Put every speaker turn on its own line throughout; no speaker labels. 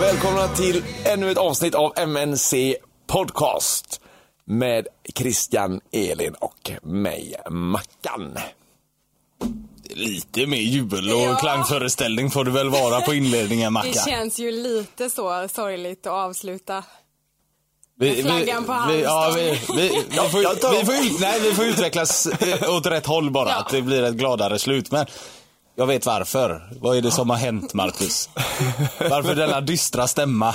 välkomna till ännu ett avsnitt av MNC Podcast. Med Christian, Elin och mig, Mackan.
Lite mer jubel och klangföreställning får det väl vara på inledningen
Det
Mackan.
känns ju lite så sorgligt att avsluta.
Vi,
flaggan på
vi, ja, vi,
Halmstad.
vi, vi, får,
Jag tar-
vi, får, ut- nej, vi får utvecklas eh, åt rätt håll bara,
Ja.
att det blir ett gladare slut. Men jag vet varför. Vad är det som har hänt Marcus? Varför denna dystra stämma?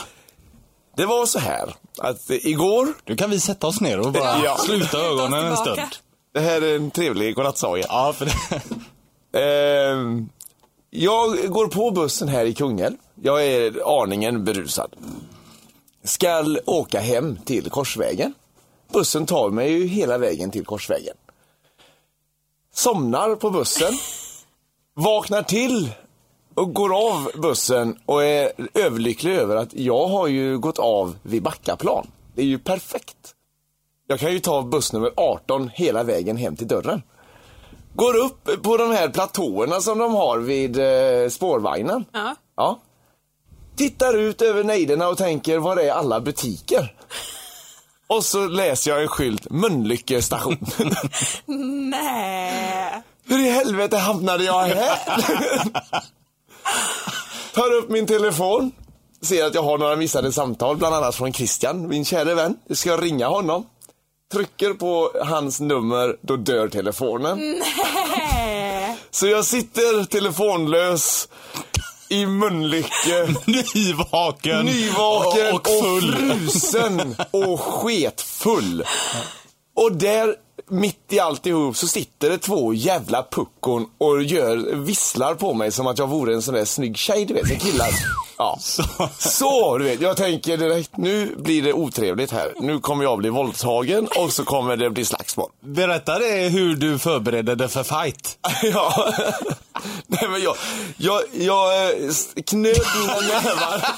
Det var så här att eh, igår,
Nu kan vi sätta oss ner och bara
Ja.
sluta ögonen en
tillbaka.
stund.
det här är en trevlig godnattsaga.
Ja, för det,
Ehm, jag går på bussen här i Kungälv. Jag är aningen berusad. Skall åka hem till Korsvägen. Bussen tar mig ju hela vägen till Korsvägen. Somnar på bussen. Vaknar till och går av bussen och är överlycklig över att jag har ju gått av vid Backaplan. Det är ju perfekt. Jag kan ju ta buss nummer 18 hela vägen hem till dörren går upp på de här platåerna som de har vid eh, spårvagnen.
Ja.
Ja. Tittar ut över nejderna och tänker, var är alla butiker? Och så läser jag en skylt, Mölnlycke station.
Nej.
Hur i helvete hamnade jag här? Tar upp min telefon, ser att jag har några missade samtal, bland annat från Christian, min käre vän. Ska jag ringa honom? Trycker på hans nummer, då dör telefonen.
Nej.
Så jag sitter telefonlös i Mölnlycke,
nyvaken,
nyvaken
och,
och,
och full.
frusen och sketfull. Och där, mitt i alltihop, så sitter det två jävla puckon och gör, visslar på mig som att jag vore en sån där snygg tjej, du vet, som killar. Ja.
Så-
Så, du vet, jag tänker direkt, nu blir det otrevligt här. Nu kommer jag bli våldtagen och så kommer det bli slagsmål.
Berätta det hur du förberedde dig för fight.
Ja. Nej men jag, jag, jag eh, s- knöt mina nävar.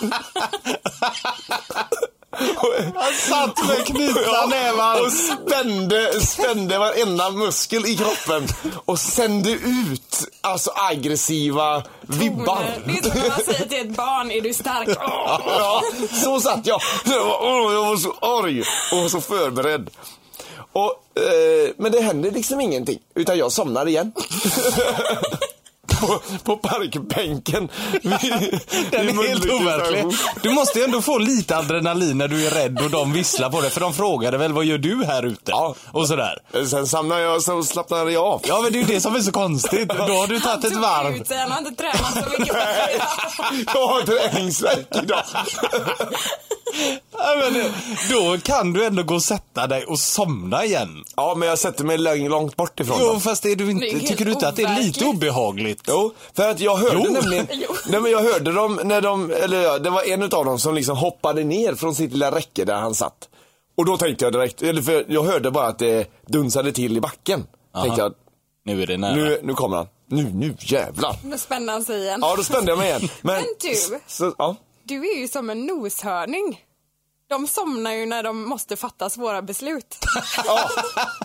Han satt med knutna
Ja,
nävar.
Och spände, spände varenda muskel i kroppen. Och sände ut alltså aggressiva vibbar.
Det är som när man säger till ett barn, är du stark? Åh.
Ja, så satt jag. Jag var, åh, jag var så arg och så förberedd. Och, eh, men det hände liksom ingenting, utan jag somnar igen. på, på parkbänken.
Den är helt overklig.
overklig.
Du måste ju ändå få lite adrenalin när du är rädd och de visslar på dig. För de frågade väl vad gör du här ute?
Ja.
Och sådär.
Sen samlade jag så slappnade jag av.
Ja men det är ju det som är så konstigt. Då har du tagit ett
Tog
varv.
ut sig, Han har inte tränat så mycket.
Jag har träningsvärk idag.
Ja, men det- då kan du ändå gå och sätta dig och somna igen.
Ja, men jag sätter mig lång- långt bort ifrån
Jo
dem.
fast är du
Det är
inte,
helt
tycker du inte att det är lite
overkligt.
obehagligt?
Jo, för att jag hörde
Jo.
nämligen,
Jo.
nej men jag hörde dem när de, eller ja, det var en utav dem som liksom hoppade ner från sitt lilla räcke där han satt. Och då tänkte jag direkt, eller för jag hörde bara att det dunsade till i backen. Tänkte jag,
Nu är det nära.
nu, nu kommer han. Nu, nu jävlar.
Nu spänner han sig igen.
Ja, då spände jag mig igen. Men,
Men du.
s- Så, ja.
Du är ju som en noshörning. De somnar ju när de måste fatta svåra beslut.
ja,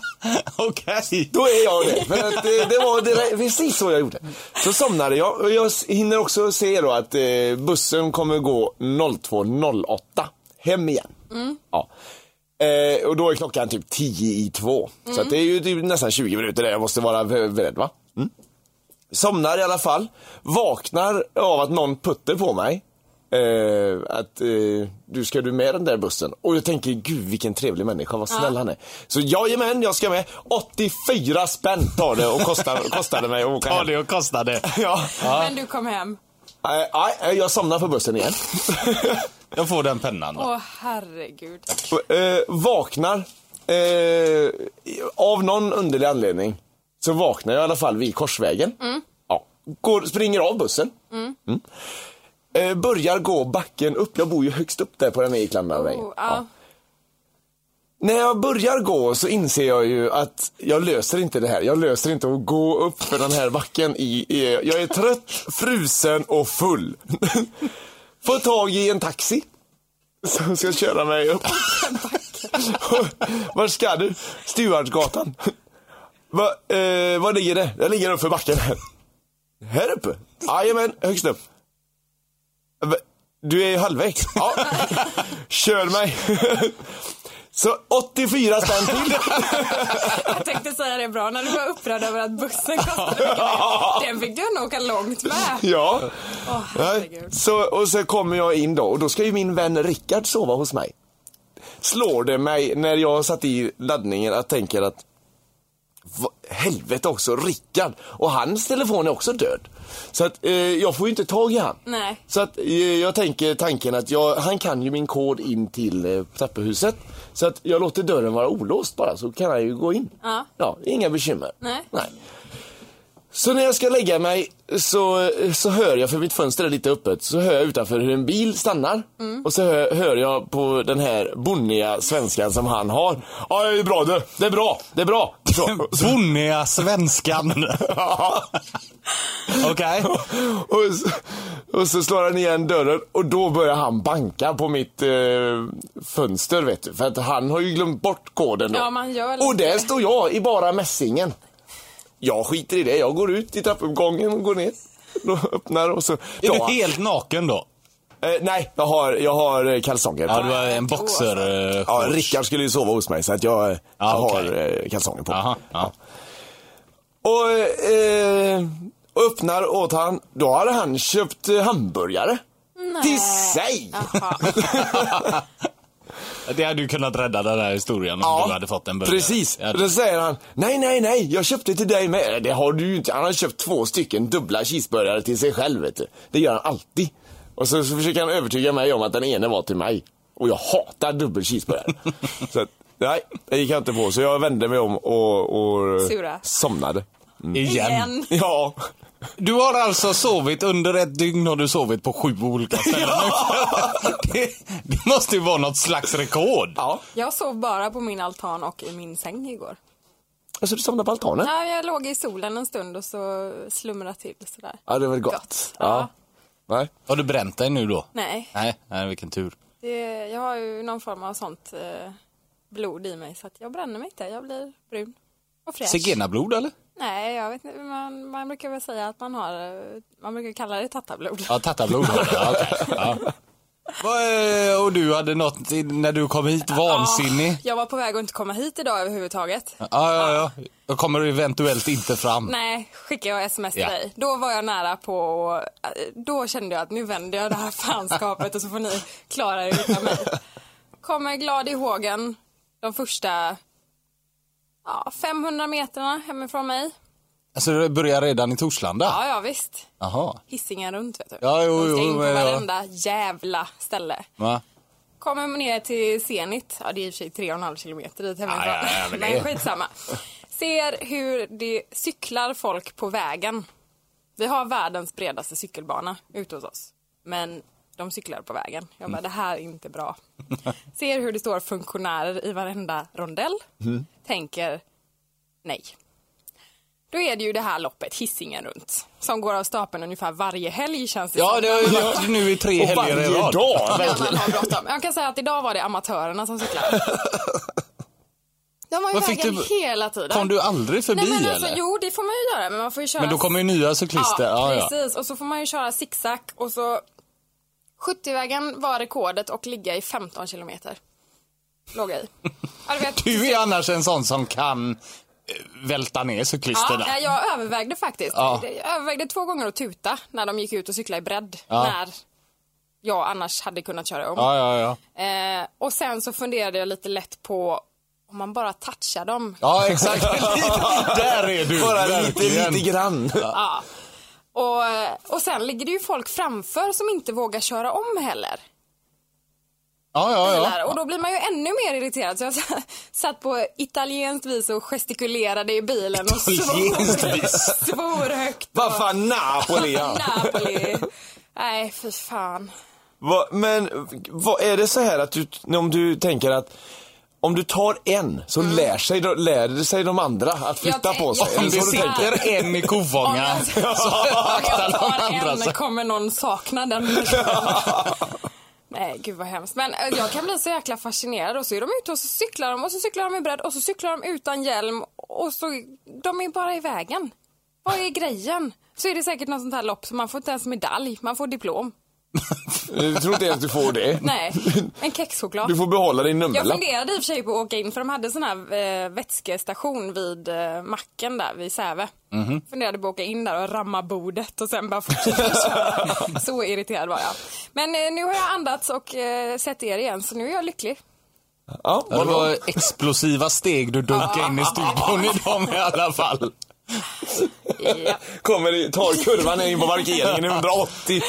Okej.
då är jag det. För att eh, det, det var direkt, precis så jag gjorde. Så somnade jag och jag s- hinner också se då att eh, bussen kommer gå 02.08 hem igen. Ja. Eh, och då är klockan typ 10 i två. Så att det är ju typ nästan 20 minuter där jag måste vara be- beredd va? Mm. Somnar i alla fall. Vaknar av att någon putter på mig. Eh, att eh, du ska du med den där bussen? Och jag tänker gud vilken trevlig människa, vad snäll han är. Så jajamän, jag ska med. 84 spänn tar det och kostar, kostade mig att åka
Ta
hem.
det och kosta det.
Ja.
Men du kom hem.
Nej, nej, jag somnar på bussen igen.
Jag får den pennan då.
Åh herregud.
Eh, vaknar. Eh, av någon underlig anledning så vaknar jag i alla fall vid Korsvägen. Ja. Går, springer av bussen. Mm. Eh, börjar gå backen upp. Jag bor ju högst upp där på den Eklandavägen.
Oh, ja.
När jag börjar gå så inser jag ju att jag löser inte det här. Jag löser inte att gå upp för den här backen. I, i, jag är trött, frusen och full. Får tag i en taxi som ska köra mig upp. Var ska du? Stuartsgatan. Va, eh, var ligger det? Jag ligger uppför backen. Här uppe? Jajamän, högst upp. Va, Du är ju halvvägs. Ja. Kör mig. Så 84 spänn till.
Jag tänkte säga det bra när du var upprörd över att bussen kostade mycket. Den fick du ändå åka långt med.
Ja.
Åh,
Nej.
herregud.
Så, och så kommer jag in då och då ska ju min vän Rickard sova hos mig. Slår det mig när jag har satt i laddningen att tänker att "Va- helvete också, Rickard. Och hans telefon är också död. Så att eh, jag får ju inte tag i han.
Nej.
Så att eh, jag tänker tanken att jag, han kan ju min kod in till eh, trapphuset. Så att jag låter dörren vara olåst bara så kan han ju gå in.
Ja.
ja inga bekymmer.
Nej.
Nej. Så när jag ska lägga mig så, så hör jag, för mitt fönster är lite öppet, så hör jag utanför hur en bil stannar. Och så hör, hör jag på den här bonniga svenskan som han har. Ja, det är bra du. Det är bra. Det är bra. Så.
Bonniga svenskan. Okej.
och, så, och så slår han igen dörren och då börjar han banka på mitt eh, fönster vet du. För att han har ju glömt bort koden då.
Ja, man gör
och
lite.
där står jag i bara mässingen. Jag skiter i det, jag går ut i trappuppgången och går ner. Då öppnar och så...
Är
Ja.
du helt naken då?
Eh, nej, jag har, jag har eh, kalsonger på.
Ja, du har en boxer... eh,
Ja,
shorts.
Rickard skulle ju sova hos mig så att jag, eh,
Ja,
jag
okej.
har eh, kalsonger på.
Jaha, ja.
Och eh, och öppnar åt han, då hade han köpt eh, hamburgare. Till sig!
Jaha.
Det hade ju kunnat rädda den här historien om du hade fått en burgare.
precis.
Ja,
Då säger han, nej, nej, nej, jag köpte till dig med. "Nej, Det har du ju inte. Han har köpt två stycken dubbla cheeseburgare till sig själv, vet du. Det gör han alltid. Och så, så försöker han övertyga mig om att den ene var till mig. Och jag hatar dubbel cheeseburgare. så att, nej, det gick jag inte på. Så jag vände mig om och, och
Sura.
somnade.
igen.
Igen.
Ja.
Du har alltså sovit under ett dygn har du sovit på sju olika ställen. det, det måste ju vara något slags rekord.
ja.
Jag sov bara på min altan och i min säng igår.
Alltså du somnade på altanen?
Nej, jag låg i solen en stund och så slumrade till sådär.
Ja, det var gott.
Gott.
Ja.
Ja.
Nej.
Har du bränt dig nu då?
Nej,
Nej, nej vilken tur.
det, jag har ju någon form av sånt eh, blod i mig så att jag bränner mig inte. Jag blir brun och fräsch.
Zigenarblod eller?
Nej, jag vet inte. Man, man brukar väl säga att man har, eh, man brukar kalla det tattablod.
Ja, tattarblod har du. Ja, okej. ja. Vad, eh, Och du hade något i- när du kom hit, vansinnig.
Jag var på väg att inte komma hit idag överhuvudtaget.
Ja, ja, ja. Jag kommer eventuellt inte fram.
Nej, skickar jag sms till
Ja.
dig. Då var jag nära på, då kände jag att nu vänder jag det här fanskapet och så får ni klara er utan mig. Kommer glad i hågen de första ja, 500 metrarna hemifrån mig.
Alltså du börjar redan i Torslanda?
Ja, ja visst.
Jaha.
Hissingen runt vet du.
Ja, jo,
de ska
jo,
in på
men ja.
varenda jävla ställe.
Va?
Kommer man ner till Zenit, ja det är i och för sig tre och en halv kilometer dit hemifrån,
Ah, Ja, ja, ja, men
men,
det-
skitsamma. Ser hur det cyklar folk på vägen. Vi har världens bredaste cykelbana ute hos oss, men de cyklar på vägen. Jag
Mm.
bara, det här är inte bra. Ser hur det står funktionärer i varenda rondell.
Mm.
Tänker, nej. Då är det ju det här loppet, Hisingen runt, som går av stapeln ungefär varje helg känns det
Ja,
som.
det har ju varit nu i tre
Och
helger i
varje
rad.
dag,
Ja,
verkligen.
man har bråttom. Jag kan säga att idag var det amatörerna som cyklade. De var ju
Vad fick
vägen
du-
hela tiden.
Kom du aldrig förbi
Nej, men alltså,
eller?
Jo, det får man ju göra, men man får ju köra...
Men då kommer ju nya cyklister. Ja,
Ja,
ja.
precis. Och så får man ju köra zigzag och så... 70-vägen var rekordet och ligga i 15 kilometer. Låg jag i. Ja, du vet,
Du är annars en sån som kan eh, välta ner
Ja,
cyklisterna.
nej, jag övervägde faktiskt.
Ja.
Jag övervägde två gånger att tuta när de gick ut och cyklade i bredd.
Ja.
När jag annars hade kunnat köra om.
Ja, ja, ja.
Eh, och sen så funderade jag lite lätt på om man bara touchar dem.
Ja, exakt. Där är du.
Bara lite,
verkligen.
lite grann.
Och, och sen ligger det ju folk framför som inte vågar köra om heller.
Ja, ja,
bilar.
ja.
Och då blir man ju ännu mer irriterad. Så jag satt på italienskt vis och gestikulerade i bilen och svor, svor högt.
Vad fan, Napoli ja.
Napoli. Nej, fy fan.
Va, men vad är det så här att du, om du tänker att om du tar en så lär, sig, de- lär sig de andra att flytta
tänk-
på sig? Är
Om
Mm. jag-
det
det
så du tänker?
sitter en i kofånga
Om
så
jag-
vaktar
jag
de andra
tar en
sig.
kommer någon sakna den. Nej, gud vad hemskt. Men eh, jag kan bli så jäkla fascinerad. Och så är de ute och så cyklar de och så cyklar de i bredd och så cyklar de utan hjälm. Och så, de är bara i vägen. Vad är grejen? Så är det säkert något sånt här lopp så man får inte ens medalj, man får diplom.
Jag tror inte ens du får det.
Nej, en kexchoklad.
Du får behålla din
Jag
nummerlapp.
funderade i och för sig på att åka in för de hade sån här eh, vätskestation vid eh, macken där vid Säve.
Mhm.
Funderade på att åka in där och ramma bordet och sen bara fortsätta köra. Så irriterad var jag. Men eh, nu har jag andats och eh, sett er igen så nu är jag lycklig.
Ja,
Det
vad bra.
var explosiva steg du dunkade in i studion idag i alla fall.
Ja.
Kommer i- tar kurvan in på markeringen i 180.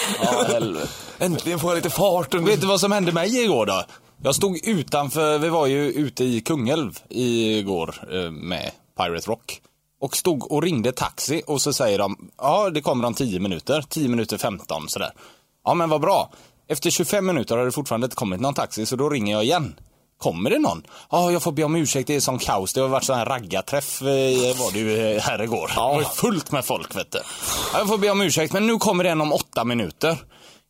Äntligen får jag lite fart under...
Vet du vad som hände mig igår då? Jag stod utanför, vi var ju ute i Kungälv igår eh, med Pirate Rock. Och stod och ringde taxi och så säger de, ja det kommer om 10 minuter, 10 minuter 15 sådär. Ja men vad bra. Efter 25 minuter har det fortfarande inte kommit någon taxi så då ringer jag igen. Kommer det någon? Ja, jag får be om ursäkt, det är sån kaos. Det har varit sån här raggarträff eh, var det ju eh, här igår. Det var ju fullt med folk vet du. Ja, jag får be om ursäkt, men nu kommer den om åtta minuter.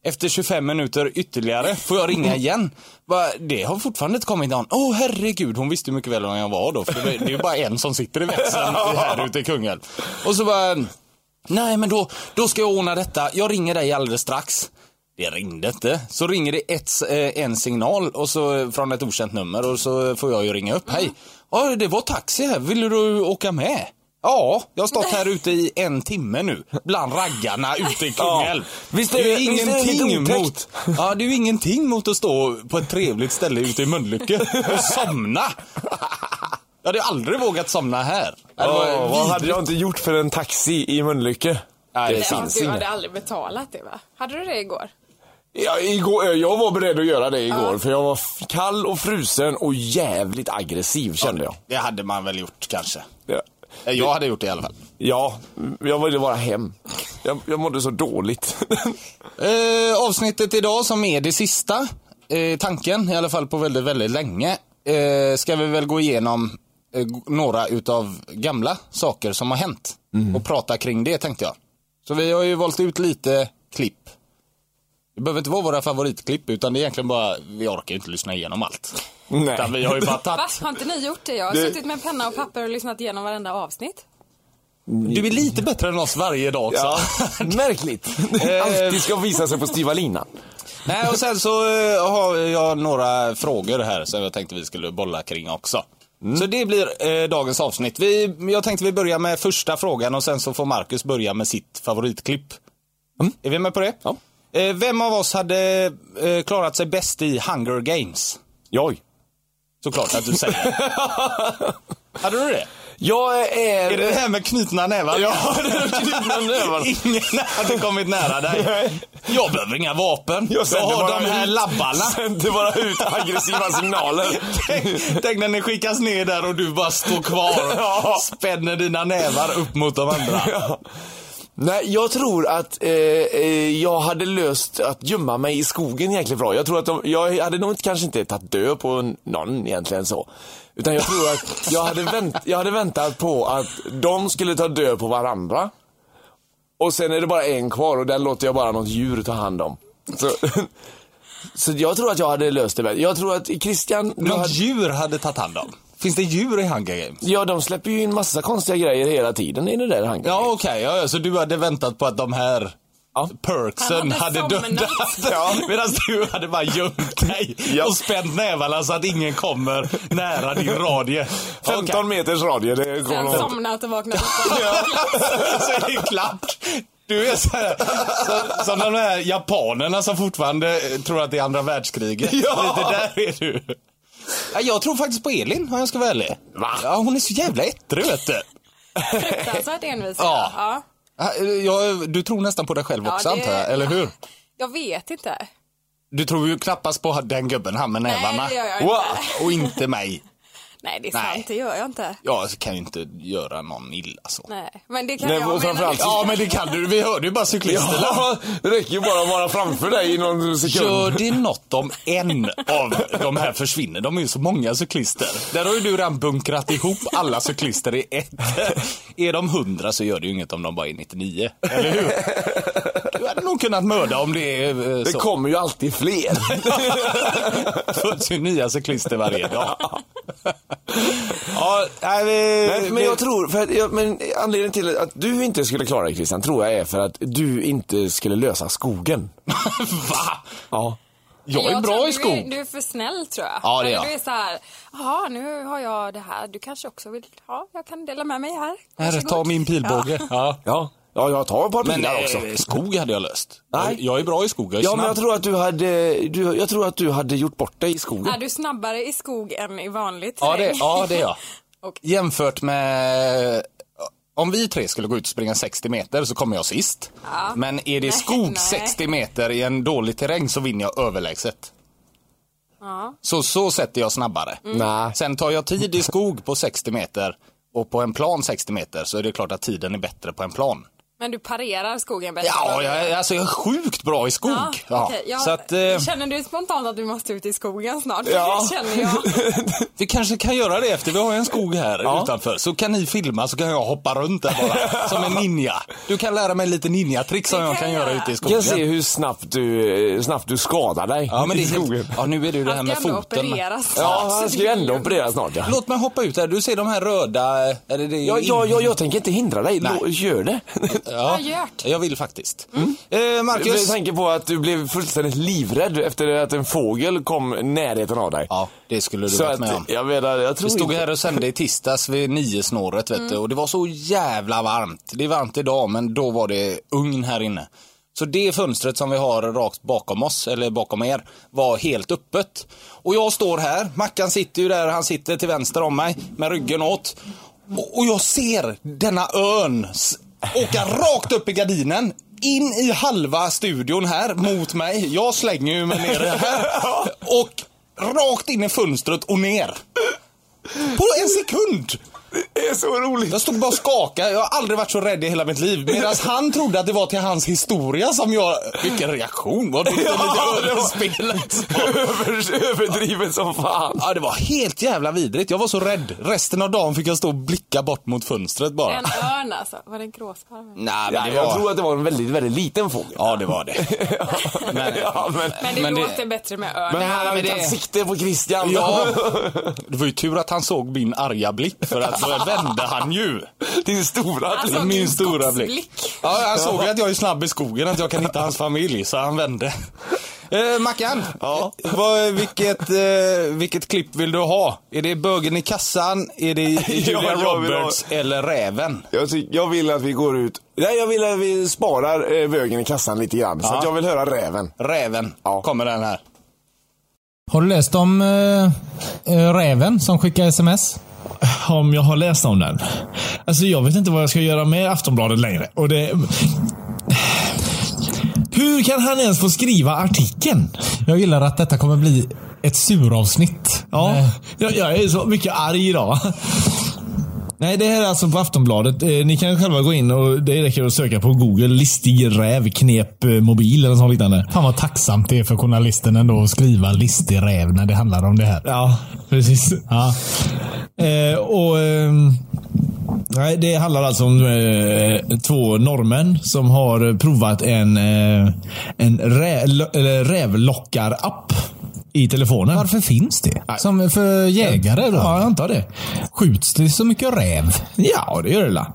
Efter 25 minuter ytterligare får jag ringa igen. Va, det har fortfarande inte kommit någon. Åh herregud, hon visste ju mycket väl vem jag var då. För det, det är ju bara en som sitter i växeln här ute i Kungälv. Och så bara, nej men då, då ska jag ordna detta. Jag ringer dig alldeles strax. Det ringde inte. Så ringer det ett, eh, en signal och så, eh, från ett okänt nummer och så får jag ju ringa upp. Hej, ja, det var taxi här. Vill du åka med? Ja, jag har stått här ute i en timme nu, bland raggarna ute i Kungälv.
Ja. Visst är det-
ju
visst är det lite otäckt?
mot, ja, det är ju ingenting mot att stå på ett trevligt ställe ute i Mölnlycke och somna. Jag hade ju aldrig vågat somna här. Det var
Åh, vad
vidrigt.
hade jag inte gjort för en taxi i Mölnlycke?
Nej, det
Det
Ja,
finns
du
inget.
hade aldrig betalat det va? Hade du det igår?
Ja, igår, eh, jag var beredd att göra det igår, för jag var f- kall och frusen och jävligt aggressiv kände jag.
Det hade man väl gjort kanske.
Ja,
Jag hade gjort det i alla fall.
ja jag ville bara hem. Jag, jag mådde så dåligt.
Eh, avsnittet idag som är det sista, eh, tanken, i alla fall på väldigt, väldigt länge, eh, ska vi väl gå igenom eh, g- några utav gamla saker som har hänt
Mhm.
och prata kring det tänkte jag. Så vi har ju valt ut lite klipp. Det behöver inte vara våra favoritklipp utan det är egentligen bara, vi orkar ju inte lyssna igenom allt.
Nej.
Utan vi har ju bara
Va?
tagit...
Har inte ni gjort det? Jag har
Det-
suttit med penna och papper och lyssnat igenom varenda avsnitt.
Du är lite bättre än oss varje dag också.
Ja, märkligt. Alltid ska visa sig på styva linan.
Nej, och sen så eh, har jag några frågor här som jag tänkte vi skulle bolla kring också.
Mm.
Så det blir eh, dagens avsnitt. Vi, jag tänkte vi börjar med första frågan och sen så får Marcus börja med sitt favoritklipp. Är vi med på det?
Mm. Ja.
Eh, vem av oss hade eh, klarat sig bäst i Hunger Games?
Joj.
Såklart att du säger. hade du det?
Jag är...
Är det det här med knutna nävar?
Ja, det är knutna nävar.
Ingen hade kommit nära dig. Jag behöver inga vapen. Jag,
sänder bara
har de här
ut-
labbarna.
Sänder bara ut aggressiva signaler.
Tänk- Tänk när ni skickas ner där och du bara står kvar
Ja.
och spänner dina nävar upp mot de andra.
Ja. Nej, jag tror att eh, eh, jag hade löst att gömma mig i skogen jäkligt bra. Jag tror att de, jag hade nog inte, kanske inte tagit död på n- någon egentligen så. Utan jag tror att jag hade, vänt, jag hade väntat på att de skulle ta död på varandra. Och sen är det bara en kvar och den låter jag bara något djur ta hand om. Så, så jag tror att jag hade löst det bättre. Jag tror att Christian, du
Något
hade,
djur hade tagit hand om. Finns det djur i Hunger Games?
ja de släpper ju in massa konstiga grejer hela tiden i det där hangen.
Ja okej, ja, ja, så du hade väntat på att de här
Ja.
perksen
Han
hade,
hade
dödat.
somnat.
Medan du hade bara gömt dig
Ja.
och spänt nävarna så att ingen kommer nära din radie.
15
Okej.
meters radie, det går
Sen
nog-
somnat och vaknat upp.
så är det klart. Du är så här, som, som de här japanerna som fortfarande eh, tror att det är andra världskriget.
Ja.
Lite där är du. Ja, Jag tror faktiskt på Elin om jag ska vara ärlig.
Va?
Ja, hon är så jävla ettrig vet du.
Fruktansvärt envis.
Ja.
ja.
Ja, eh, jag- du tror nästan på dig själv
Ja,
också
det-
antar jag, eller hur?
Jag vet inte.
Du tror ju knappast på den gubben, han med
Nej,
nävarna.
det gör jag inte.
Wow. Och inte mig.
Nej, det är
Nej.
sant. Det gör jag inte.
Jag kan ju inte göra någon illa så.
Nej, men det kan
Nej,
jag
och framförallt-
Ja, men det kan du. Vi hörde ju bara cyklisterna.
Ja, det räcker ju bara att vara framför dig i någon
Gör
sekund.
det något om en av de här försvinner? De är ju så många cyklister. Där har ju du redan bunkrat ihop alla cyklister i ett. Är de hundra så gör det ju inget om de bara är 99. Eller hur? Du hade nog kunnat mörda om det är eh,
Det
så.
kommer ju alltid fler.
föds ju nya cyklister varje dag. ja, nej, vi,
Nej, men jag tror, för att jag, men anledningen till att du inte skulle klara det Christian, tror jag är för att du inte skulle lösa skogen.
Va?
Ja.
Jag är
tror
bra
du
i skog.
Du är för snäll tror jag. Alltså,
Ja, det är jag.
Du är så här, ja nu har jag det här, du kanske också vill ha, jag kan dela med mig här.
Här, ta
Varsågod.
min pilbåge. Ja.
Ja, ja jag tar ett par
Men
pilar också.
eh, skog hade jag löst.
Nej.
Jag, jag är bra i skog, jag är
Ja,
snabb.
men jag tror att du hade, du, jag tror att du hade gjort bort dig i
Är
skogen.
du snabbare i skog än i vanligt
Ja det,
terräng?
ja, det är jag.
Och-
Jämfört med... Om vi tre skulle gå ut och springa 60 meter så kommer jag sist. Men är det skog
nej.
60 meter i en dålig terräng så vinner jag överlägset. Så, så sätter jag snabbare.
Nej.
Sen tar jag tid i skog på 60 meter och på en plan 60 meter så är det klart att tiden är bättre på en plan.
Men du parerar skogen bättre?
Ja, jag, är- alltså jag är sjukt bra i skog.
Ja,
Ja.
okej. Jag-
Så att, eh,
Känner du spontant att du måste ut i skogen snart?
Ja.
Det känner jag.
Vi kanske kan göra det efter, vi har ju en skog här
Ja.
utanför. Så kan ni filma så kan jag hoppa runt där bara, som en ninja. Du kan lära mig lite ninjatrick som
Det
jag
kan
kan
jag
göra
göra.
ute i
Jag kan se
skogen.
hur snabbt du, eh, snabbt du skadar dig
Ja, men det
i
är
skogen.
helt... ja, nu är det ju det här
Han
med
ska ändå
foten.
opereras.
Ja,
Så
han
det
ska ju
är
ändå
lugnt.
operera snart ja.
Låt mig hoppa ut här, du ser de här röda... Är det det?
Ja, ja, ja, jag tänker inte hindra dig.
Nej.
Lå- Gör det.
ja.
Ja, gjort.
Jag vill faktiskt.
Mm.
Eh,
Jag
Marcus?
tänker på att du blev fullständigt livrädd efter att en fågel kom i närheten av dig.
Ja, det skulle du
Så
varit med om.
att, jag menar, jag tror
Vi stod
inte... Mm.
här och sände i tisdags vid nio snåret vet du och det var så jävla varmt. Det är varmt idag men då var det ugn här inne. Så det fönstret som vi har rakt bakom oss, eller bakom er, var helt öppet. Och jag står här, Mackan sitter ju där han sitter till vänster om mig med ryggen åt. Och, och jag ser denna örn s- åka rakt upp i gardinen. In i halva studion här mot mig. Jag slänger ju mig ner här. Och rakt in i fönstret och ner. På en sekund!
Det är så roligt.
Jag stod bara och skakade, jag har aldrig varit så rädd i hela mitt liv. Medan han trodde att det var till hans historia som jag... Vilken reaktion! Var det lite
Ja, det var-
överspelat?
Över, överdrivet som fan.
Ja, det var helt jävla vidrigt. Jag var så rädd. Resten av dagen fick jag stå och blicka bort mot fönstret bara.
En örn alltså. Var det en gråsparv?
Nej,
Ja,
men det
Jag tror
var...
att det var en väldigt, väldigt liten fågel.
Ja, det var det. Men,
Ja, men,
Men det
Men det-
låter bättre med örn.
men han hade
men det-
tagit sikte på Christian.
ja, det var ju tur att han såg min arga blick, för att då vände han ju.
Din stora
Alltså,
blick.
Min
din
stora blick.
skogsblick.
Ja, han såg att jag är snabb i skogen, att jag kan hitta hans familj, så han vände. Eh, Mackan,
Ja.
vad, vilket, eh, vilket klipp vill du ha? Är det Bögen i kassan, är det Julia
jag vill ha-
Roberts eller Räven?
Jag, tyck- jag vill att vi går ut. Nej, jag vill att vi sparar eh, bögen i kassan lite grann. Så
Ja.
att jag vill höra räven.
Räven
Ja.
kommer den här.
Har du läst om
eh,
räven som skickar sms?
Om jag har läst om den. Alltså jag vet inte vad jag ska göra med Aftonbladet längre. Och det... Hur kan han ens få skriva artikeln?
Jag gillar att detta kommer bli ett suravsnitt.
Ja, jag, jag är så mycket arg idag. Nej, det här är alltså på Aftonbladet. Eh, Ni kan själva gå in och det räcker att söka på Google. Listig räv, knep, eh, mobil eller något liknande.
Fan vad tacksamt det är för journalisten ändå att skriva listig räv när det handlar om det här.
Ja, precis.
Ja.
Eh, och, ehm, nej, det handlar alltså om eh, två norrmän som har provat en, eh, en rä, eller rävlockar-app i telefonen.
Varför finns det?
Nej.
Som för jägare då?
Ja, jag antar det.
Skjuts det så mycket räv?
Ja, det gör det la.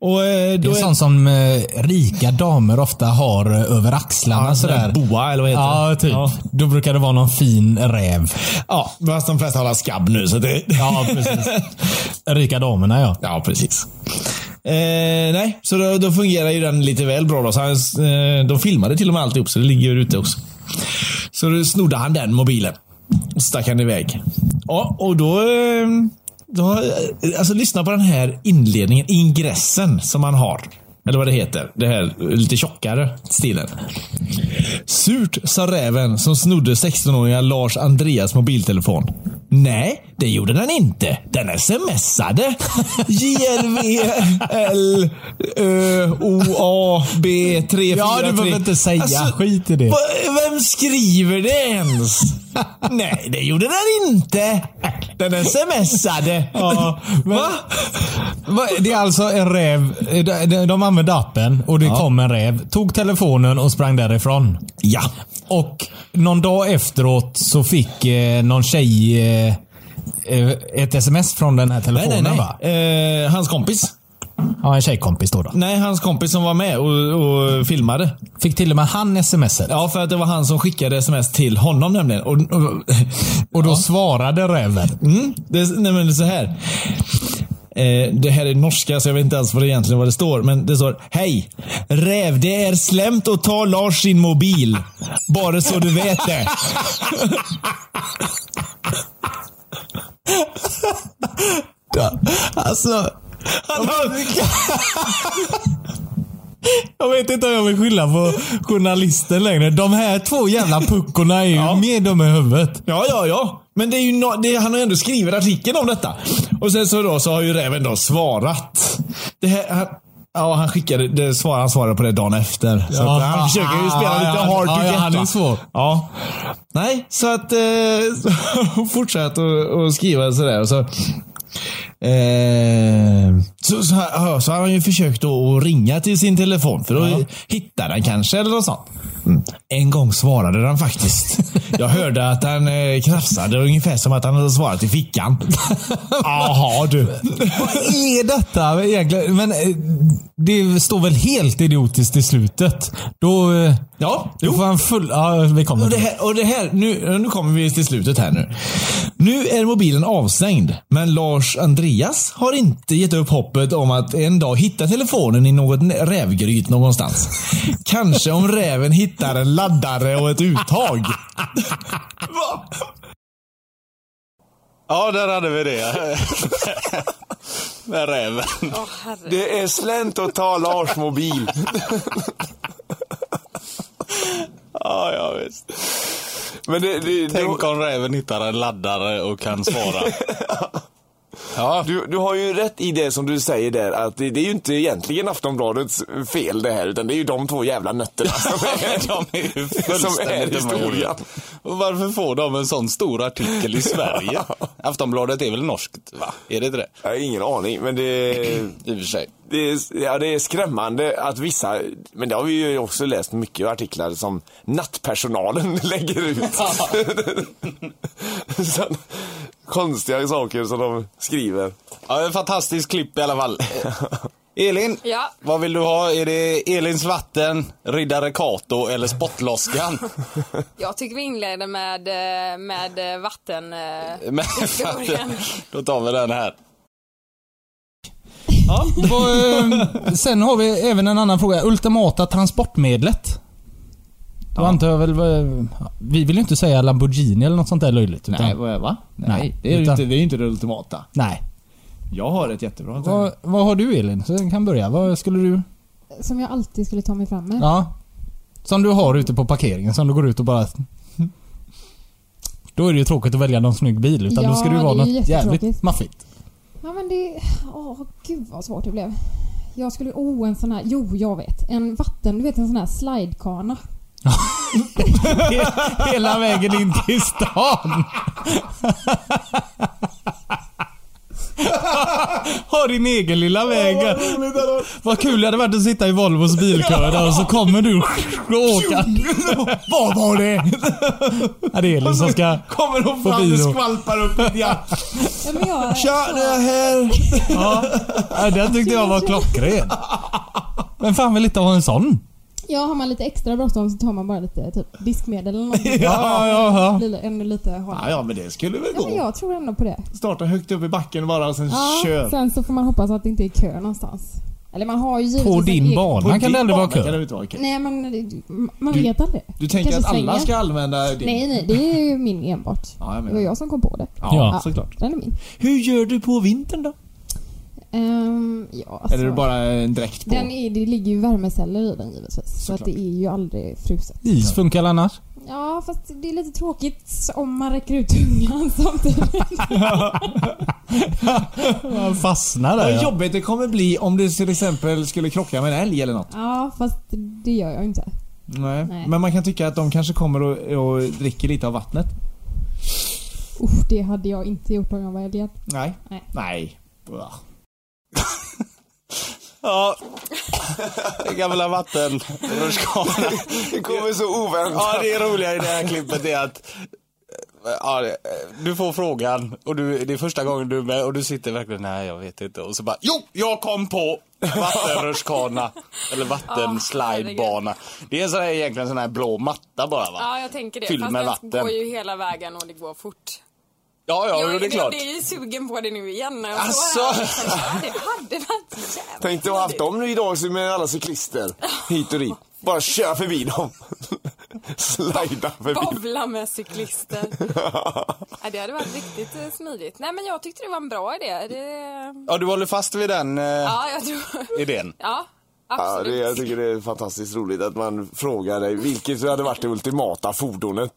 Och, eh,
Det
då
är sånt som eh, rika damer ofta har eh, över axlarna.
Ja,
sådär.
boa, eller vad heter
Ja,
det?
typ.
Ja.
Då brukar det vara någon fin räv.
Ja, fast de flesta har skabb nu. Så det...
Ja, precis. Rika damerna ja.
Ja, precis. Eh, nej, så då, då fungerar ju den lite väl bra då. Så han, eh, de filmade till och med alltihop, så det ligger ju ute också. Så då snodde han den mobilen. Och stack han iväg. Ja, och då... Eh, då eh, alltså lyssna på den här inledningen, ingressen som han har. Eller vad det heter. Det här eh, lite tjockare stilen. Surt, sa räven som snodde 16-åriga Lars Andreas mobiltelefon. Nej, det gjorde den inte. Den smsade. JRVLOAB343.
Ja, du behöver inte säga. Skit i det.
Alltså, va- Vem skriver det ens? Nej, det gjorde den inte. Den smsade.
Ja, men-
Va?
Va, Det är alltså en räv. eh, de- de- De använde appen och det kom en räv. Tog telefonen och sprang därifrån.
Ja.
Och någon dag efteråt så fick eh, någon tjej eh, eh, ett sms från den här
Nej,
telefonen
nej,
va?
nej. Eh, hans kompis.
Ja, en tjejkompis då. då.
Nej, hans kompis som var med och, och filmade.
Fick till och med han smset.
Ja, för att det var han som skickade sms till honom nämligen. Och, och,
Och då svarade räven.
mm, det, nej men det är så här. Eh, det här är norska så jag vet inte ens vad det egentligen vad det står. Men det står Hej! Räv, det är slämt att ta Lars sin mobil. Bara så du vet det.
Alltså... Jag vet inte om jag vill skylla på journalisten längre. De här två jävla puckorna är ju mer dumma i huvudet.
Ja, ja, ja. Men det är ju no- det, han har ju ändå skrivit artikeln om detta. Och sen så då så har ju räven då svarat. Det här, han, ja, han skickade, det svar, han svarade på det dagen efter. Så
Ja,
att han
fan.
försöker ju spela lite
Ja,
hard to
ja,
get.
han är
va?
svår.
Ja. Nej, så att eh, hon fortsatte att att skriva sådär. Och så, eh, så, så, har- så har han ju försökt då att ringa till sin telefon för då hittar han kanske eller något sånt. Mm. En gång svarade han faktiskt. Jag hörde att han eh, krafsade ungefär som att han hade svarat i fickan. Jaha du.
Vad är detta egentligen? Men eh, det står väl helt idiotiskt i slutet? Då... eh,
Ja,
Då
jo.
får han full... Ja, vi kommer
Och det
till det.
här, och det här nu, nu kommer vi till slutet här nu. Nu är mobilen avstängd, men Lars Andreas har inte gett upp hoppet om att en dag hitta telefonen i något nä- rävgryt någonstans. Kanske om räven hittar en laddare och ett uttag.
Ja, där hade vi det. Med räven.
Åh herregud.
Det är slänt att ta Lars mobil.
Ja, ja visst.
Men det, det, du,
Tänk om räven hittar en laddare och kan svara. Ja,
du, du har ju rätt i det som du säger där att det, det är ju inte egentligen Aftonbladets fel det här utan det är ju de två jävla nötterna som är...
de är ju
Som är
fullständigt dumma i
historien.
huvudet. Och varför får de en sån stor artikel i Sverige? Aftonbladet är väl norskt, va? Är det inte det?
Jag har ingen aning men det...
I och för sig.
Det är, ja, det är skrämmande att vissa, men det har vi ju också läst mycket artiklar som nattpersonalen lägger ut. så, konstiga saker som de skriver.
Ja, en fantastisk klipp i alla fall. Elin,
Ja.
vad vill du ha? Är det Elins vatten, Riddare Kato eller Spottloskan?
Jag tycker vi inleder med, eh, med eh, vatten... eh,
Men
Historien.
då tar vi den här.
Och, eh, sen har vi även en annan fråga. Ultimata transportmedlet. Då antar jag väl... eh, Vi vill ju inte säga Lamborghini eller något sånt där löjligt. Utan,
Nej, va? Nej,
Nej,
det, är ju
utan-
inte, det är ju inte det ultimata.
nej.
Jag har ett jättebra.
Vad, vad har du Elin? Så jag kan börja. Vad skulle du...
Som jag alltid skulle ta mig fram med.
Ja. Som du har ute på parkeringen. Som du går ut och bara... Då är det ju tråkigt att välja någon snygg bil. Utan
Ja,
då ska det ju
det
vara
är ju
något jävligt
jättetråkigt.
maffigt.
Ja men det... Åh gud vad svårt det blev. Jag skulle... Oh en sån här... Jo jag vet. En vatten... Du vet en sån här slidekana.
Hela vägen in till stan. Har din egen lilla väg. Vad kul det hade varit att sitta i Volvos bilkö där och så kommer du och åker. Vad var det? Ja, det är Elin som ska...
Kommer de
På
fram
bio.
och skvalpar upp lite grann.
Ja, men jag...
Tja, det är här.
Ja, Ja, den tyckte jag var klockren. Men fan vill inte ha en sån?
Ja har man lite extra bråttom så tar man bara lite typ diskmedel eller något.
Ja, ja, ja.
Blir ännu lite hårdare.
Ja, ja, men det skulle väl
Ja men
gå.
jag tror ändå på det.
Starta högt upp i backen bara och sen
Ja,
kör.
sen så får man hoppas att det inte är kö någonstans. Eller man har ju givetvis
På
en
din
egen-
bana kan det aldrig vara
Kan det
kö.
inte vara kö.
Nej men det- man
Du-
vet aldrig.
Du tänker
Kanske
att alla
svänger.
ska använda din?
Nej nej, det är ju min enbart.
Ja, jag
Det
menar.
var jag som kom på det.
Ja,
Ja.
såklart.
Den är min.
Hur gör du på vintern då?
Ehm, ja, alltså,
Eller är det bara en dräkt på?
den är, det ligger ju värmeceller i den givetvis. Så att
Såklart.
det är ju aldrig fruset.
Is funkar väl annars?
Ja, fast det är lite tråkigt om man räcker ut tungan samtidigt.
Man fastnar
Vad
där ja.
jobbigt det kommer bli om det till exempel skulle krocka med en älg eller något.
ja, fast det gör jag inte.
Nej.
Nej.
Men man kan tycka att de kanske kommer och, och dricker lite av vattnet.
Usch, det hade jag inte gjort om jag var älgad.
Nej.
Nej.
Nej. Bra.
Ja, det gamla vatten. Rutschkana.
Det kommer så oväntat.
Ja, det roliga i det här klippet är att eh, ja, det- du får frågan och du, det är första gången du är med och du sitter verkligen, nej jag vet inte. Och så bara, jo, jag kom på vattenrutschkana. eller vattenslidebana. Det är en sån här, egentligen en sån här blå matta bara va?
Ja, jag tänker det.
Fylld
Fast
med
den
vatten.
går ju hela vägen och det går fort.
Ja, ja,
jag
jo, det är klart.
Jag blir ju sugen på det nu igen när jag
Alltså.
står här. och tänker, Ja, det hade varit jävligt
Tänk dig att ha haft dem nu idag så med alla cyklister. Hit och dit. Bara köra förbi dem. Slida förbi.
Bovla med cyklister. ja, det hade varit riktigt eh, smidigt. Nej, men jag tyckte det var en bra idé. Det...
Ja, du håller fast vid den eh,
Ja, jag tror...
idén.
Ja,
Ja,
absolut.
det, jag tycker det är fantastiskt roligt att man frågar dig vilket hade varit det ultimata fordonet.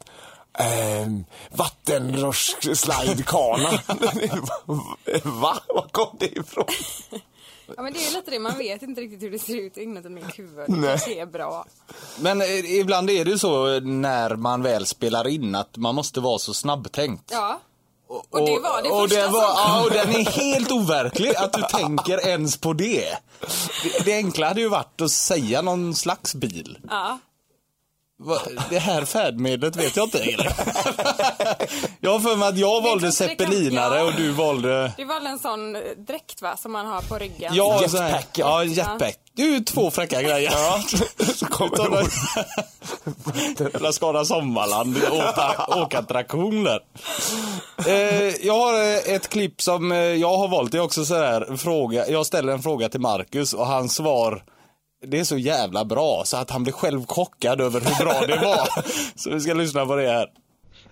Ehm, Vattenrutschslidekana. Va? Var kom det ifrån?
Ja, men det är lite det, man vet inte riktigt hur det ser ut inuti mitt huvud. Det
Nej.
kanske är bra.
Men eh, ibland är det ju så eh, när man väl spelar in att man måste vara så snabbtänkt.
Ja. Och det var det
och
första
det var,
som kom.
Ja, och den är helt overklig att du tänker ens på det. det. Det enkla hade ju varit att säga någon slags bil.
Ja.
Va, det här färdmedlet vet jag inte heller. jag har för mig att jag valde
kanske det kan-
zeppelinare
ja.
och du valde...
Det var väl en sån eh, dräkt va, som man har på ryggen?
Ja,
Jetpack,
så här-
ja.
Ja, jetpack. Det är ju två fräcka grejer.
Så kommer
Utan
det-
att- Jävla Skara Sommarland, åka, åka attraktioner. Eh, jag har eh, ett klipp som eh, jag har valt, det är också så här, en fråga, jag ställer en fråga till Marcus och hans svar det är så jävla bra så att han blir själv chockad över hur bra det var. Så vi ska lyssna på det här.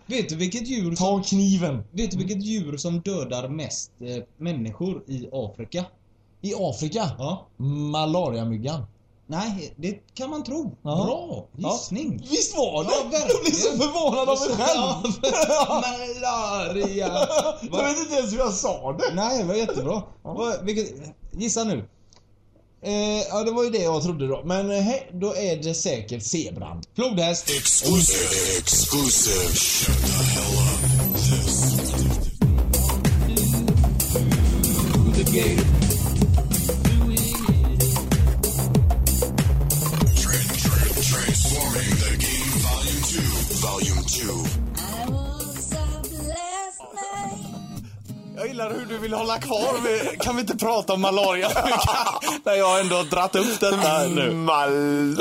Vet du vilket djur som...
Ta kniven.
Vet du vilket djur som dödar mest eh, människor i Afrika?
I Afrika?
Ja.
Malariamyggan.
Nej, det kan man tro.
Ja.
Bra
Ja.
gissning.
Visst var det?
Ja, verkligen.
jag blev så förvånad av mig själv.
Malaria.
jag vet inte ens hur jag sa det.
Nej, det var jättebra. Vad- Vilket... Gissa nu.
Eh, ja, det var ju det jag trodde då. Men eh, hej, då är det säkert zebran.
Flodhäst.
Jag gillar hur du vill hålla kvar vid, kan vi inte prata om malaria när jag ändå har dratt upp detta nu.
Malariamyggan.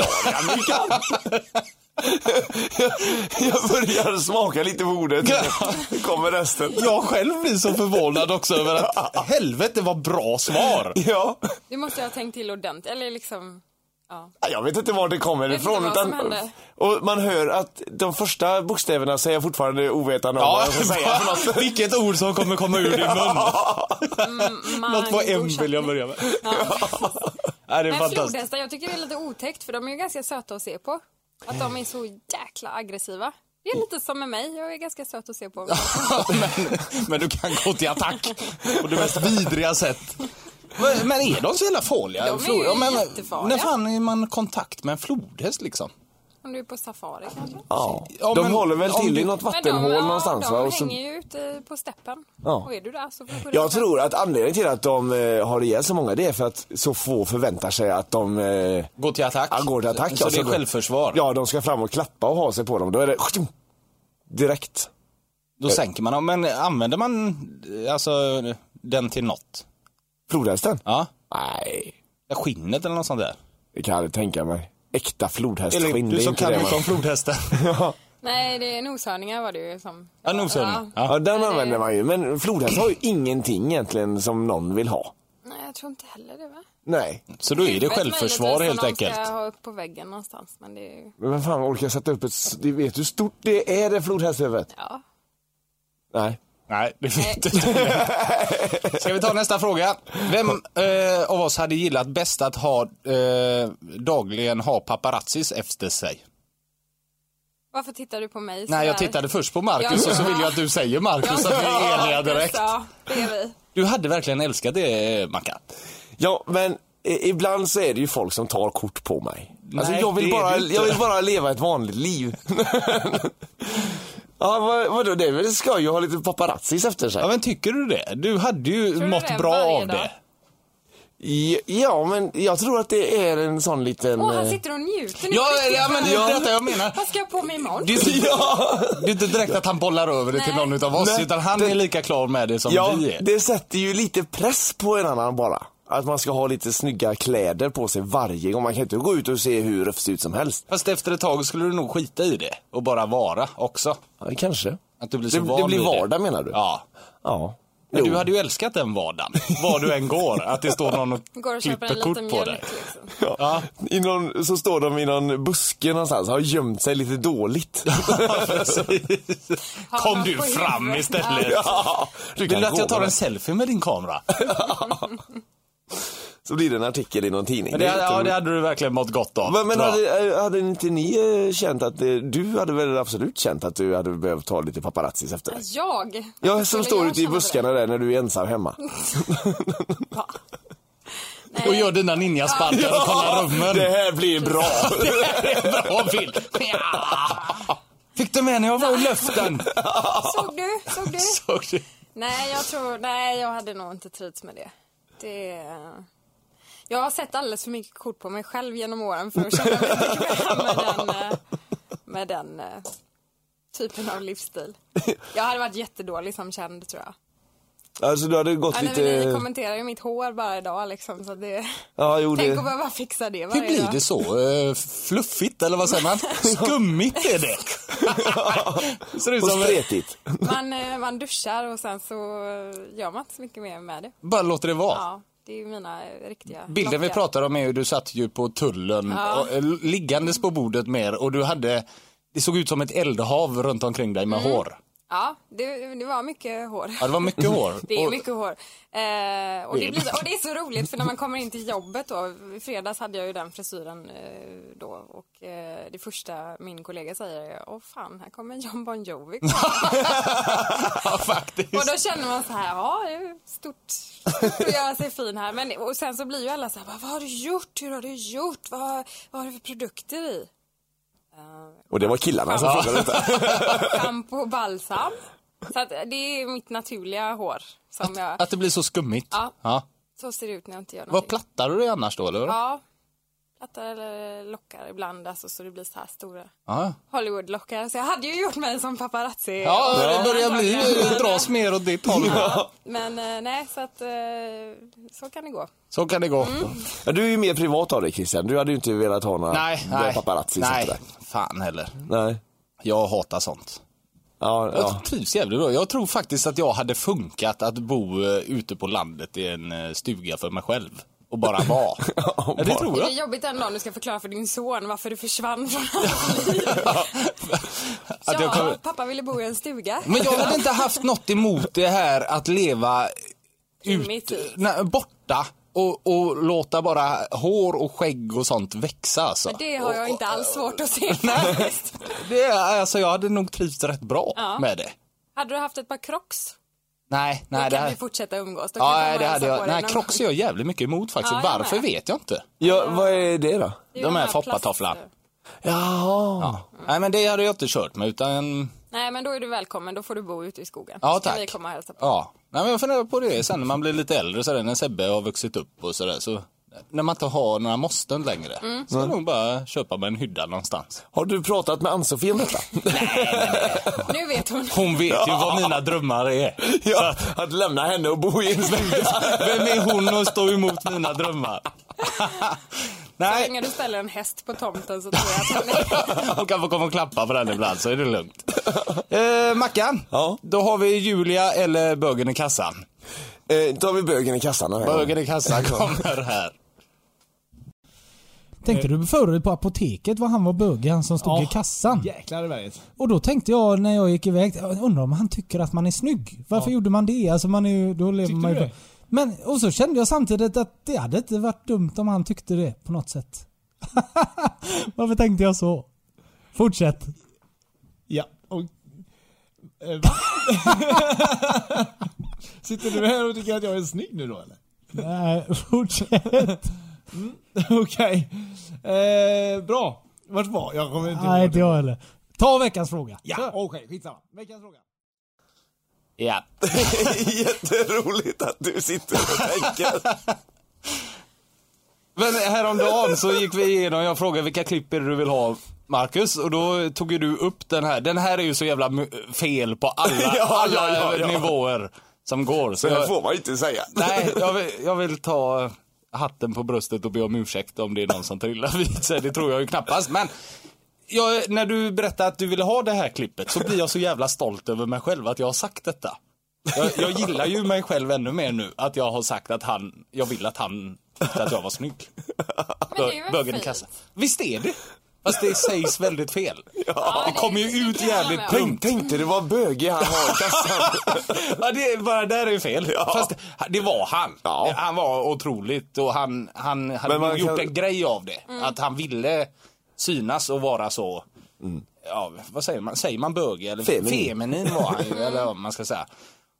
Jag börjar smaka lite på ordet. Kommer resten.
Jag själv blir så förvånad också över att helvete vad bra svar.
Ja.
Det måste jag ha tänkt till ordentligt, eller liksom... Ja.
Jag vet inte var det kommer
vet
ifrån.
inte vad som
Utan,
hände.
och man hör att de första bokstäverna säger jag fortfarande ovetande om vad jag ska säga för något.
vilket ord som kommer komma ur din mun. Något på M
Mango
vill jag börja med. Nej, det är
Men
fantastiskt.
flodhästar, jag tycker det är lite otäckt för de är ju ganska söta att se på. Att de är så jäkla aggressiva. Det är lite som med mig, jag är ganska söt att se på.
men, men du kan gå till attack på det mest vidriga sätt. Men- Men är de så jävla farliga?
De är ju
Flod- ja, men,
jättefarliga.
När fan är man i kontakt med en flodhäst liksom?
Om du är på safari kanske?
Ja.
Ja,
de
men
håller väl
om
till
du-
i något
Men
vattenhål
de, ja,
någonstans
de
va? Och så-
hänger ju ute på steppen.
Ja.
Och är du där så får du
Jag tror att anledningen till att de eh, har ihjäl så många det är för att så få förväntar sig att de eh,
Gå till attack?
ja, går till attack.
Så
Alltså,
det är självförsvar?
Ja, de ska fram och klappa och ha sig på dem. Då är det direkt.
Då sänker man dem. Men använder man eh, alltså den till något?
Flodhästen?
Ja?
Nej,
Skinnet eller något sånt där?
det kan jag aldrig tänka mig. Äkta
Eller
flodhästskinn, det
du
är
som
inte
kan
det
mycket
man...
om flodhästen?
Nej, det är noshörningar var det ju som...
Ja, noshörning. Ja.
Ja, den använder man ju. Men flodhäst har ju ingenting egentligen som någon vill ha.
Nej, jag tror inte heller det va?
Nej.
Så då är det
Huvudet
självförsvar
möjligtvis
helt
som de
enkelt.
ska ha upp på väggen någonstans, men det är ju...
Men vem fan orkar sätta upp ett... s- Du vet hur stort det är det flodhästhuvudet?
Ja.
Nej.
Nej, det vet du inte. Ska vi ta nästa fråga? Vem eh, av oss hade gillat bäst att ha eh, dagligen ha paparazzis efter sig?
Varför tittar du på mig så
Nej, jag
här?
tittade först på Marcus
Ja.
och så vill jag att du säger Marcus så att vi är eniga direkt.
Ja, det är vi.
Du hade verkligen älskat det, eh, Mackan.
Ja, men i- ibland så är det ju folk som tar kort på mig. Alltså,
Nej,
jag, vill
det är
bara,
det inte.
jag vill bara leva ett vanligt liv. ja, vad, vadå, det är väl skoj att ha lite paparazzis efter sig?
Ja, men tycker du det? Du hade ju
du
mått
det?
bra
Varje
av
dag?
det.
Ja, Ja, men jag tror att det är en sån liten...
Åh, han
eh,
sitter och njuter nu.
Ja, ja men det är ju detta jag menar.
Vad ska jag på mig imorgon?
Det är, inte, det är inte direkt att han bollar över det till
Nej.
någon utav oss,
Nej,
utan han
det-
är lika klar med det som
Ja,
vi är.
det sätter ju lite press på en annan bara. Att man ska ha lite snygga kläder på sig varje gång. Man kan inte gå ut och se hur rufsig ut som helst.
Fast efter ett tag skulle du nog skita i det och bara vara också.
Ja, kanske.
Att du blir så
det,
van
det blir
vid det.
vardag menar du?
Ja.
ja.
Men
Jo.
du hade ju älskat den vardagen, var du än går. Att det står någon och
Går och köper en
klipper
liten
kort på dig.
mjölk liksom.
Ja. I någon, så står de i någon buske någonstans, har gömt sig lite dåligt.
Har
Kom
man
du
på
fram
huvudet.
istället.
ja. Du
Vill du att
gå
jag tar
med
en
det.
selfie med din kamera?
Så blir det en artikel i någon tidning.
Men det,
Det är
ja,
lite-
det hade du verkligen mått gott av.
Men, men
tror jag.
hade, eh, hade inte ni eh, känt att, eh, du hade väl absolut känt att du hade behövt ta lite paparazzis efter dig?
Jag?
Ja, som
Alltså,
Skulle
står
jag
ute i
känna det?
buskarna där när du är ensam hemma.
Nej.
Och gör dina ninjasparkar och kollar rummen.
Det här blir bra.
Bra bild. Ja. Fick du med när jag var i luften?
Såg du? Såg du?
Såg du?
Nej, jag tror... Nej, jag hade nog inte trivts med det. Det... Jag har sett alldeles för mycket kort på mig själv genom åren för att känna mig bekväm med den, eh, med den eh, typen av livsstil. Jag hade varit jättedålig som känd tror jag.
Alltså du hade gått
Ja, nej, men ni
lite...
kommenterar ju mitt hår bara idag liksom så det...
Ja, jo
Tänk
det...
att behöva fixa det
Hur
varje
blir
dag.
det så? Eh, fluffigt eller vad säger man? Skummigt är det. Ser ut
Och
som
spretigt.
Man, eh, man duschar och sen så eh, gör man inte så mycket mer med det.
Bara låter det vara.
Ja, det är ju mina eh, riktiga
Bilden vi
lockiga-
pratar om är ju, du satt ju på tullen,
Ja.
och, eh, liggandes på bordet med er och du hade, det såg ut som ett eldhav runt omkring dig
Mm.
med hår.
Ja, det, det var mycket hår.
Ja, det var mycket hår.
Det är
Och-
mycket hår. Eh, och, det blir, och det är så roligt för när man kommer in till jobbet då, i fredags hade jag ju den frisyren eh, då och eh, det första min kollega säger är åh fan, här kommer John Bon Jovi.
Ja, faktiskt.
och då känner man så här, ja det är stort, stort att göra sig fin här. Men, och sen så blir ju alla så här, vad har du gjort, hur har du gjort, vad, vad har du för produkter i?
Och det var killarna som
Ja.
frågade detta.
Shampoo och balsam. Så att det är mitt naturliga hår som jag,
Att det blir så skummigt.
Ja.
Ja.
så ser det ut när jag inte gör
Vad
någonting.
plattar du dig annars då eller?
Ja. Plattar eller lockar ibland alltså, så det blir så här stora
Ja.
Hollywood-lockar. Så jag hade ju gjort mig som paparazzi.
Ja, det börjar bli,
Men-
dras mer åt ditt håll.
Men eh, nej, så att eh, så kan det gå.
Så kan det gå.
Mm.
Ja, du är ju mer privat av dig Christian. Du hade ju inte velat ha några
Nej,
bra
nej.
paparazzis efter
nej.
dig.
Fan heller.
Nej.
Jag hatar sånt.
Ja, ja.
Jag trivs jävligt bra. Jag tror faktiskt att jag hade funkat att bo eh, ute på landet i en eh, stuga för mig själv. Och bara vara. ja, det tror
Det är
jag.
jobbigt en dag du ska förklara för din son varför du försvann från hans liv.
Att jag
Ja,
kommer...
pappa ville bo i en stuga.
Men jag hade inte haft något emot det här att leva ut,
Primitivt.
nej, borta och, och låta bara hår och skägg och sånt växa alltså.
Men det har jag inte alls svårt att se.
Nej, det är, alltså jag hade nog trivts rätt bra
Ja.
med det.
Hade du haft ett par crocs,
Nej,
då
nej det
kan
här...
vi fortsätta umgås. Då kan
Ja,
jag
nej,
bara
det hade
hälsa på
jag...
dig
Nej,
någon
Crocs är
gång.
jag jävligt mycket emot faktiskt.
Ja, jag med.
Varför vet jag inte.
ja, vad är det då?
Det är
de
ju
här
plast-
foppatofflan.
Jaha.
Ja. Nej, men det hade jag inte kört med utan...
Nej, men då är du välkommen. Då får du bo ute i skogen.
Ja,
Så kan
tack.
vi komma och hälsa på.
Ja. Nej, men jag funderar på det sen när man blir lite äldre sådär, när Sebbe har vuxit upp och sådär. Så... När man inte har några måsten längre. Ska jag nog bara köpa mig en hydda någonstans.
Har du pratat med Ann-Sofie om detta?
Nu vet hon.
Hon vet ju vad mina drömmar är.
ja, att lämna henne och bo i en stuga.
Vem är hon att stå emot mina drömmar?
Så
Nej,
länge du ställer en häst på tomten så tror jag att han är...
Hon kan få komma och klappa på den ibland så är det lugnt. Eh, Mackan,
Ja.
då har vi Julia eller bögen i kassan.
eh, tar vi bögen i kassan den här gången.
Bögen i kassan kommer här.
Tänkte du förut på apoteket vad han var bögen han som stod
Eh. Ja.
i kassan?
Jäklar i berget.
Och då tänkte jag när jag gick iväg, jag undrar om han tycker att man är snygg? Varför gjorde man det? Alltså man är ju, då lever
Tyckte
man ju
du det?
Men, och så kände jag samtidigt att det hade inte varit dumt om han tyckte det på något sätt. Varför tänkte jag så? Fortsätt.
Ja, och... Eh, Sitter du här och tycker att jag är snygg nu då eller?
Nej, fortsätt.
Okej. Eh, bra. Vart var jag? kommer inte
Nej,
ihåg.
inte jag heller. Ta veckans fråga.
Ja, okej. skitsamma. Veckans fråga.
Ja.
Jätteroligt att du sitter och tänker.
Men häromdagen så gick vi igenom, jag frågade vilka klipp är det du vill ha Marcus och då tog ju du upp den här. Den här är ju så jävla m- fel på alla,
Ja,
alla
ja, ja, ja.
nivåer som går. Så
Det här
jag,
får man ju inte säga.
nej, jag vill, jag vill ta hatten på bröstet och be om ursäkt om det är någon som trillar vid sig. Det tror jag ju knappast. Men jag, när du berättade att du ville ha det här klippet så blir jag så jävla stolt över mig själv att jag har sagt detta. Jag, jag gillar ju mig själv ännu mer nu att jag har sagt att han, jag vill att han tyckte att jag var snygg.
Men det är väl
Bögen i
fint.
kassa. Visst är det? Fast det sägs väldigt fel.
Ja,
det kommer ju ut
kan jag
jävligt
hålla med om.
Tänk, tänk dig, det var böge han har i kassan.
Ja, det är bara där är ju fel. Fast det var han.
Ja.
Han var otroligt och han, han hade
Men man
gjort
kan-
en grej av det. Att han ville synas och vara så, ja, vad säger man, säger man böge eller
Mm. Feminin.
feminin, var han ju, eller vad man ska säga.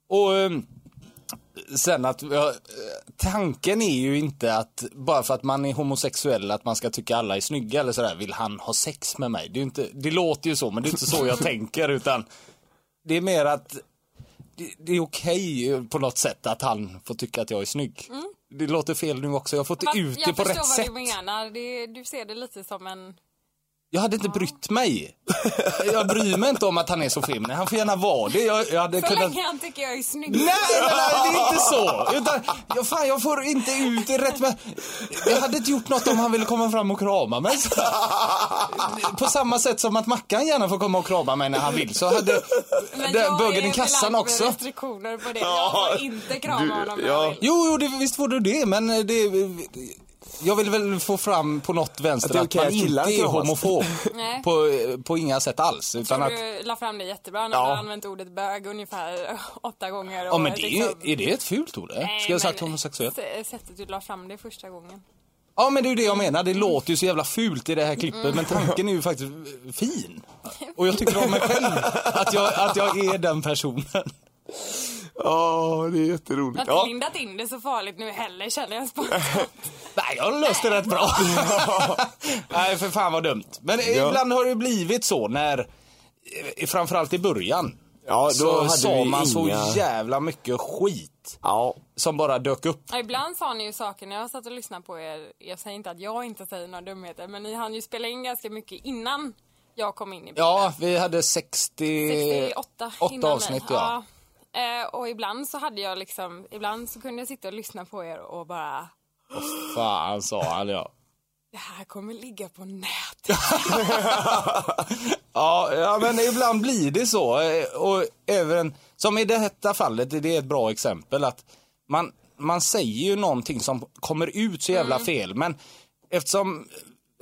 Och ehm, sen att, ja, eh, tanken är ju inte att bara för att man är homosexuell att man ska tycka alla är snygga eller sådär, vill han ha sex med mig? Det, är ju inte, det låter ju så men det är inte så jag tänker utan det är mer att det, det är okej på något sätt att han får tycka att jag är snygg. Det låter fel nu också, jag har fått
Fast
ut det på
Mm. Jag
rätt
förstår
sätt.
vad du menar. Det, du ser det lite som en...
Jag hade inte brytt mig. Jag bryr mig inte om att han är så feminin, han får gärna vara det. Jag, jag hade
Så
kunnat...
länge han tycker jag är snygg.
Nej, nej, nej, det är inte så! Utan, ja, fan, jag får inte ut det rätt med... Jag hade inte gjort något om han ville komma fram och krama mig. Så. På samma sätt som att Mackan gärna får komma och krama mig när han vill så hade
Men
den
jag är
bögen i
belagd
kassan
med
också.
restriktioner på det. Jag får inte krama
Du-
honom.
ja.
Jag vill.
Jo, jo det, visst får du det, men eh, det... Jag vill väl få fram på något vänster
Att
att,
det är okej
man
att killar
inte är
kramas.
homofob.
Nej.
på, eh, på inga sätt alls. Utan att,
Du la fram det jättebra när
Ja.
du har använt ordet bög ungefär åtta gånger.
ja, men det är,
liksom-
är det ett fult ord? eller?
Nej,
Ska jag ha sagt
men
homosexuell?
s- Sättet du la fram det första gången.
Ja, men det är ju det jag menar. Det låter ju så jävla fult i det här klippet,
Mm.
men tanken är ju faktiskt eh, fin. Och jag tycker om mig själv, att jag, att jag är den personen.
Ja, det är jätteroligt.
Jag har
Ja.
inte lindat in det så farligt nu heller känner jag spontant.
Nej, jag löste det rätt bra. Nej, för fan vad dumt. Men eh, ibland har det ju blivit så när, eh, framförallt i början,
Ja, då
så
hade
sa
vi
man så
inga-
jävla mycket skit
ja.
som bara dök upp.
Ja, Ibland sa ni ju saker när jag satt och lyssnade på er. Jag säger inte att jag inte säger några dumheter men ni hann ju spela in ganska mycket innan jag kom in i bilden.
Ja, vi hade 60...
68
åtta
innan
avsnitt,
mig.
ja.
Ja. Eh, och ibland så hade jag liksom, ibland så kunde jag sitta och lyssna på er och bara
Fan sa han ja.
det här kommer ligga på nätet.
Ja, ja, men ibland blir det så. eh, Och även, som i detta fallet, det är ett bra exempel att man, man säger ju någonting som kommer ut så jävla
Mm.
fel. Men eftersom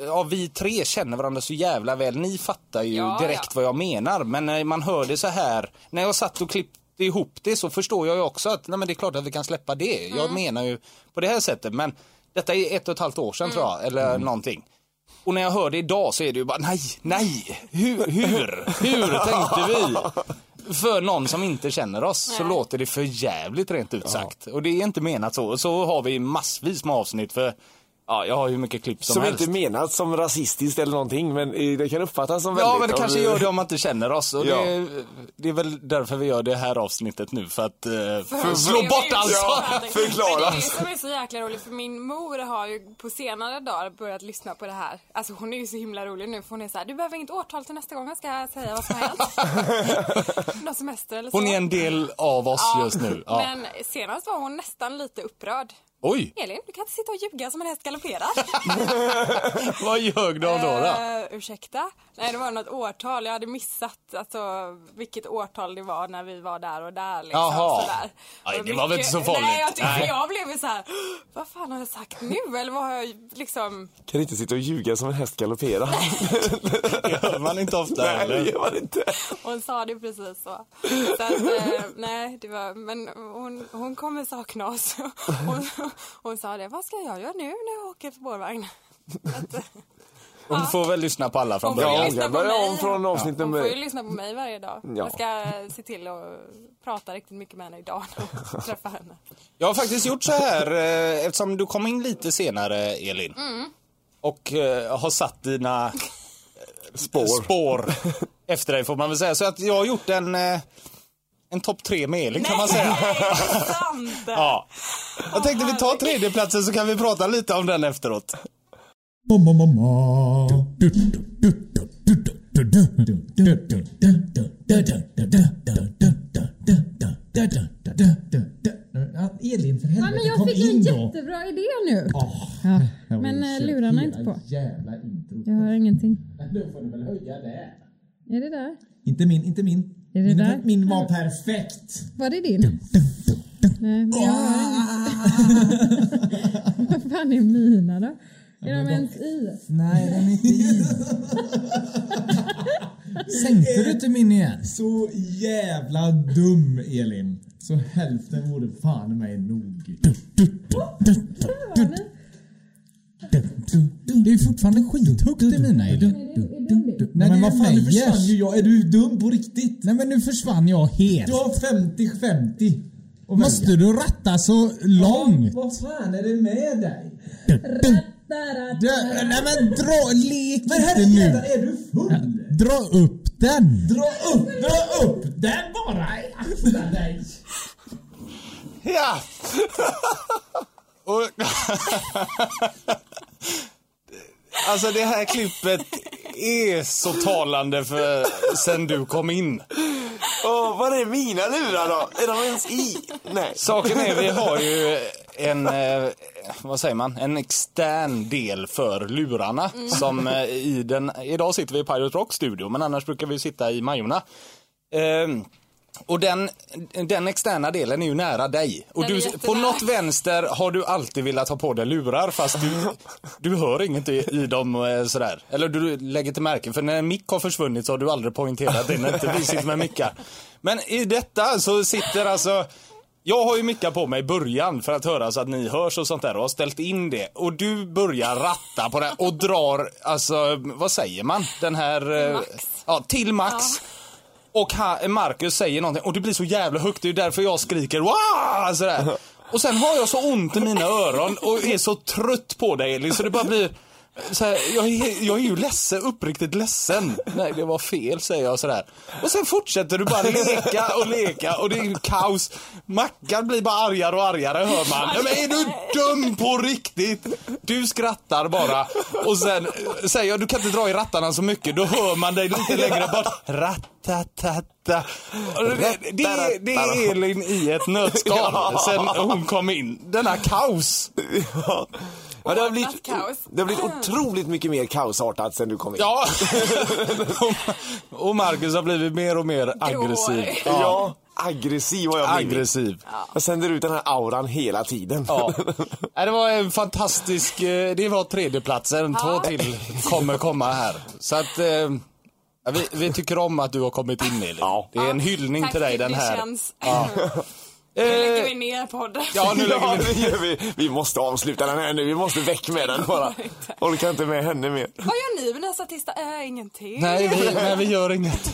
ja, vi tre känner varandra så jävla väl, ni fattar ju
Ja,
direkt
ja.
vad jag menar. Men när man hör det så här, när jag satt och klippte ihop det så förstår jag ju också att nej, men det är klart att vi kan släppa det. Jag
Mm.
menar ju på det här sättet. Men detta är ett och ett halvt år
Mm.
sedan tror jag, eller någonting. Och när jag hör det idag så är det ju bara nej, nej, hur, hur, hur tänkte vi? För någon som inte känner oss så
Nej.
låter det för jävligt rent ut sagt. Och det är inte menat så. Och så har vi massvis med avsnitt för ja, jag har ju mycket klipp som,
Som
helst.
inte menat som rasistiskt eller någonting, men eh, det kan uppfattas som väldigt...
Ja men det
om
kanske
vi-
gör det om man inte känner oss. Och
Ja.
det, det är väl därför vi gör det här avsnittet nu för att eh, slå
Det är
bort
ju
alltså.
så att-
förklara.
Men Det är det som är så jäkla roligt för min mor har ju på senare dagar börjat lyssna på det här. Alltså hon är ju så himla rolig nu för hon är så här, du behöver inget årtal till nästa gång jag ska säga vad som har hänt. Någon semester eller så.
Hon är en del av oss
Ja,
just nu. Ja.
Men senast var hon nästan lite upprörd.
Oj,
Elin, du kan inte sitta och ljuga som en häst galopperar.
vad ljög du om då? då?
Eh, ursäkta? Nej, det var något årtal. Jag hade missat alltså, vilket årtal det var när vi var där och där. Liksom,
Jaha.
Sådär.
Aj,
Och
det var väl inte så farligt.
Nej, jag, tyckte,
Nej.
jag blev ju så här. vad fan har jag sagt nu? Eller vad har jag liksom...
Kan inte sitta och ljuga som en häst galopperar.
Det hör man inte ofta
Nej, det
heller.
gör man inte.
Hon sa det precis så. så att, eh, nej, det var, men hon, hon kommer sakna oss. Hon, hon sa det, vad ska jag göra nu när jag åker spårvagn?
Hon får väl lyssna på alla från
Hon får ju
Ja, hon
början.
lyssna
kan
på
börja
mig.
om från avsnitt
Hon får ju
nummer...
lyssna på mig varje dag.
Ja.
Jag ska se till att prata riktigt mycket med henne idag när jag träffar henne.
Jag har faktiskt gjort så här eh, eftersom du kom in lite senare Elin.
Mm.
Och eh, har satt dina
Spår.
spår efter dig får man väl säga. Så att jag har gjort en, eh, en topp tre med Elin kan man
Nej,
säga.
det är sant!
Ja. Jag tänkte vi tar tredjeplatsen så kan vi prata lite om den efteråt.
Elin, för
Ja,
helvete.
men jag
kom
fick ju en
in då.
jättebra idé nu. Ja, men eh, lurarna är inte på.
Jävla intro.
Jag hör ingenting.
Nu får du väl höja det.
Är det där?
Inte min, inte min.
Är det
min,
där?
min var perfekt.
Mm. Var det din? Nej, men jag hör
Ah.
inget. Vad fan är mina då? Är de ens i?
Nej, den är inte i. Sänkte du inte min igen? Så jävla dum, Elin. Så hälften vore fan mig nog. Det är fortfarande skithögt i mina, Elin. Nej, men vad fan, nu försvann ju jag. Är du dum på riktigt? Nej, men nu försvann jag helt. Du har 50-50. Måste du ratta så långt? Vad fan är det med dig? Du, nej men dra, lek inte nu. är du full? Dra upp den. Dra upp, dra upp den bara. Akta dig.
Ja! Och alltså det här klippet är så talande för sen du kom in.
Åh, var är mina lurar då? Är de ens i? Nej.
Saken är, vi har ju en, eh, vad säger man, en extern del för lurarna.
Mm.
Som eh, i den, idag sitter vi i Pirate Rock studio, men annars brukar vi sitta i Majorna. Ehm, och den, den externa delen är ju nära dig. Och
Den är
du, på
jättenära.
något vänster har du alltid velat ha på dig lurar fast du, du hör inget i, i dem eh, sådär. Eller du lägger till märke för när en mick har försvunnit så har du aldrig poängterat det när inte vi sitter med mickar. Men i detta så sitter alltså jag har ju mickar på mig i början för att höra så att ni hörs och sånt där och har ställt in det. Och du börjar ratta på det här och drar, alltså vad säger man? Den här... eh,
max.
Ja, till max. Och ha, Marcus säger någonting och det blir så jävla högt, det är ju därför jag skriker Wah! sådär. Och sen har jag så ont i mina öron och är så trött på dig Elin så det bara blir såhär, jag, är, jag är ju ledsen, uppriktigt ledsen. Nej det var fel säger jag sådär. Och sen fortsätter du bara leka och leka och det är ju kaos. Mackan blir bara argare och argare hör man. Ja, Men är du dum på riktigt? Du skrattar bara och sen eh, säger jag du kan inte dra i rattarna så mycket. Då hör man dig lite längre bort. Rattatata. Och Det, det, är- det är Elin i ett nötskal sen hon kom in. Denna kaos.
Ja. Ja, det, har blivit,
kaos.
det har blivit otroligt mycket mer kaosartat sen du kom in.
Ja. Och, och Marcus har blårig. blivit mer och mer aggressiv.
ja aggressiv har jag blivit.
Aggressiv.
Jag sänder ut den här auran hela tiden.
Ja. Nej, Äh, Det var en fantastisk, eh, det var tredjeplatsen, två till kommer komma här. Så att eh, ja, vi, vi tycker om att du har kommit in Elin.
Ja.
Det är en hyllning
Tack
till dig
för
den
det
här. Eh,
Känns. Nu lägger vi ner podden.
Ja, nu lägger
Ja,
vi
det gör vi. Vi måste avsluta den här nu. Vi måste väck med den bara. Orkar inte med henne mer.
Vad gör ni med nästa tisdag? Äh, ingenting.
Nej, vi, nej, vi gör inget.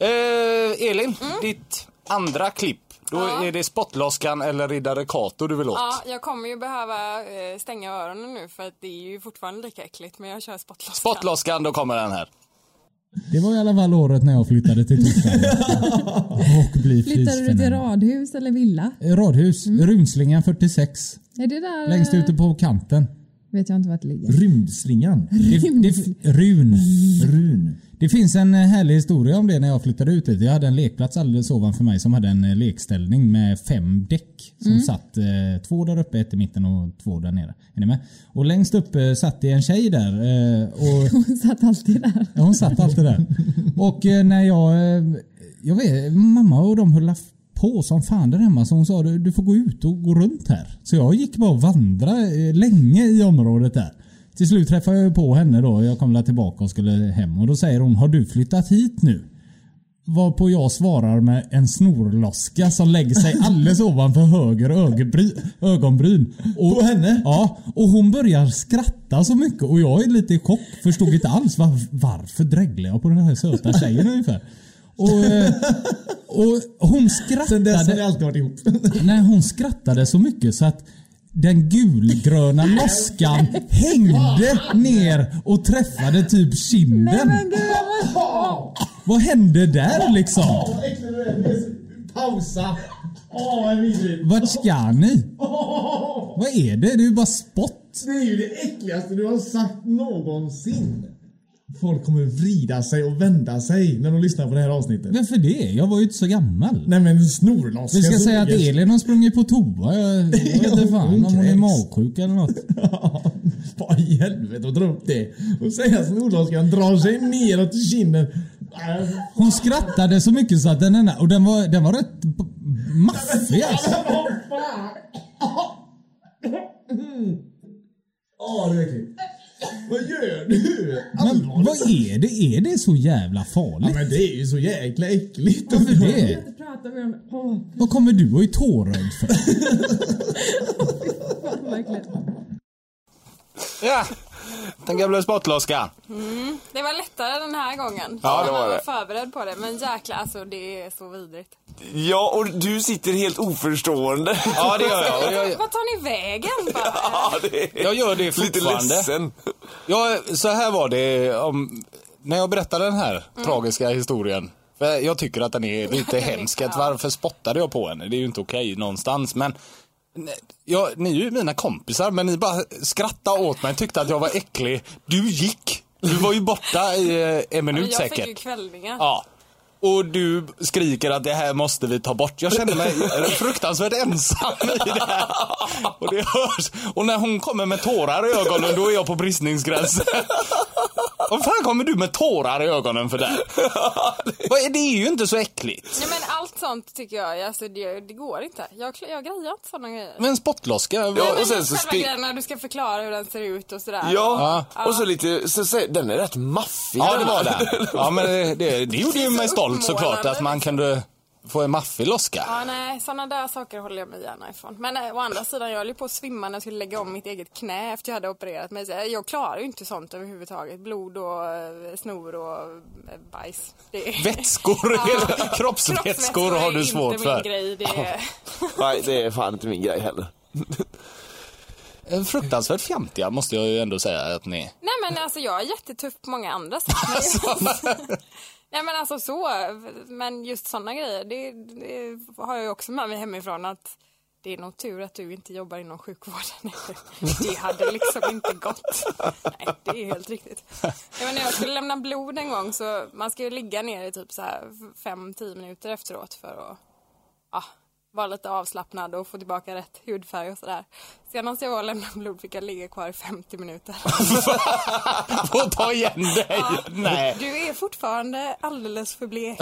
Eh, Elin, ditt andra klipp. Då
Mm. Ja.
är det Spottloskan eller Riddare Kato du vill åt.
Ja, jag kommer ju behöva eh, stänga öronen nu för att det är ju fortfarande lika äckligt men jag kör spottloskan.
Spottloskan, då kommer den här.
Det var i alla fall året när jag flyttade till Tyskland. Och blir
Flyttade du till
frisfenomen.
radhus eller villa? Mm.
Radhus, Rundslingan 46.
Är det där?
Längst ute på kanten.
Vet jag inte vart det ligger.
Rymdslingan. Det, det, run. Run. Det finns en eh, härlig historia om det när jag flyttade ut dit. Jag hade en lekplats alldeles ovanför mig som hade en eh, lekställning med fem däck. Som
Mm.
satt eh, två där uppe, ett i mitten och två där nere. Är ni med? Och längst upp eh, satt det en tjej där. Eh, och
Hon satt alltid där.
Ja, hon satt alltid där. Och eh, när jag... eh, Jag vet, mamma och de höll aff- på som fan där hemma så hon sa du, du får gå ut och gå runt här. Så jag gick bara och vandrade eh, länge i området där. Till slut träffade jag ju på henne då. Jag kom väl tillbaka och skulle hem och då säger hon har du flyttat hit nu? Varpå jag svarar med en snorloska som lägger sig alldeles ovanför höger ögonbry, ögonbryn. Och, på henne? Ja, och hon börjar skratta så mycket och jag är lite i chock. Förstod inte alls var, varför drägglade jag på den här söta tjejen ungefär. Och, eh, och hon skrattade... Sen dess har ni alltid varit ihop. Nej, hon skrattade så mycket så att den gulgröna loskan hängde ner och träffade typ kinden. Vad hände där liksom?
pausa. Åh, vad vidrigt.
Vart ska ni?
Åh,
Vad är det? Det är ju bara spott.
Det är ju det äckligaste du har sagt någonsin. Folk kommer vrida sig och vända sig när de lyssnar på det här avsnittet.
Varför det? Jag var ju inte så gammal.
Nej men snorlaska
Vi ska säga att
sågar.
Elin har sprungit på toa. Jag vet inte fan om hon är
kräks.
magsjuk eller något.
Ja, Vad i helvete att dra upp det och säga att snorlaskan drar sig neråt i kinden. Äh,
Hon skrattade så mycket så att den ena, och den var, den var rätt b- maffig alltså.
Vad fan! Ja, det är äckligt. Vad gör du?
Men vad är det? Är det så jävla
Ja,
farligt?
men det är ju så jäkla äckligt.
Varför
Jag
det?
kan inte prata med dem. Åh,
Vad kommer du och är tårögd för?
vad äckligt.
Ja, den gamla spottloska.
Det var lättare den här gången.
Ja, det
Man
var det.
förberedd på det. Men jäkla, alltså det är så vidrigt.
Ja, och du sitter helt oförstående.
Ja, det gör jag. Och jag,
Vad tar ni vägen? Bara?
Ja, det är
jag gör det
lite
fortfarande.
ledsen.
Ja, så här var det om, när jag berättade den här
Mm.
tragiska historien. För jag tycker att den är lite
den är-
hemsk. Att
ja.
varför spottade jag på henne? Det är ju inte okej någonstans. Men ne- ja, ni är ju mina kompisar, men ni bara skrattade åt mig. Tyckte att jag var äcklig. Du gick. Du var ju borta i eh, en minut
jag
säkert.
fick ju kvällningar.
Ja. Och du skriker att det här måste vi ta bort. Jag känner mig fruktansvärt ensam i det här. Och det hörs. Och när hon kommer med tårar i ögonen, då är jag på bristningsgränsen. Vad fan kommer du med tårar i ögonen för det? Vad är- Det är ju inte så äckligt.
Nej, men allt sånt tycker jag, alltså, det, det går inte. Jag, kl- jag grejar inte sådana grejer.
Men spottloska. vad-
Ja,
Men
och sen så
själva
spe-
grejen när du ska förklara hur den ser ut och sådär.
Ja, och så lite, så, så, den är rätt maffig.
Ja,
den
det
här.
var det. Ja, men det, det, det gjorde ju mig stolt såklart
Uppmålande.
att man kunde få en maffig loska.
Ja, nej, sådana där saker håller jag mig gärna ifrån. Men eh, å andra sidan, jag höll ju på att svimma när jag skulle lägga om mitt eget knä efter jag hade opererat mig. Så jag- Jag klarar ju inte sånt överhuvudtaget. Blod och eh, snor och eh, bajs. Det är...
Vätskor,
Ja.
kroppsvätskor har du
är
svårt
inte min
för.
grej. Det är...
Nej, det är fan inte min grej heller.
Eh, Fruktansvärt fjantiga måste jag ju ändå säga att ni är.
Nej men alltså jag är jättetuff på många andra sätt. Men Nej men alltså så, men just sådana grejer, det, det har jag ju också med mig hemifrån att det är nog tur att du inte jobbar inom sjukvården. Det hade liksom inte gått. Nej, det är helt riktigt. Jag menar, jag skulle lämna blod en gång så man ska ju ligga ner i typ så här 5-10 minuter efteråt för att ja, vara lite avslappnad och få tillbaka rätt hudfärg och sådär. Senast jag var och lämnade blod fick jag ligga kvar i 50 minuter.
Få ta igen dig! Nej.
Du är fortfarande alldeles för blek.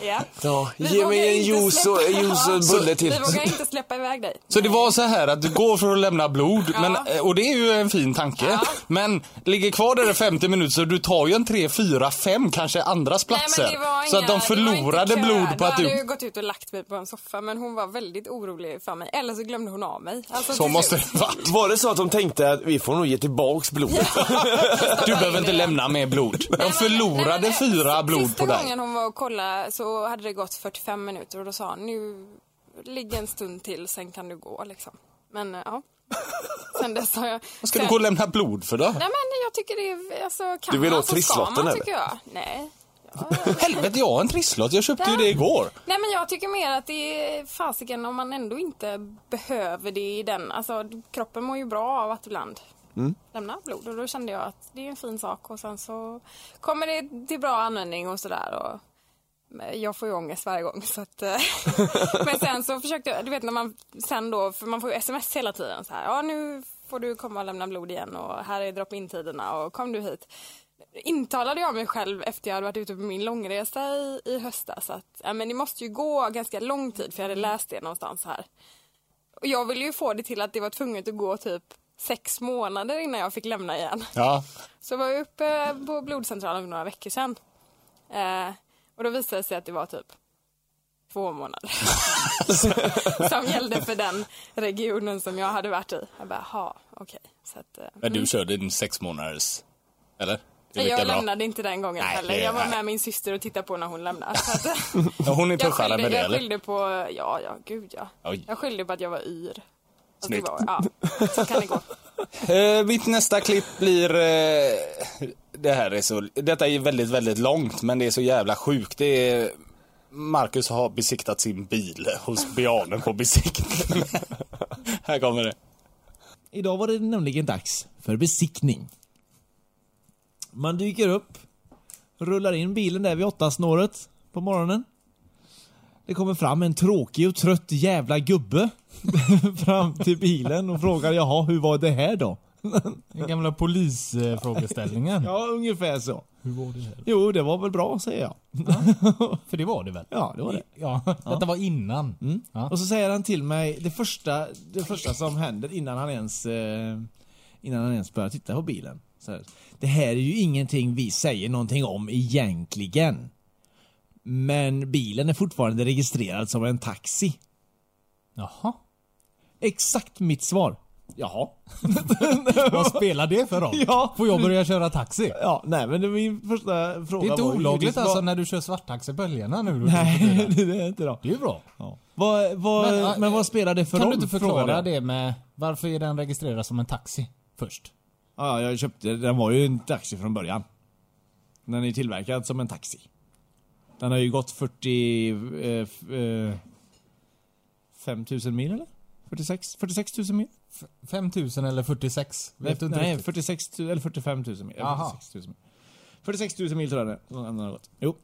ja.
Ja,
Vi
ge
vågar
mig en
inte
juice och,
släppa-
en juice och en bulle till.
Vi vågar inte släppa iväg dig.
Så det var så här att du går för att lämna blod,
Ja.
men, eh, och det är ju en fin tanke. Men ligger kvar där i 50 minuter så du tar ju en 3, 4, 5 kanske andras platser.
Nej, men det var inga,
så att de
det
förlorade
var inte kö.
blod på att
Då hade jag
du...
gått ut och lagt mig på en soffa men hon var väldigt orolig för mig. Eller så glömde hon av mig. Alltså,
Så
till
måste
slut.
det vara.
Var det så att de tänkte att vi får nog ge tillbaks blodet?
Du behöver inte lämna mer blod. De
Nej,
förlorade
men- eh,
fyra blod
Sista
på dig.
gången hon var och kollade så hade det gått 45 minuter och då sa hon nu ligg en stund till sen kan du gå liksom. Men eh, ja. Sen dess har jag...
Vad ska du
sen-
gå och lämna blod för då?
Nej men jag tycker det är, alltså kan
Du vill
man
åt
så ska
trisslotten,
man
eller?
tycker jag. Nej. Ja.
Helvete, jag har en trisslott. Jag köpte ju det igår.
Nej men jag tycker mer att det är fasiken om man ändå inte behöver det i den, alltså kroppen mår ju bra av att ibland
Mm.
lämna blod och då kände jag att det är en fin sak och sen så kommer det till bra användning och sådär och jag får ju ångest varje gång så att eh, Men sen så försökte jag, du vet när man sen då, för man får ju sms hela tiden så här, ja nu får du komma och lämna blod igen och här är drop-in tiderna och kom du hit intalade jag mig själv efter jag hade varit ute på min långresa i, i höstas att ja, men det måste ju gå ganska lång tid för jag hade läst det någonstans här. Och jag ville ju få det till att det var tvunget att gå typ sex månader innan jag fick lämna igen.
Ja.
Så var jag uppe på blodcentralen för några veckor sedan. Eh, och då visade det sig att det var typ två månader som gällde för den regionen som jag hade varit i. Jag bara, ha, okej. Så att, eh,
Men du körde din sex månaders... Eller? Det är lika
jag
bra.
lämnade inte den gången
Nej,
heller.
det-
Jag var
nej.
med min syster och tittade på när hon lämnade. Så att,
Ja, Hon är
jag
tuffare med
skyllde,
det
jag
eller?
skyllde på, ja, ja, gud ja.
Oj.
Jag skyllde på att jag var yr. Att det
Snyggt.
Var, ja, så kan det gå.
Eh, mitt nästa klipp blir... Eh, det här är så... Detta är väldigt, väldigt långt men det är så jävla sjukt. Det är Marcus har besiktat sin bil hos Bjarne på besiktning. Här kommer det.
Idag var det nämligen dags för besiktning. Man dyker upp, rullar in bilen där vid åttasnåret på morgonen. Det kommer fram en tråkig och trött jävla gubbe fram till bilen och frågar jaha, hur var det här då?
Den gamla polisfrågeställningen.
Ja, ungefär så.
Hur var det här?
Jo, det var väl bra, säger jag.
För det var det väl?
Ja, det var det.
Ja, Mm. detta var innan. Ja.
Och så säger han till mig det första, det första som händer innan han ens eh, innan han ens börjar titta på bilen. Så här, det här är ju ingenting vi säger någonting om egentligen. Men bilen är fortfarande registrerad som en taxi.
Jaha.
Exakt mitt svar. Jaha.
Vad spelar det för roll?
Ja.
Får jag börja köra taxi?
Ja, nej men det är min första fråga
Det är inte
var ju
olagligt
liksom-
alltså när du kör svarttaxi på helgerna nu? då?
Nej, det är inte då.
Det är ju bra.
Vad, vad,
Men,
men,
ja,
vad spelar det för
Kan
roll?
du inte
frågade
förklara
jag.
det med varför är den registrerad som en taxi först?
Ja, jag köpte den. var ju en taxi från början. Den är tillverkad som en taxi. Den har ju gått 40... Eh, f- eh, 5 000 mil eller? 46, 46 000 mil?
5000 eller 46? Vet du inte
nej,
riktigt?
46 000 eller 45 000 mil. Eller
Aha.
46 000 mil. 46 000 mil tror jag det är. Den har gått. Jo.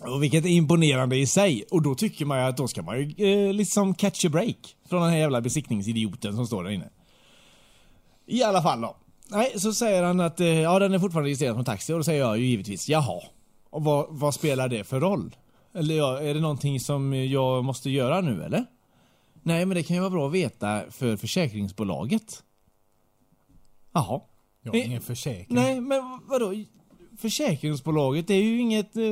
Och vilket är imponerande i sig. Och då tycker man ju att då ska man ju eh, liksom catch a break. Från den här jävla besiktningsidioten som står där inne. I alla fall då. Nej, så säger han att eh, ja, den är fortfarande registrerad som taxi och då säger jag ju givetvis jaha. Och vad, vad spelar det för roll? Eller ja, är det någonting som jag måste göra nu eller? Nej, men det kan ju vara bra att veta för försäkringsbolaget. Jaha.
Jag har ingen försäkring.
Nej, men vadå? Försäkringsbolaget, det är ju inget... eh,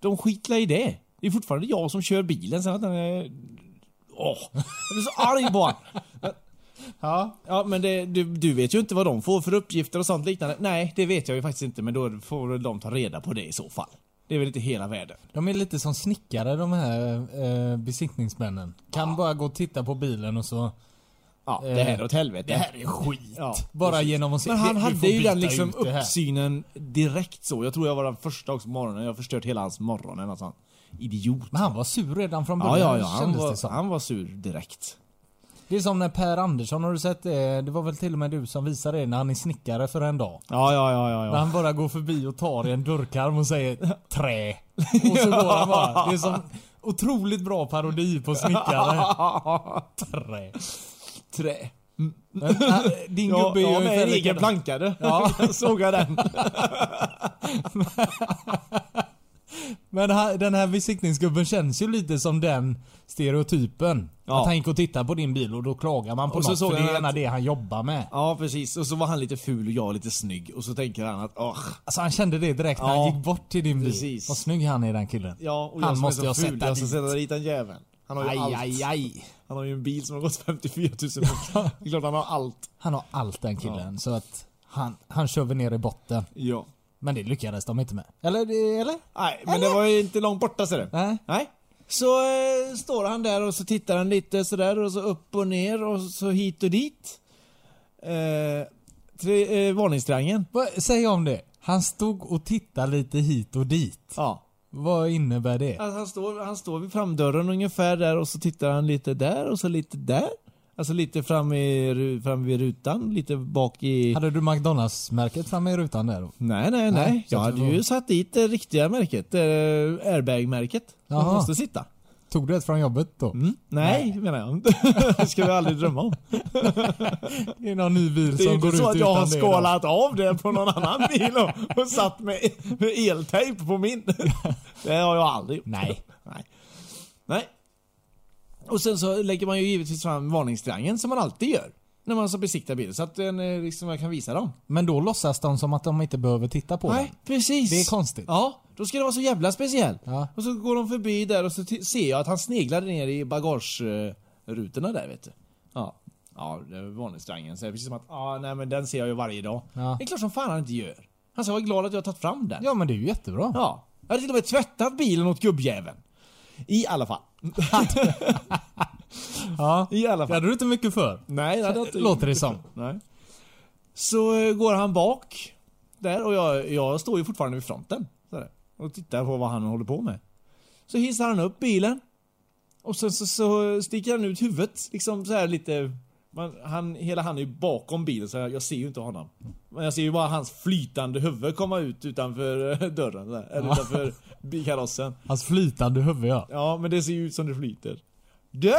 De skitlar i det. Det är fortfarande jag som kör bilen sen att den är... Åh, jag blir så arg på honom. Ja. ja, men det, du, du vet ju inte vad de får för uppgifter och sånt liknande. Nej, det vet jag ju faktiskt inte, men då får väl de ta reda på det i så fall. Det är väl inte hela världen.
De är lite som snickare de här eh, besiktningsmännen. Kan bara gå och titta på bilen och så...
Ja,
Eh,
det här är åt helvete.
Det här är skit.
Ja.
Bara genom att se.
Men han
Du får
hade ju
byta
den liksom
ut det här.
uppsynen direkt så. Jag tror jag var den första också på morgonen. Jag har förstört hela hans morgon eller något sånt. Idiot.
Men han var sur redan från
Ja,
början
ja, ja. Han
kändes det
var,
som.
han var sur direkt.
Det är som när Per Andersson, har du sett det? Det var väl till och med du som visade det när han är snickare för en dag.
Ja, ja, ja, ja.
När han bara går förbi och tar i en dörrkarm och säger trä. Och så går han bara. Det är som otroligt bra parodi på snickare. Trä.
Trä.
Men, äh, din
Ja,
gubbe är ju
ja, med en
ungefär
egen
likadan.
plankare.
Ja.
Såg jag den.
Men ha- den här besiktningsgubben känns ju lite som den stereotypen.
Ja.
Att han gick och tittade på din bil och då klagar man på
Och så
något
såg
för det
han
är gärna
att-
det han jobbar med.
Ja, precis. Och så var han lite ful och jag lite snygg. Och så tänker han att, ah.
Alltså han kände det direkt när
Ja,
han gick bort till din bil.
precis.
Vad snygg han är den killen.
Ja, och jag
han
som
måste
är
jag
så ful,
sätta
jag ska
dit.
sätta dit den jäveln. Han har ju allt.
Aj, aj, aj.
Han har ju en bil som har gått 54 000 mil. Det är Klart han har allt.
Han har allt den killen så att han, han kör väl ner i botten.
Ja.
Men det lyckades de inte med. Eller? det- eller?
Nej, men det var ju inte långt borta ser du.
Nej.
Nej. Så eh, står han där och så tittar han lite sådär och så upp och ner och så hit och dit. Eh, tre, eh, varningstriangeln.
Vad säger jag om det? Han stod och tittade lite hit och dit.
Ja.
Vad innebär det?
Alltså han, står, han står vid framdörren ungefär där och så tittar han lite där och så lite där. Alltså lite fram, i, ru- fram vid rutan, lite bak i...
Hade du McDonalds-märket framme i rutan där? då?
Nej, nej, nej.
Nej, så
jag
att
hade
det var-
ju satt dit det riktiga märket. Eh, airbag-märket. Man
Jaha.
måste sitta.
Tog du ett från jobbet då?
Mm. Nej, menar jag. det ska vi aldrig drömma om.
Det är någon ny bil
Det är
som
inte
går ut
så att jag
utan
har
det då.
skalat av det på någon annan bil och, och satt med, med eltejp på min. Det har jag aldrig gjort.
Nej.
Nej. Nej. Och sen så lägger man ju givetvis fram varningstriangeln som man alltid gör. När man så besiktar bilen så att den, eh, liksom, jag kan visa dem.
Men då låtsas de som att de inte behöver titta på
Nej,
den.
precis.
Det är konstigt.
Ja, då ska det vara så jävla speciell.
Ja.
Och så går de förbi där och så ti- ser jag att han sneglar ner i bagagerutorna där vet du. Ja. Ja, det är varningstriangeln. Så det är precis som att, ja nej men den ser jag ju varje dag.
Ja.
Det är klart som fan han inte gör. Han ska vara glad att jag har tagit fram den.
Ja men det är ju jättebra.
Ja. Jag hade till och med tvättat bilen åt gubbjäveln. I alla fall.
Ja.
I alla
Det
fall.
hade du inte mycket för.
Nej, det hade jag inte
Låter det som.
Nej. Så eh, går han bak där och jag, jag står ju fortfarande vid fronten. Så där, och tittar på vad han håller på med. Så hissar han upp bilen. Och sen så, så sticker han ut huvudet liksom så här lite... Man, han, hela han är ju bakom bilen så jag, jag ser ju inte honom. Men jag ser ju bara hans flytande huvud komma ut utanför eh, dörren. Där, eller utanför bilkarossen.
Hans flytande huvud ja.
Ja, men det ser ju ut som det flyter. Du!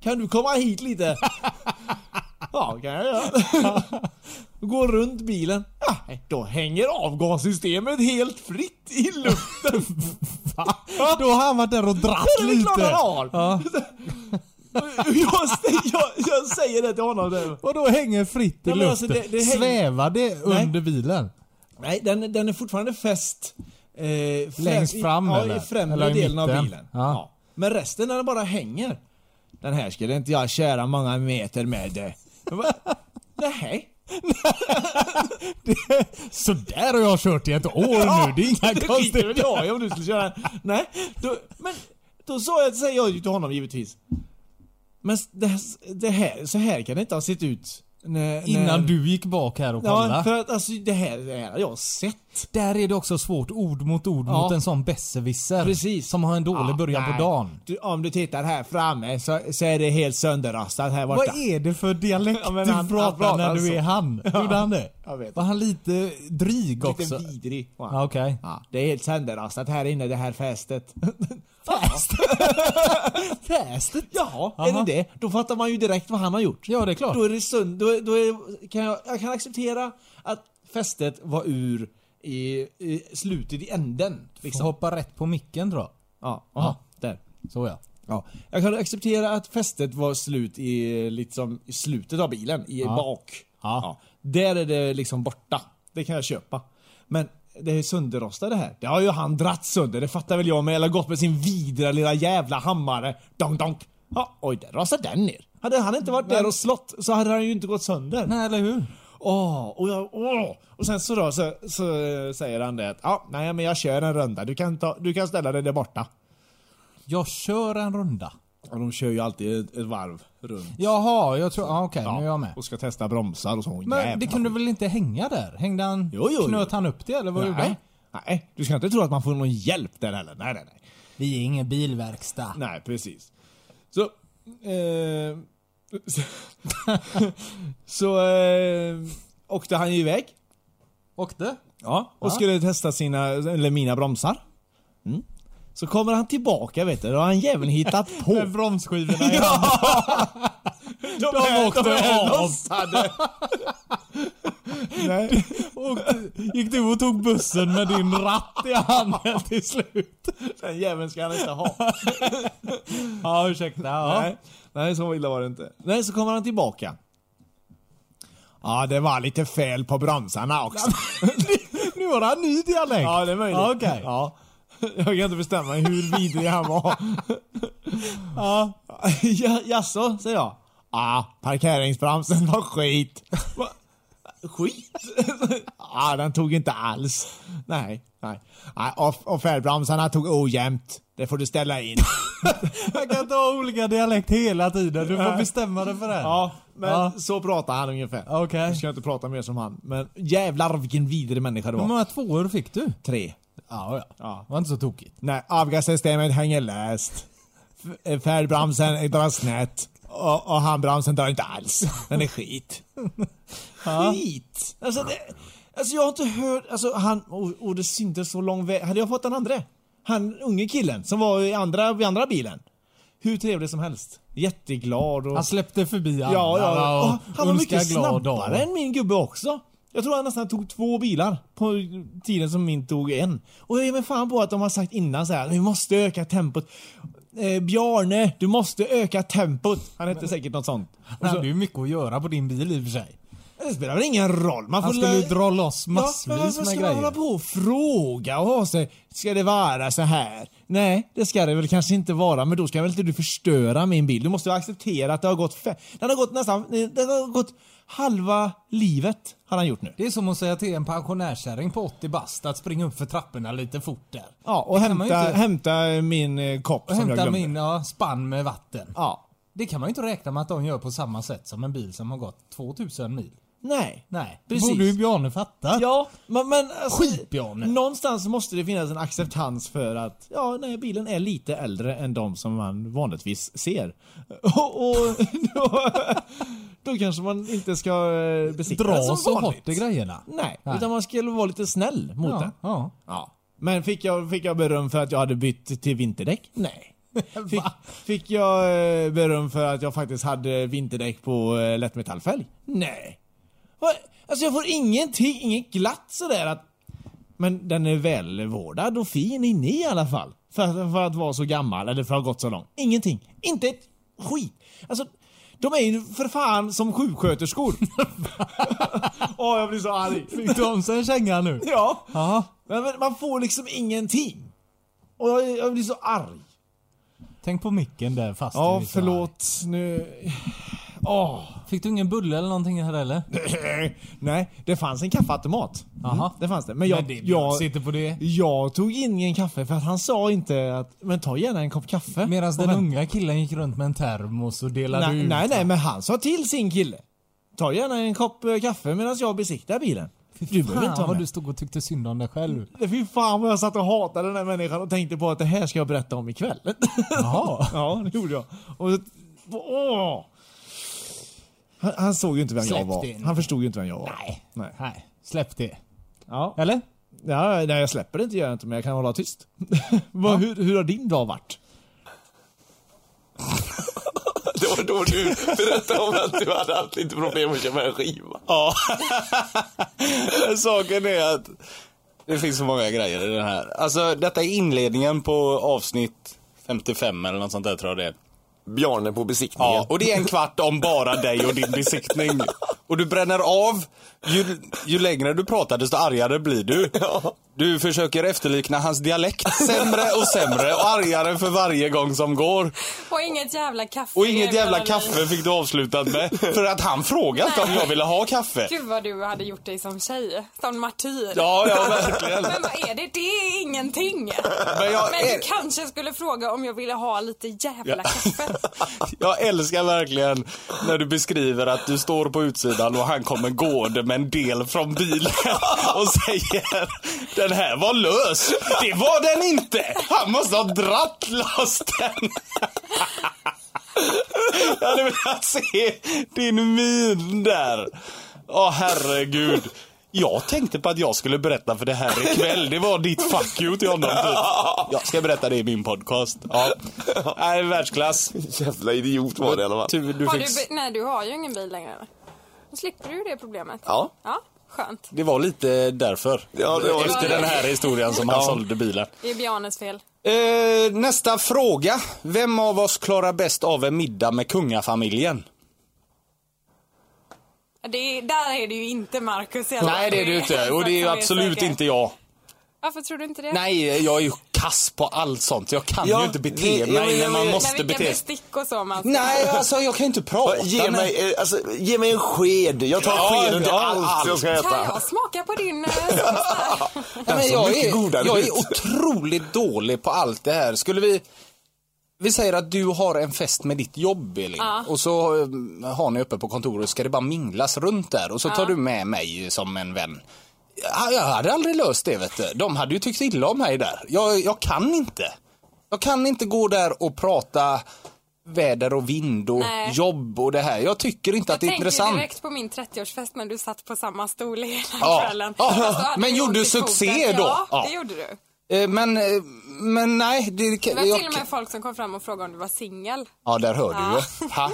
Kan du komma hit lite? ja, kan jag göra. Går runt bilen. Ja, då hänger avgassystemet helt fritt i luften. Ja,
Då har han varit där och dratt
det är
lite.
klart han har!
Ja.
Jag, jag, jag säger det till honom där.
Och då hänger fritt i
Ja, men alltså,
luften.
det- det hänger-
Svävar det under bilen?
Nej, den, den är fortfarande fäst. Eh, främ-
Längst fram,
i, ja,
eller?
i främre
Eller i
delen av
mitten?
bilen.
Ja.
Ja. Men resten den bara hänger. Den här skulle inte jag köra många meter med. eh. Jag bara, Nej.
Så där har jag kört i ett år nu. Det är inga
Det skiter väl
konstigheter.
jag i om du skulle köra den. Nej, då, men då sa jag, säger jag ju till honom givetvis. Men det, det här, så här kan det inte ha sett ut. När,
Innan
när,
du gick bak här och
Ja,
kollade.
för att alltså det här, det här har jag sett.
Där är det också svårt ord mot ord
Ja.
mot en sån besserwisser.
Precis. Ah,
Som har en dålig början
nej.
på dagen.
Du, om du tittar här framme så, så är det helt sönderrastat här borta.
Vad är det för dialekt
Ja, men
du
han-
pratar
han pratar
när du
så.
är han? Gjorde han det?
jag vet.
Var han lite dryg också?
Lite vidrig. var han.
Ja, okej.
Ja, det är helt sönderrastat här inne det här fästet.
Fästet?
Jaha,
Aha.
är det det? Då fattar man ju direkt vad han har gjort.
Ja, det är klart.
Då är det sund, då, är- då är, kan jag, jag kan acceptera att fästet var ur i, i slutet i änden.
Liksom.
Liksom.
Hoppa rätt på micken tror jag.
Ja, aha, där.
Så ja.
Ja. Jag kan acceptera att fästet var slut i, liksom, i slutet av bilen, i bak.
Ja.
Där är det liksom borta. Det kan jag köpa. Men det är sönderrostade här. Det har ju han dratt sönder, det fattar väl jag med. Eller gått med sin vidra lilla jävla hammare. Donk, donk. Ja, oj, där rasade den ner. Hade han inte varit där och slått så hade han ju inte gått sönder.
Nej, eller hur?
Åh, och jag, åh. Och sen så då så, så eh, säger han det att ja, nej men jag kör en runda. Du kan, ta, du kan ställa dig där borta.
Jag kör en runda.
Och de kör ju alltid ett, ett varv runt.
Jaha, jag tror... Ja, okej, nu är jag med.
Och ska testa bromsar och sånt.
Men
Jävlar.
det kunde väl inte hänga där? Hängde han...
Jo, jo, jo.
knöt han upp det eller vad gjorde han?
Nej. Nej, du ska inte tro att man får någon hjälp där heller. Nej, nej, nej.
Vi är ingen bilverkstad.
Nej, precis. Så... Eh, så eh, åkte han ju iväg.
Åkte?
Ja. Och skulle testa sina, eller mina bromsar. Mm. Så kommer han tillbaka vet du, då har han jäveln hittat på.
Med bromsskivorna i handen.
Ja! De, är-
åkte
är
av.
lossade. Nej.
Och Gick du och tog bussen med din ratt i handen till slut?
Den jäveln ska han inte ha.
Ja, ursäkta. Ja.
Nej. Nej, så illa var det inte. Nej, så kommer han tillbaka. Ja, det var lite fel på bromsarna också.
Nu har han ny dialekt.
ja, det är möjligt.
Ja, okej.
Ja. Jag kan inte bestämma mig hur vidrig han var. ja. ja. Jaså, säger jag. Ja, parkeringsbromsen var skit. Va? Skit? ja, den tog inte alls. Nej, nej. nej och, och färdbromsarna tog ojämnt. Det får du ställa in.
Jag kan inte ha olika dialekt hela tiden. Du får bestämma dig för det.
Ja, men
Ja.
så pratar han ungefär.
Okej.
Nu ska jag inte prata mer som han. Men jävlar vilken vidrig människa det
Hur
var.
många tvåor fick du?
Tre.
Ja, ja.
Ja.
var inte så tokigt.
Nej, avgassystemet hänger löst. F- eh, Färdbromsen drar snett. Och, och handbromsen drar inte alls. Den är skit. skit! Alltså, det, alltså jag har inte hört... Alltså han... Och, och det syntes så lång väg. Hade jag fått den andra? Han unge killen som var i andra, i andra bilen. Hur trevlig som helst. Jätteglad och...
Han släppte förbi andra
Ja, ja,
och
ja. Han
önskade
var mycket
glad
snabbare
dag.
än min gubbe också. Jag tror han nästan tog två bilar på tiden som min tog en. Och jag ger mig fan på att de har sagt innan så här, vi måste öka tempot. Eh, Bjarne, du måste öka tempot. Han hette säkert något sånt.
Han hade ju mycket att göra på din bil i och för sig.
Det spelar väl ingen roll. Man får
Han skulle ju
lä-
dra loss
men
massvis
varför
med
ska
grejer.
man hålla på och fråga och ha sig, ska det vara så här? Nej, det ska det väl kanske inte vara, men då ska väl inte du förstöra min bil? Du måste ju acceptera att det har gått fe- Den har gått nästan, eh, den har gått halva livet, har han gjort nu.
Det är som att säga till en pensionärskärring på 80 bast att springa upp för trapporna lite fort där.
Ja, och
kan man ju
hämta,
inte-
hämta min eh, kopp
Och
som jag
hämta
glömde.
min ja, spann med vatten.
Ja.
Det kan man ju inte räkna med att de gör på samma sätt som en bil som har gått 2000 mil.
Nej.
Nej,
Precis.
borde ju Bjarne fatta.
Ja, men... men alltså,
Skitbjarne.
Någonstans måste det finnas en acceptans för att ja, nej, bilen är lite äldre än de som man vanligtvis ser. Och, och då, då kanske man inte ska eh, besikta den
Dra
som
så
vanligt.
hårt i grejerna.
Nej,
Nej.
utan man skulle vara lite snäll mot den.
Ja, ja.
Ja. Men fick jag, fick jag beröm för att jag hade bytt till vinterdäck? Nej. Fick, fick jag eh, beröm för att jag faktiskt hade vinterdäck på eh, lättmetallfälg? Nej. Va? Alltså jag får ingenting, inget glatt sådär att... Men den är välvårdad och fin inne i alla fall. För, att- för att vara så gammal eller för att ha gått så långt. Ingenting. Inte ett skit. Alltså, de är ju för fan som sjuksköterskor. Åh, jag blir så arg.
Fick de sig en känga nu?
Ja.
Ja.
Men, men man får liksom ingenting. Och jag, jag blir så arg.
Tänk på micken där fast
Ja,
du är så
förlåt. Nu... Åh.
arg. Fick du ingen bulle eller någonting här eller?
Nej, det fanns en kaffeautomat.
Jaha.
Det fanns det. Men jag,
Men det, jag
jag,
sitter på det.
jag tog ingen kaffe för att han sa inte att men ta gärna en kopp kaffe.
Medan
Och
den
vänta.
unga killen gick runt med en termos och delade
nej,
ut.
nej, nej, men han sa till sin kille. Ta gärna en kopp eh, kaffe medan jag besiktar bilen. Du behöver inte
Fan
ha
vad
med.
du stod och tyckte synd om dig själv.
Fy fan vad jag satt och hatade den här människan och tänkte på att det här ska jag berätta om ikväll.
Jaha.
ja, det gjorde jag. Och, så- åh! Han, han såg ju inte vem jag
Släpp
var.
det in.
Han förstod ju inte vem jag var.
Nej.
Nej.
Nej, släpp det.
Ja.
Eller?
Ja, nej, jag släpper det inte gör jag inte, men jag kan hålla tyst. Vad, hur, hur har din dag varit?
Det var då du berättade om att du hade haft lite problem att köpa en skiva.
Ja. Saken är att det finns så många grejer i den här. Alltså detta är inledningen på avsnitt 55 eller något sånt där tror jag det är.
Bjarne på besiktningen.
Ja, och det är en kvart om bara dig och din besiktning. Och du bränner av. Ju, ju längre du pratar desto argare blir du. Du försöker efterlikna hans dialekt sämre och sämre och argare för varje gång som går.
Och inget jävla kaffe.
Och inget jävla
Melanie.
kaffe fick du avslutat med. För att han frågat om jag ville ha kaffe.
Gud vad du hade gjort dig som tjej. Som martyr.
Ja, ja verkligen.
Men vad är det? Det är ingenting.
Men jag
Men du
är-
kanske skulle fråga om jag ville ha lite jävla
Ja.
kaffe.
Jag älskar verkligen när du beskriver att du står på utsidan och han kommer gående med en del från bilen och säger Den här var lös. Det var den inte. Han måste ha dratt loss den. Jag hade velat se din min där. Åh herregud. Jag tänkte på att jag skulle berätta för det här ikväll. Det var ditt fuck you till honom typ. Jag ska berätta det i min podcast. Ja. Nej, världsklass.
Jävla idiot var det i alla fall.
Tur du
Har
fick...
du, be- nej, du har ju ingen bil längre. eller? Då slipper du det problemet.
Ja.
Ja, skönt.
Det var lite därför.
Ja, det var-
Efter den här historien som han sålde bilen.
Det är Bjarnes fel.
Eh, nästa fråga. Vem av oss klarar bäst av en middag med kungafamiljen?
Det är, där är det ju inte Marcus i alla fall.
Nej, det är du inte.
ensam
Och det är ju
som
absolut
säker.
inte jag.
Varför tror du inte det?
Nej, jag är ju kass på allt sånt. Jag kan
Ja,
ju inte bete
det- ja,
mig
ja,
när man
ja.
måste
Men vilka
bete sig.
bestick och så man ska
Nej, alltså jag kan ju inte prata.
Ge mig, eh, alltså, ge mig en sked. Jag tar
Ja,
skeden till
ja,
allt,
allt.
jag ska äta.
Kan jag smaka på din eh, sås där?
Nej, men
Den
jag,
såg mycket
är,
godare
jag
ut.
är otroligt dålig på allt det här. Skulle vi... Vi säger att du har en fest med ditt jobb, Elin. Och så eh, har ni uppe på kontoret, ska det bara minglas runt där. Och så tar du med mig som en vän. Ja, Jag hade aldrig löst det, vet du. De hade ju tyckt illa om mig där. Jag, jag kan inte. Jag kan inte gå där och prata väder och vind och
Nej.
jobb och det här. Jag tycker inte att det är
Tänker
intressant.
direkt på min 30-årsfest när du satt på samma stol hela
Ja.
kvällen.
Ja.
Fast då hade
Men
du
gjorde
ont i foten.
succé då?
Ja,
Ja.
det gjorde du.
Eh, Men, eh, men nej. Det,
Det var
jag-
till och med folk som kom fram och frågade om du var singel.
Ja, där hör
Ja.
du ju. Ha.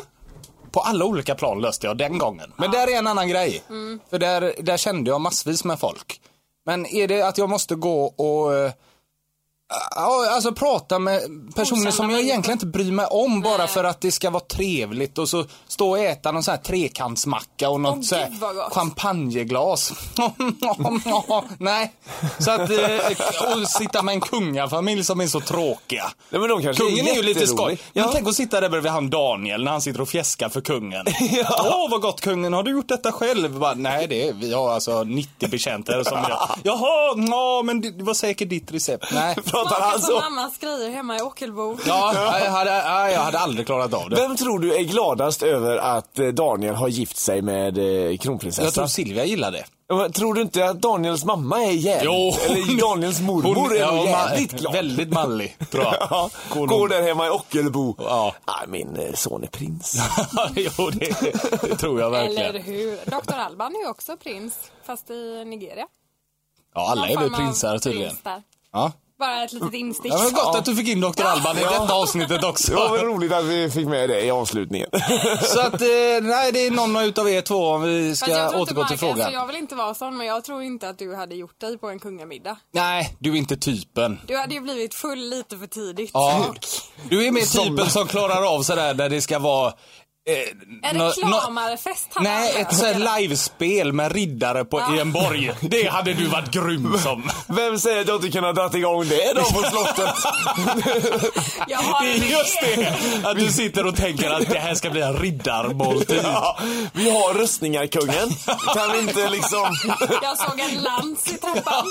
På alla olika plan löste jag den gången. Men där är en annan grej.
Mm.
För där, där kände jag massvis med folk. Men är det att jag måste gå och eh, ja, alltså prata med personer
Okända
som jag
människor.
egentligen inte bryr mig om bara för att det ska vara trevligt och så stå och äta någon sån här trekantsmacka och något
Åh,
så här
gud, vad gott.
champagneglas. Nej, så att eh, och sitta med en kungafamilj som är så tråkiga.
Nej, men de kanske
Kungen är ju lite skoj.
Ja.
Men tänk att sitta där bredvid han Daniel när han sitter och fjäskar för kungen. Åh vad gott kungen, har du gjort detta själv? Bara, Nej det är, vi har alltså 90 betjänter som gör. Jaha, ja men det det var säkert ditt recept. Nej.
Pratar
alltså-
Smaka
han
som
så?
mammas grejer hemma i Ockelbo.
Ja, jag hade, ja, jag hade aldrig klarat av det.
Vem tror du är gladast över att eh, Daniel har gift sig med eh,
Jag tror
kronprinsessan?
Silvia gillar det.
Tror... tror du inte att Daniels mamma är jävligt, eller Daniels mormor är nog
ma-
jävligt glad?
Väldigt mallig, tror jag.
Ja,
Går
går
nog-
där hemma i Ockelbo.
Ja.
Ah, min eh, son är prins.
jo, det, det tror jag verkligen.
Eller hur? Dr. Alban är ju också prins, fast i Nigeria.
Ja, alla
Någon
är väl
form av
prinsar tydligen.
prins där.
Ja.
Bara ett litet instick.
Ja, men gott att du fick in Dr. Alban i detta avsnittet också.
Det var väl roligt att vi fick med det i avslutningen.
Så att, eh, nej det är någon av utav er två om vi
Fast jag
ska
tror inte,
återgå till
Mark, alltså,
frågan.
jag vill inte vara sån, men jag tror inte att du hade gjort dig på en kungamiddag.
Nej, du är inte typen.
Du hade ju blivit full lite för tidigt.
Ja.
Och
Du är mer typen som klarar av sådär när det ska vara... Eh,
En
nå- nå-
reklamarefest hade
Nej,
han
ett
med.
sådär livespel med riddare på, i en borg. Det hade du varit grym som.
Vem säger att jag inte kunnat dra igång det då på slottet?
Jag har
Det är just det! Att du sitter och tänker att det här ska bli en typ. riddarmåltid.
ja, vi har röstningar kungen. Kan vi inte liksom...
Jag såg en lans i trappan.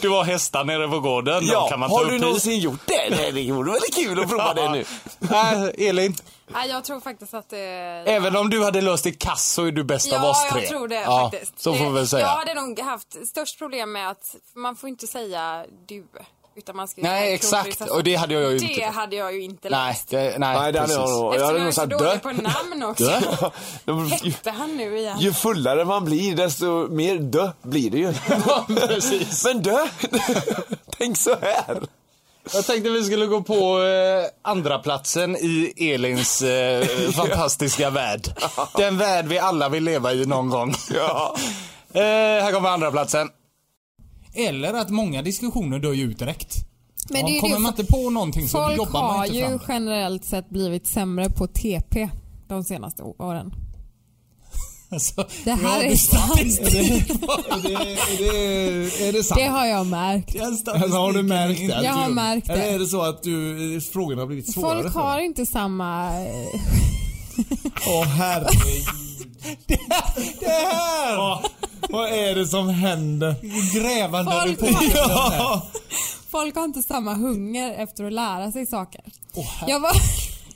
Du har hästar nere på gården, de kan man ta
har
upp
du
i.
någonsin gjort det? Nej, det vore väldigt kul att prova det nu.
Nej, Elin.
Nej, jag tror faktiskt att det...
Även om du hade löst i kass så är du bäst av
Ja,
oss tre.
jag tror det
Ja,
faktiskt. Eh,
Så får vi
Det-
väl säga.
Jag hade nog haft störst problem med att man får inte säga du. Utan man ska ju
Nej,
säga
exakt.
kronprinsessan.
Och det hade jag ju
Det
inte.
hade jag ju inte
Nej,
läst.
det, nej,
Nej, det hade jag
precis.
nog. Jag
Eftersom
hade
jag är
nog
så
sagt
dålig
dö.
på namn också.
Dö.
Hette han nu igen?
Ju fullare man blir desto mer dö blir det ju.
Precis.
Men dö! Tänk så här.
Jag tänkte vi skulle gå på eh, andra platsen i Elins eh, fantastiska värld. Den värld vi alla vill leva i någon gång.
Ja.
eh, här kommer andra platsen.
Eller att många diskussioner dör ju ut direkt.
Men
ja,
det är ju
kommer
det-
man inte på någonting så
Folk
jobbar
har
man inte fram
ju
det.
generellt sett blivit sämre på TP de senaste åren.
Alltså,
Det här
ja,
är sant.
Är det, är det, är det sant?
Det har jag märkt.
det är statistik.
Alltså, har du märkt det?
Jag har
Du-
märkt det.
Eller är det så att
eh,
du, frågorna har blivit svårare?
Folk
för dig?
har inte samma...
Åh herregud. det här! Vad, vad är det som händer? Grävande
Folk
reporter.
har-
Ja.
Folk har inte samma hunger efter att lära sig saker. jag var,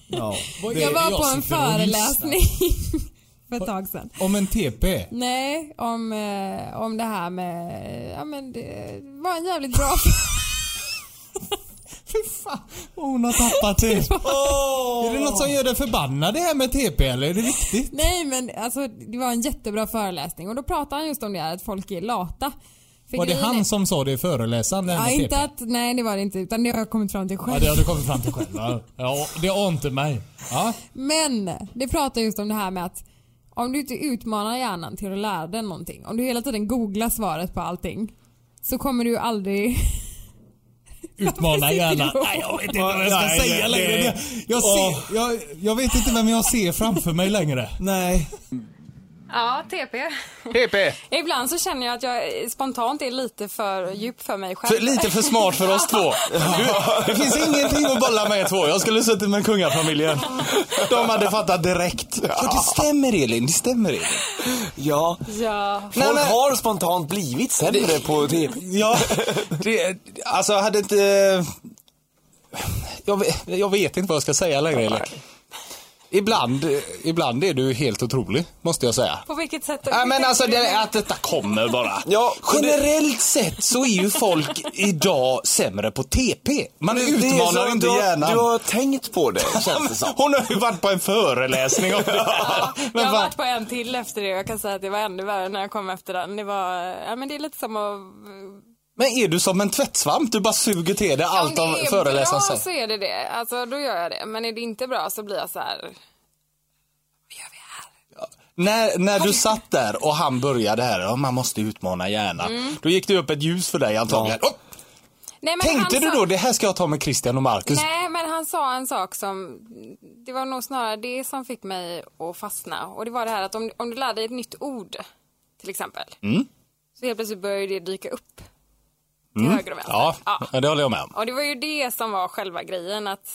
Ja.
jag var
jag
på en
sitter och
föreläsning för ett tag sedan.
Om en TP.
Nej, om, eh, om det här med... Ja men det var en jävligt bra...
Hon har tappat det. Är det något som gör dig förbannad det här med TP eller är det viktigt?
Nej men alltså det var en jättebra föreläsning och då pratade han just om det här att folk är lata. För
Var det
grejen är-
han som sa det i föreläsaren? Det här
Ja,
med
inte
TP?
att, nej det var det inte utan det har jag kommit fram till
Ja,
själv.
det har du kommit fram till själv. va? Ja, det ante mig. Ja.
Men det pratar just om det här med att om du inte utmanar hjärnan till att lära den någonting, om du hela tiden googlar svaret på allting så kommer du aldrig...
Utmana gärna.
Varför sitter du
Nej,
och-
jag vet inte vad jag ska
Nej,
säga
det-
längre.
det-
Jag, ser, jag, jag vet inte vem jag ser framför mig längre.
Nej.
Ja, TP.
PP.
Ibland så känner jag att jag spontant är lite för djup för mig själv.
För, lite för smart för oss två. Du, det finns ingenting att bolla med er två. Jag skulle suttit med kungafamiljen. De hade fattat direkt. Ja, det stämmer Elin, det stämmer Elin.
Ja.
Alltså, Ja.
Folk
men-
har spontant blivit sämre på TV.
Ja, det, alltså hade inte... Jag vet, jag vet inte vad jag ska säga längre Elin. Ibland, ibland är du helt otrolig, måste jag säga.
På vilket sätt?
Ja, men alltså det, att detta kommer bara.
Ja, och det-
Generellt sett så är ju folk idag sämre på TP. Man
Det är
utmanar
så-
inte
du, har-
hjärnan.
Du har tänkt på det, känns det som.
Hon har ju varit på en föreläsning om det.
jag
Men
har
fan,
varit på en till efter det och jag kan säga att det var ännu värre när jag kom efter den. Det var, ja men det är lite som att
men är du som en tvättsvamp? Du bara suger till dig allt
Om
av
det är
föreläsaren
bra
säger.
så är det det. Alltså då gör jag det. Men är det inte bra så blir jag så här. Vad gör vi här?
När, när du satt där och han började här, ja, man måste utmana hjärnan.
Mm.
Då gick det upp ett ljus för dig antagligen. Oh,
Nej, men
tänkte
han
du
sa-
då, det här ska jag ta med Christian och Marcus?
Nej, men han sa en sak som, det var nog snarare det som fick mig att fastna. Och det var det här att om, om du lär dig ett nytt ord, till exempel,
Mm.
så helt plötsligt börjar ju det dyka upp
Mm.
till höger och vänster.
Ja, det håller jag med om.
Och det var ju det som var själva grejen att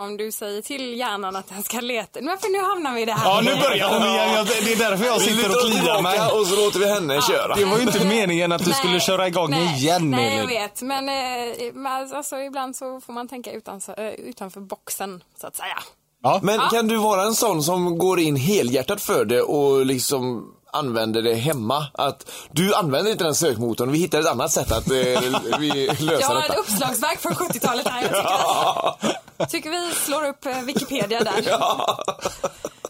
Om du säger till hjärnan att den ska leta. Men för nu hamnar vi i det här.
Ja, nu
igen.
börjar hon igen. Jag- Det är därför jag
Vi
sitter
lutar
och
oss
kliar mig.
tillbaka och så låter vi henne köra.
Det var ju inte meningen att du
Nej,
skulle köra igång
nej,
igen,
Nej, jag
Elin.
vet. Men eh, men alltså, ibland så får man tänka utanför, eh, utanför boxen, så att säga.
Ja.
Men kan du vara en sån som går in helhjärtat för det och liksom använder det hemma? Att du använder inte den sökmotorn, vi hittar ett annat sätt att eh, vi
Jag
lösa
har ett
detta.
uppslagsverk från 70-talet här. Jag tycker, att, tycker vi slår upp eh, Wikipedia där.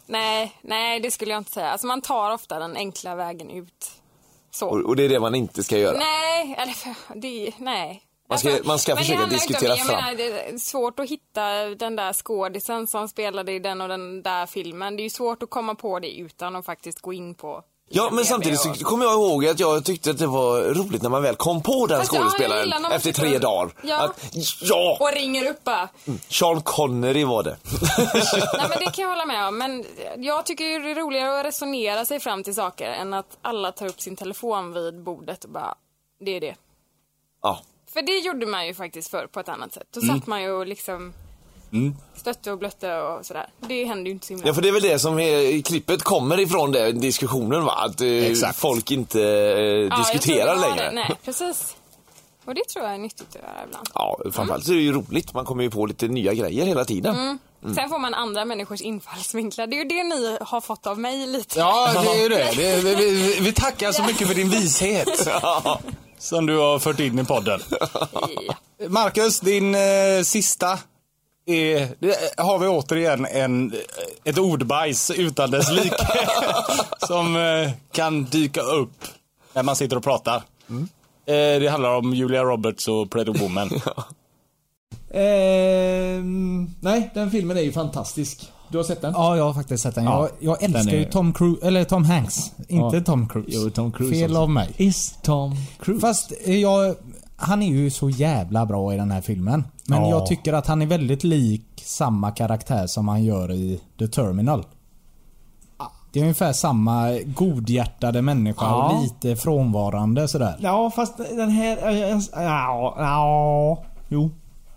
Nej, nej, det skulle jag inte säga. Alltså, man tar ofta den enkla vägen ut. Så.
Och, och det är det man inte ska göra.
Nej, eller för- det, nej. Alltså,
Man ska- man ska
men det
försöka
handlar inte om-
diskutera
jag Menar, det är svårt att hitta den där skådisen som spelade i den och den där filmen. Det är ju svårt att komma på det utan att faktiskt gå in på
Ja, men
IMDb
samtidigt
och-
så kommer jag ihåg att jag tyckte att det var roligt när man väl kom på den
Fast, ja, jag
skådespelaren
gillar när man
efter
sitter
tre
och-
dagar.
Ja.
Att, ja,
Och ringer upp bara.
Sean Connery var det.
Nej men det kan jag hålla med om. Men jag tycker ju det är roligare att resonera sig fram till saker än att alla tar upp sin telefon vid bordet och bara, det är det.
ja.
För det gjorde man ju faktiskt förr på ett annat sätt. Då
Mm.
satt man ju och liksom stötte och blötte och sådär. Det hände ju inte så himla
ja, för det är väl det som är, klippet kommer ifrån den diskussionen va? Att eh,
Exakt.
folk inte eh,
Ja, jag tror
diskuterar
det var
längre.
Det. Nej, precis. Och det tror jag är nyttigt att göra ibland.
Ja, framförallt så är det ju roligt. Man kommer ju på lite nya grejer hela tiden.
Mm. Sen
Mm.
får man andra människors infallsvinklar. Det är ju det ni har fått av mig lite.
Ja, det är ju det. det är, vi- vi, vi tackar så mycket för din vishet. Som du har fört in i podden. Marcus, din eh, sista. Är, det, har vi återigen en, eh, ett ordbajs utan dess like. som eh, kan dyka upp när man sitter och pratar.
Mm.
Eh, det handlar om Julia Roberts och Pretty Woman.
Ehm, nej, den filmen är ju fantastisk. Du har sett den?
Ja, jag har faktiskt sett den. Jag,
Ja,
jag älskar
den är-
ju Tom Cruise, eller Tom Hanks. Inte
Ja.
Tom Cruise.
Jo, Tom Cruise
Fel
också.
av mig.
Is Tom Cruise.
Fast eh, jag, han är ju så jävla bra i den här filmen. Men
Ja.
jag tycker att han är väldigt lik samma karaktär som han gör i The Terminal. Det är ungefär samma godhjärtade människa
Ja.
och lite frånvarande sådär.
Ja, fast den här... Ja, ja, ja. Jo.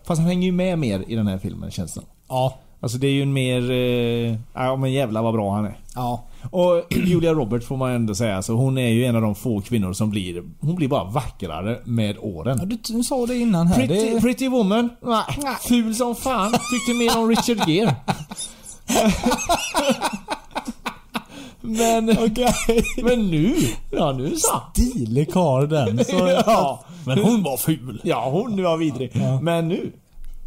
Fast han hänger ju med mer i den här filmen känns det som.
Ja.
Alltså det är ju en mer... Eh, ja men jävla vad bra han är.
Ja.
Och Julia Roberts får man ändå säga, så hon är ju en av de få kvinnor som blir... Hon blir bara vackrare med åren.
ja du, du sa det innan här.
Pretty,
Det,
pretty woman. Nej, ful som fan. Tyckte mer om Richard Gere. men, men nu. Ja, nu så.
Stilig karl den. Så,
Ja,
Men hon var ful.
ja, hon var vidrig. Men nu.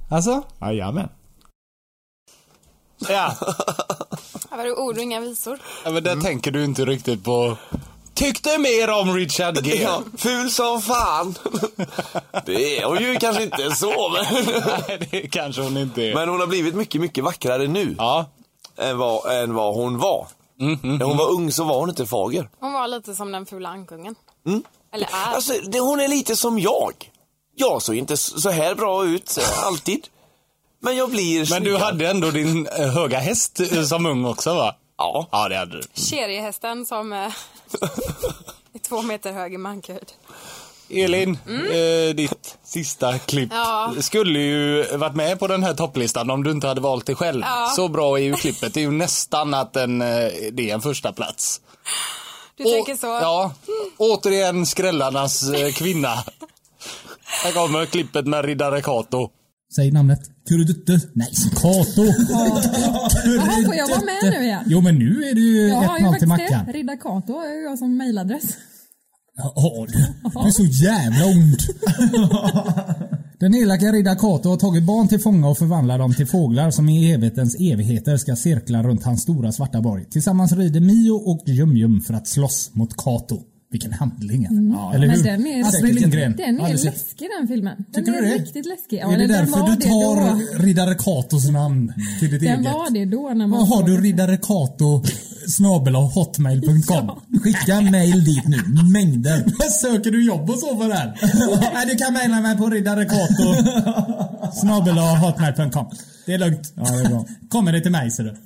alltså?
Jajamän.
Ja,
Här var det ord och inga visor.
men där
Mm.
tänker du inte riktigt på. Tyckte mer om Richard Gere.
Ja, ful som fan. Det är hon ju kanske inte så, men,
Nej, det kanske hon inte är.
men hon har blivit mycket, mycket vackrare nu
Ja,
än, vad, än vad hon var.
Mm,
När hon var ung så var hon inte fager.
Hon var lite som den fula ankungen. Eller är.
Alltså, det, hon är lite som jag. Jag såg inte s- så här bra ut eh, alltid. Men jag blir
Men du
snyggare.
hade ändå din eh, höga häst eh, som ung också va?
Ja.
Ja det hade du.
Keriehästen som eh, är två meter hög i mankhöjd.
Elin, eh, ditt sista klipp
Mm. Ja.
skulle ju varit med på den här topplistan om du inte hade valt det själv.
Ja.
Så bra är ju klippet. Det är ju nästan att en, eh, det är en första plats.
Du
Å-
tänker så?
Ja. Återigen skrällarnas eh, kvinna. Här kommer klippet med riddare Kato.
Säg namnet. Kurudutte. Nej, Kato.
Jaha, får jag vara med nu igen?
Jo, men nu är det ju
Jag har ju
1-0 till
faktiskt det.
Mackan.
Riddar Kato har ju jag som mailadress.
Ja, du du är så jävla ond. Den elaka riddar Kato har tagit barn till fånga och förvandlar dem till fåglar som i evighetens evigheter ska cirkla runt hans stora svarta borg. Tillsammans rider Mio och Jum-Jum för att slåss mot Kato. Vilken handling! Mm. Ja, eller
Men
hur?
den är,
Astrid Lindgren.
Den
Har
är
du sett?
läskig den filmen. Den
Tycker
är
du det?
riktigt läskig. Ja,
är det
eller den
därför
var
du
det
tar
då.
riddare Katos namn till ditt
Den
eget?
var det då när man...
Vad Har du riddare Kato snabel hotmail.com? Skicka mail dit nu. Mängder. Söker du jobb och så för den? Nej, du kan mejla mig på riddare Kato snabel hotmail.com. Det är lugnt. Ja, det är bra. Kommer det till mig ser du.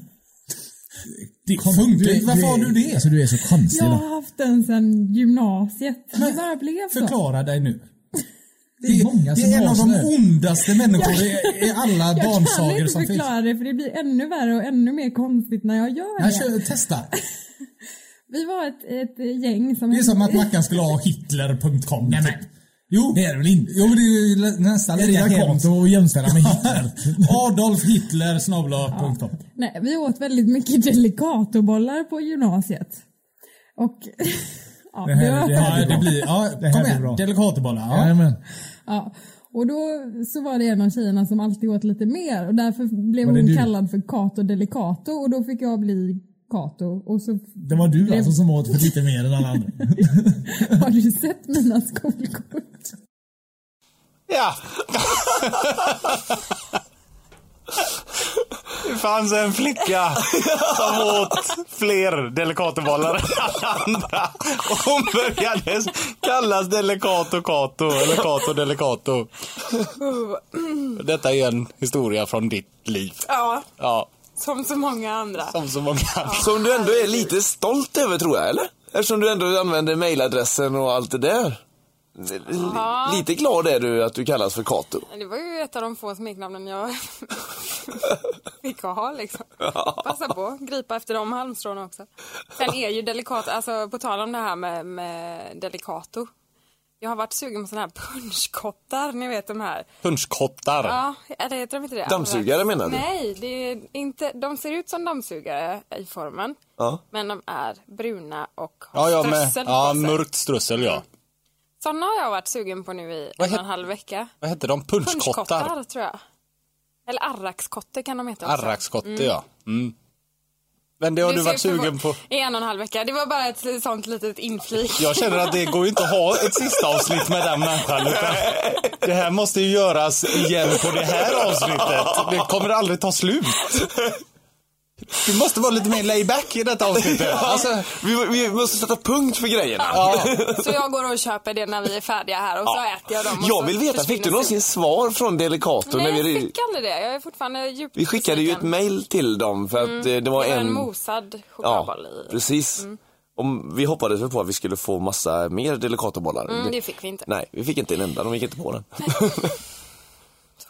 Det funkar ju. Varför har du det? Alltså, du är så konstig.
Jag har haft den sedan gymnasiet. Det bara blev så.
Förklara dig nu.
Det är,
många
det
som
är en
har
av
sån
de
här.
ondaste människor i, i alla
Jag kan
barnsagor
inte
som finns.
förklara det för det blir ännu värre och ännu mer konstigt när jag gör
Jag
det.
kör, testa.
Vi var ett, ett gäng som...
Det är som att Mackan skulle ha hitler.com. Nej, nej. Jo. Det är det väl inte? Jo, men det är ju lä- nästan
Det är
lika
det jag
hemskt.
konto
att jämställa med Hitler. Adolf Hitler snabla.com.
Nej, vi åt väldigt mycket Delicatobollar på gymnasiet. Och... ja,
Det här, det, här
var-
ja, det blir, ja,
här
kom
blir
igen.
bra.
Delikatobollar. Ja.
Jajamän. Ja, och då så var det en av tjejerna som alltid åt lite mer och därför blev
Var det
hon
du?
kallad för Kato Delicato och då fick jag bli Kato och så
Det var du
blev-
alltså som åt för lite mer än alla andra.
har du sett mina skolkort?
Ja. Det fanns en flicka som åt fler delikatobollar än alla andra. Och hon började kallas Delicato Cato eller Cato Delicato. Detta är en historia från ditt liv.
Ja,
Ja,
som så många andra.
som så många andra.
Som du ändå är lite stolt över tror jag, eller? Eftersom du ändå använder mailadressen och allt det där. L-
Ja.
Lite glad är du att du kallas för Kato.
Det var ju ett av de få smeknamnen jag fick ha liksom. Passa på, gripa efter de halmstråna också. Sen är ju delikat, alltså på tal om det här med, med delicato. Jag har varit sugen på sådana här punschkottar, ni vet de här.
Punschkottar.
Ja, eller heter de inte det?
Dammsugare menar du?
Nej, det är inte, de ser ut som dammsugare i formen.
Ja.
Men de är bruna och
Ja,
har
ja, med,
strössel
ja
på sig. Mm.
mörkt strössel ja.
Sådana har jag varit sugen på nu i
Vad
en och en
het-
halv vecka.
Vad hette de? Punschkottar?
Punschkottar tror jag. Eller arrakskotte kan de heta också.
Arrakskotte ja. Mm. Men det har du,
ser
varit sugen
förvå-
på.
I en och en halv vecka. Det var bara ett sånt litet inflik.
Jag känner att det går ju inte att ha ett sista avsnitt med den människan. Utan det här måste ju göras igen på det här avsnittet. Det kommer aldrig ta slut. Du måste vara lite mer layback i detta avsnittet. Alltså,
Vi, vi måste sätta punkt för grejerna.
Så jag går och köper det när vi är färdiga här och så äter jag dem. och så
Jag vill veta, fick
försvinner
du någonsin svar från Delicato?
Nej,
när
jag
vi,
fick aldrig det. Jag är fortfarande djupt
vi skickade ju ett
besviken.
mail till dem för att eh, det var
Mm. Det var
en...
en mosad
ja,
chokladboll i.
precis. Och vi hoppades väl på att vi skulle få massa mer Delicatobollar.
Mm, det fick vi inte.
Nej, vi fick inte en enda. De gick inte på den.
Så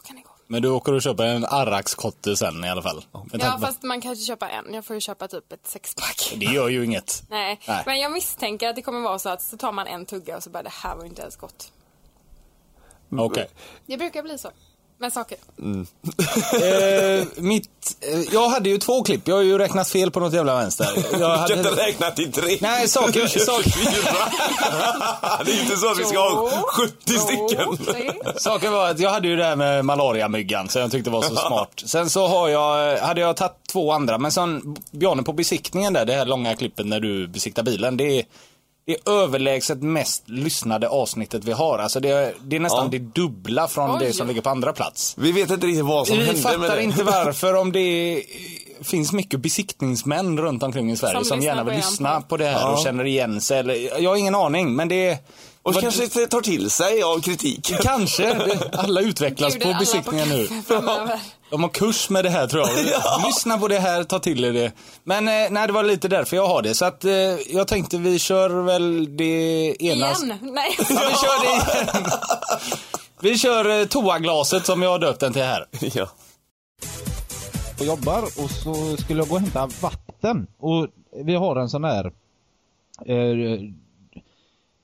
kan det gå.
men du åker och köper en arrakskotte sen i alla fall. Med
Ja,
tanke på-
fast man kan ju köpa en. Jag får ju köpa typ ett sexpack.
Det gör ju inget.
Nej.
Nej.
men jag misstänker att det kommer vara så att så tar man en tugga och så bara det här var ju inte ens gott.
Okej.
Det brukar bli så. Med saker.
Eh, mitt, eh, jag hade ju två klipp. Jag har ju räknat fel på något jävla vänster. Jag
Du kan
hade,
inte räkna till tre.
nej, saker, saker,
Det är inte så att vi ska ha
Jo.
70
Jo,
stycken.
det-
Saken var att jag hade ju det här med malariamyggan som jag tyckte var så smart. Sen så har jag, hade jag tagit två andra, men sen Bjarne på besiktningen där, det här långa klippet när du besiktar bilen, det är, det är överlägset mest lyssnade avsnittet vi har. Alltså det, är- det är nästan det dubbla från
Oj.
det som ligger på andra plats.
Vi vet inte riktigt vad som
Vi
hände med
fattar
det.
inte varför om det är, finns mycket besiktningsmän runt omkring i Sverige som,
Som lyssnar
gärna vill
på er
lyssna
podd.
på det här och känner igen sig. Eller, jag har ingen aning, men det är...
Och
vad-
kanske inte tar till sig av kritik.
Kanske. Det- Alla utvecklas
Bjuder
på
alla på
besiktningen nu.
kaffe framöver.
De har kurs med det här tror jag. Lyssna på det här, ta till er det. Men eh, nej, det var lite därför jag har det. Så att eh, jag tänkte vi kör väl det ena.
Igen? Nej.
Ja, vi kör det igen. Vi kör eh, toaglaset som jag har döpt den till här.
Ja.
och jobbar och så skulle jag gå och hämta vatten. Och vi har en sån här... Eh,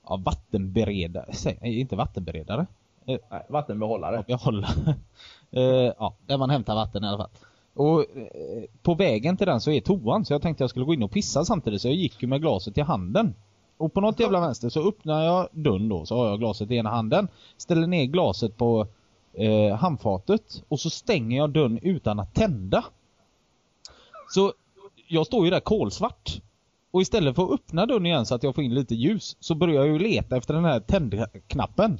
ja, vattenberedare. Säg, nej, inte vattenberedare. Eh, nej, vattenbehållare. Behållare. eh, ja, där man hämtar vatten i alla fall. Och eh, på vägen till den så är toan så jag tänkte jag skulle gå in och pissa samtidigt så jag gick ju med glaset i handen. Och på något jävla vänster så öppnar jag dörren då så har jag glaset i ena handen. Ställer ner glaset på eh, handfatet och så stänger jag dörren utan att tända. Så jag står ju där kolsvart. Och istället för att öppna dörren igen så att jag får in lite ljus så börjar jag ju leta efter den här tändknappen.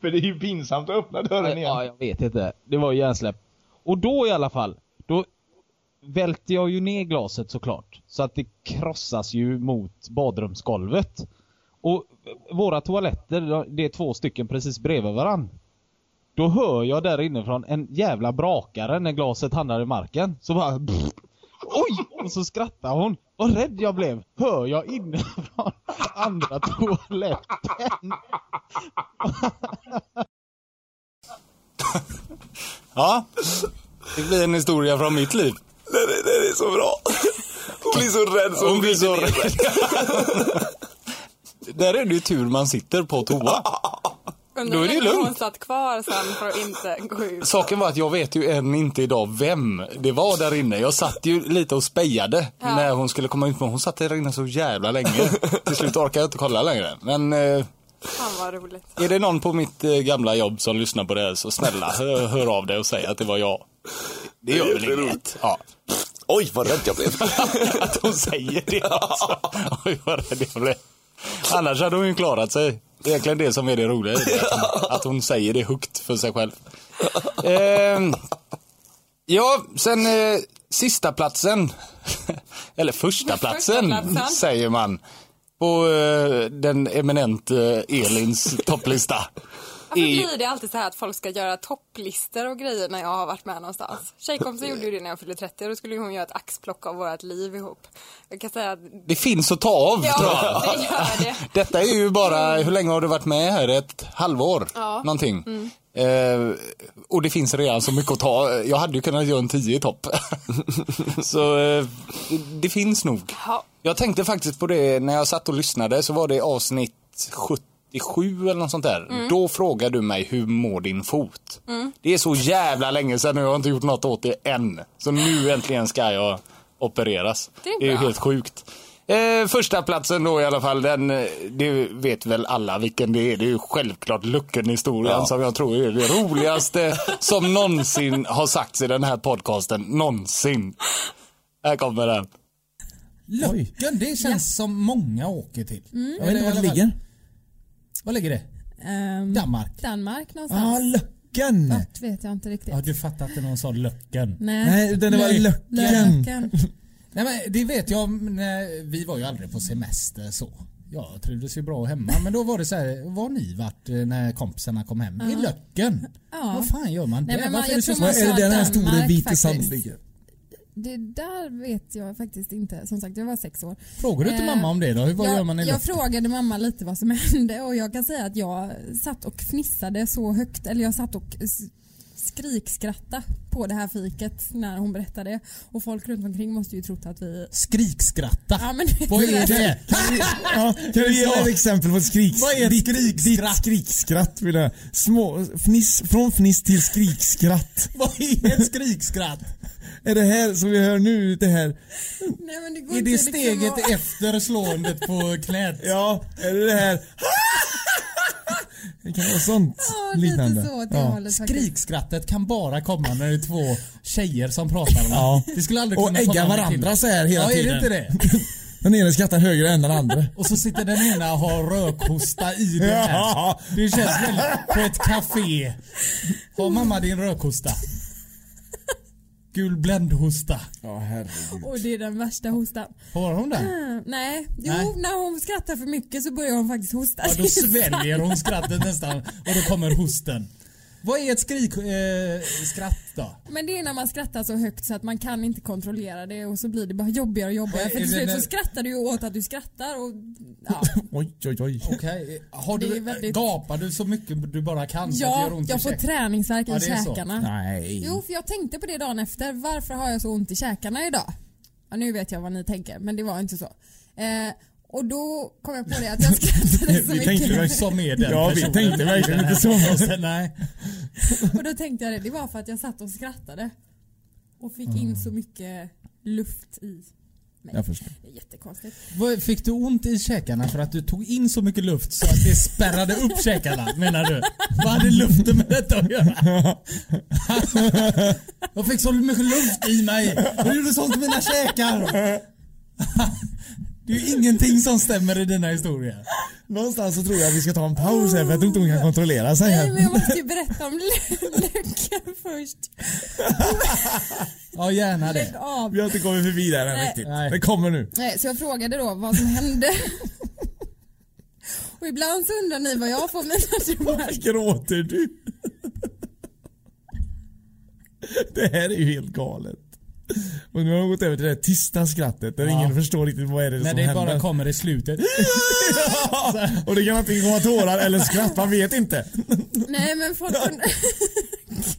För det är ju pinsamt att öppna dörren igen.
Ja, jag vet inte. Det var ju hjärnsläpp. Och då i alla fall, då välter jag ju ner glaset såklart. Så att det krossas ju mot badrumsgolvet. Och våra toaletter, det är två stycken precis bredvid varann. Då hör jag där inifrån en jävla brakare när glaset hamnar i marken. Så bara... Oj! Och så skrattar hon. Vad rädd jag blev. Hör jag inifrån andra toaletten.
Ja. Det blir en historia från mitt liv.
Den, är- den är så bra. Hon blir så rädd så
Hon blir så Där är det ju tur man sitter på toa.
Undrar
Då
hur
är det ju
länge hon
lugnt.
satt kvar sen för att inte gå ut.
Saken var att jag vet ju än inte idag vem det var där inne. Jag satt ju lite och spejade
Ja.
när hon skulle komma ut. Men hon satt där inne så jävla länge. Till slut orkade jag inte kolla längre. Men eh,
Fan vad roligt.
är det någon på mitt eh, gamla jobb som lyssnar på det här så snälla hör, hör av dig och säg att det var jag. Det gör väl inget. Ja.
Oj, vad rädd jag blev.
Att hon säger det alltså. Oj vad rädd jag blev. Annars hade hon ju klarat sig. Det är egentligen det som är det roliga i det. Att hon, att hon säger det högt för sig själv. Ehm, ja, sen eh, sista platsen Eller första platsen
platsen.
säger man. På eh, den eminente Elins topplista. E-
Varför
I-
blir det alltid så här att folk ska göra topplistor och grejer när jag har varit med någonstans? Tjejkompisar gjorde ju det när jag fyllde 30 och då skulle ju hon göra ett axplock av vårt liv ihop. Jag kan säga att
Det finns att ta av tror jag.
ja, det gör det.
Detta är ju bara, hur länge har du varit med här? Ett halvår?
Ja. Mm.
Någonting. Eh, och det finns redan så mycket att ta. Jag hade ju kunnat göra en 10 i topp. så eh, det finns nog.
Ja.
Jag tänkte faktiskt på det när jag satt och lyssnade så var det avsnitt 77 eller något sånt där.
Mm.
Då frågade du mig hur mår din fot? Det är så jävla länge sedan nu. Jag har inte gjort något åt det än. Så nu äntligen ska jag opereras.
Det är
Det är ju
bra.
helt sjukt. Eh, första platsen då i alla fall, den, eh, det vet väl alla vilken det är. Det är ju självklart Lucken-historien som jag tror är det roligaste som någonsin har sagts i den här podcasten. Någonsin. Här kommer den.
Lucken, det känns som många åker till.
Mm,
Jag vet inte vart det
Eller i alla fall-
ligger.
Var ligger det?
Ehm,
Danmark?
Danmark någonstans.
Ja, ah, Lucken!
Vart vet jag inte riktigt.
Ja, du fattar att det någon sa Lucken.
Nej.
Nej, utan det var
Nej.
Lucken.
Löken.
Nej men det vet jag, när- vi var ju aldrig på semester så. Jag trivdes ju bra hemma men då var det så här, var har ni vart eh, när kompisarna kom hem? I Löcken?
Ja.
Vad fan gör man
Nej,
där?
men man-
Varför
jag
är det
tror
så
man
svårt?
sa
Är det den här
Danmark
stora vita
faktiskt.
sand ligger?
Det där vet jag faktiskt inte. Som sagt, jag var sex år.
Frågar du inte
Eh,
mamma om det då? Hur, vad
jag,
gör man i
jag
Löcken?
frågade mamma lite vad som hände och jag kan säga att jag satt och fnissade så högt, eller jag satt och s- skrikskratta på det här fiket när hon berättade och folk runt omkring måste ju trott att vi...
Skrikskratta?
Ja, men,
Vad är det?
Ja, kan du ge ett exempel på ett skrik,
Vad är ett
ditt, ditt
skrikskratt?
skrikskratt? Vill jag. Små, fniss, från fniss till skrikskratt.
Vad är ett skrikskratt?
Är det här som vi hör nu, det här?
Nej, men det går
Är
inte
det
liksom
steget
att-
efter slåendet på knät?
Ja, är det det här? Det kan vara sånt
Ja,
liknande.
lite så åt det hållet faktiskt.
Skrikskrattet kan bara komma när det är två tjejer som pratar med
Ja.
Det skulle aldrig
Och
kunna
ägga
komma med
varandra
killar.
så här hela
ja,
tiden.
Ja, är det inte det?
Den ena skrattar högre än den andra.
Och så sitter den ena och har rökhosta i det här.
Ja.
Det känns väldigt... På ett café. Har mamma din rökhosta? Gul bländhosta.
Ja, herregud.
Och det är den värsta hostan.
Har hon den?
Mm, nej, jo
Nej.
när hon skrattar för mycket så börjar hon faktiskt hosta.
Ja, då sväljer hon skrattet nästan och då kommer hosten. Vad är ett skrik... Eh, skratt då?
Men det är när man skrattar så högt så att man kan inte kontrollera det och så blir det bara jobbigare och jobbigare.
Är
För till
det
slut
när-
så skrattar du ju åt att du skrattar och ja,
Oj, oj, oj.
Okej, har
Det
du,
är väldigt-
gapar du så mycket du bara kan? så att det gör
ja
ont i
jag får
käken?
träningsvärk
Ja,
i
det är så.
käkarna.
Nej.
Jo, för jag tänkte på det dagen efter. Varför har jag så ont i käkarna idag? Ja, nu vet jag vad ni tänker, men det var inte så. Eh, och då kom jag på det att jag skrattade så
Vi tänkte väl
mycket.
som är den
Ja, vi
personen.
tänkte verkligen inte så.
så. Nej.
Och då tänkte jag det, det var för att jag satt och skrattade. Och fick
Mm.
in så mycket luft i mig.
Jag förstår.
Det är jättekonstigt.
Vad- Fick du ont i käkarna för att du tog in så mycket luft så att det spärrade upp käkarna menar du? Vad hade luften med detta att göra? Jag fick så mycket luft i mig. Det gjorde sånt i mina käkar. Det är ju ingenting som stämmer i dina historier.
Någonstans så tror jag att vi ska ta en paus här för jag tror inte hon kan kontrollera sig
Nej men
här.
jag måste ju berätta om Löken först.
Ja gärna det.
Lägg av.
Vi har inte kommit förbi där än
Nej.
riktigt.
Nej.
Det kommer nu.
Nej, så jag frågade då vad som hände. Och ibland så undrar ni vad jag får mina drömmar.
Gråter du? Det här är ju helt galet.
Och nu har de gått över till det tysta skrattet där ingen förstår riktigt vad är det
När
som
det
händer.
bara kommer i slutet.
Ja, och det kan antingen komma tårar eller skratt, man vet inte.
Nej men folk undrar...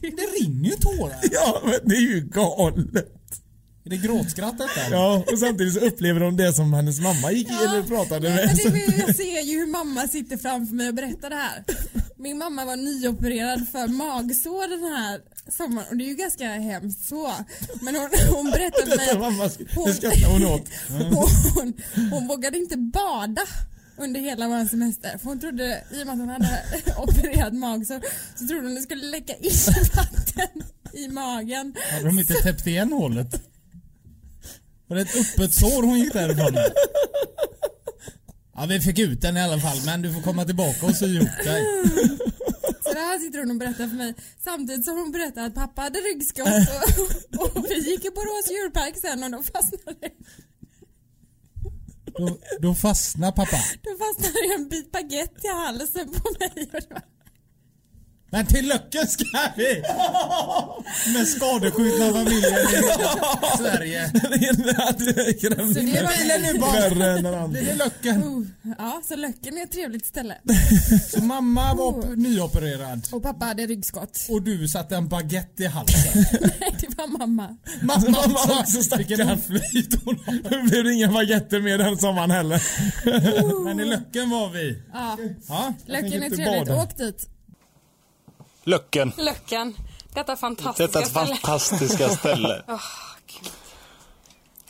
Det rinner ju tårar.
Ja, men det är ju galet.
Är det gråtskratt detta?
Ja, och samtidigt så upplever de det som hennes mamma gick eller pratade
Men
med.
det är ju- jag ser ju hur mamma sitter framför mig och berättar det här. Min mamma var nyopererad för magsår den här sommaren och det är ju ganska hemskt så. Men hon, hon berättade för mig
Detta
att
mamma, det skrattar hon åt.
hon, hon vågade inte bada under hela vår semester. För hon trodde, i och med att hon hade opererat magsår, så trodde hon det skulle läcka in vatten i magen.
Hade de inte täppt igen hålet? Var det ett öppet sår hon gick därifrån? Ja vi fick ut den i alla fall men du får komma tillbaka och sy ihop dig.
Så det här sitter hon och berättar för mig samtidigt som hon berättar att pappa hade ryggskott och, och vi gick i Borås djurpark sen och då fastnade,
Då, då fastnar pappa.
då fastnade en bit baguette i halsen på mig. Och det var,
Men till Löcken ska vi! Med skadeskjutna familjer i Sverige.
så det
Bilen
var,
nu bara. Det är Löcken.
oh, ja, så Löcken är ett trevligt ställe.
Så mamma var op- nyopererad.
Och pappa hade ryggskott.
Och du satte en baguette i halsen.
Nej, det var mamma.
Mamma, mamma också stackaren. Vilken hon har.
Nu blev det inga baguetter med den sommaren heller.
Men i Löcken var vi.
Ja,
Ja.
Löcken är
inte
trevligt.
bada.
Åk dit.
Löcken.
Löcken. Detta fantastiska
Detta
ställe.
fantastiska ställe.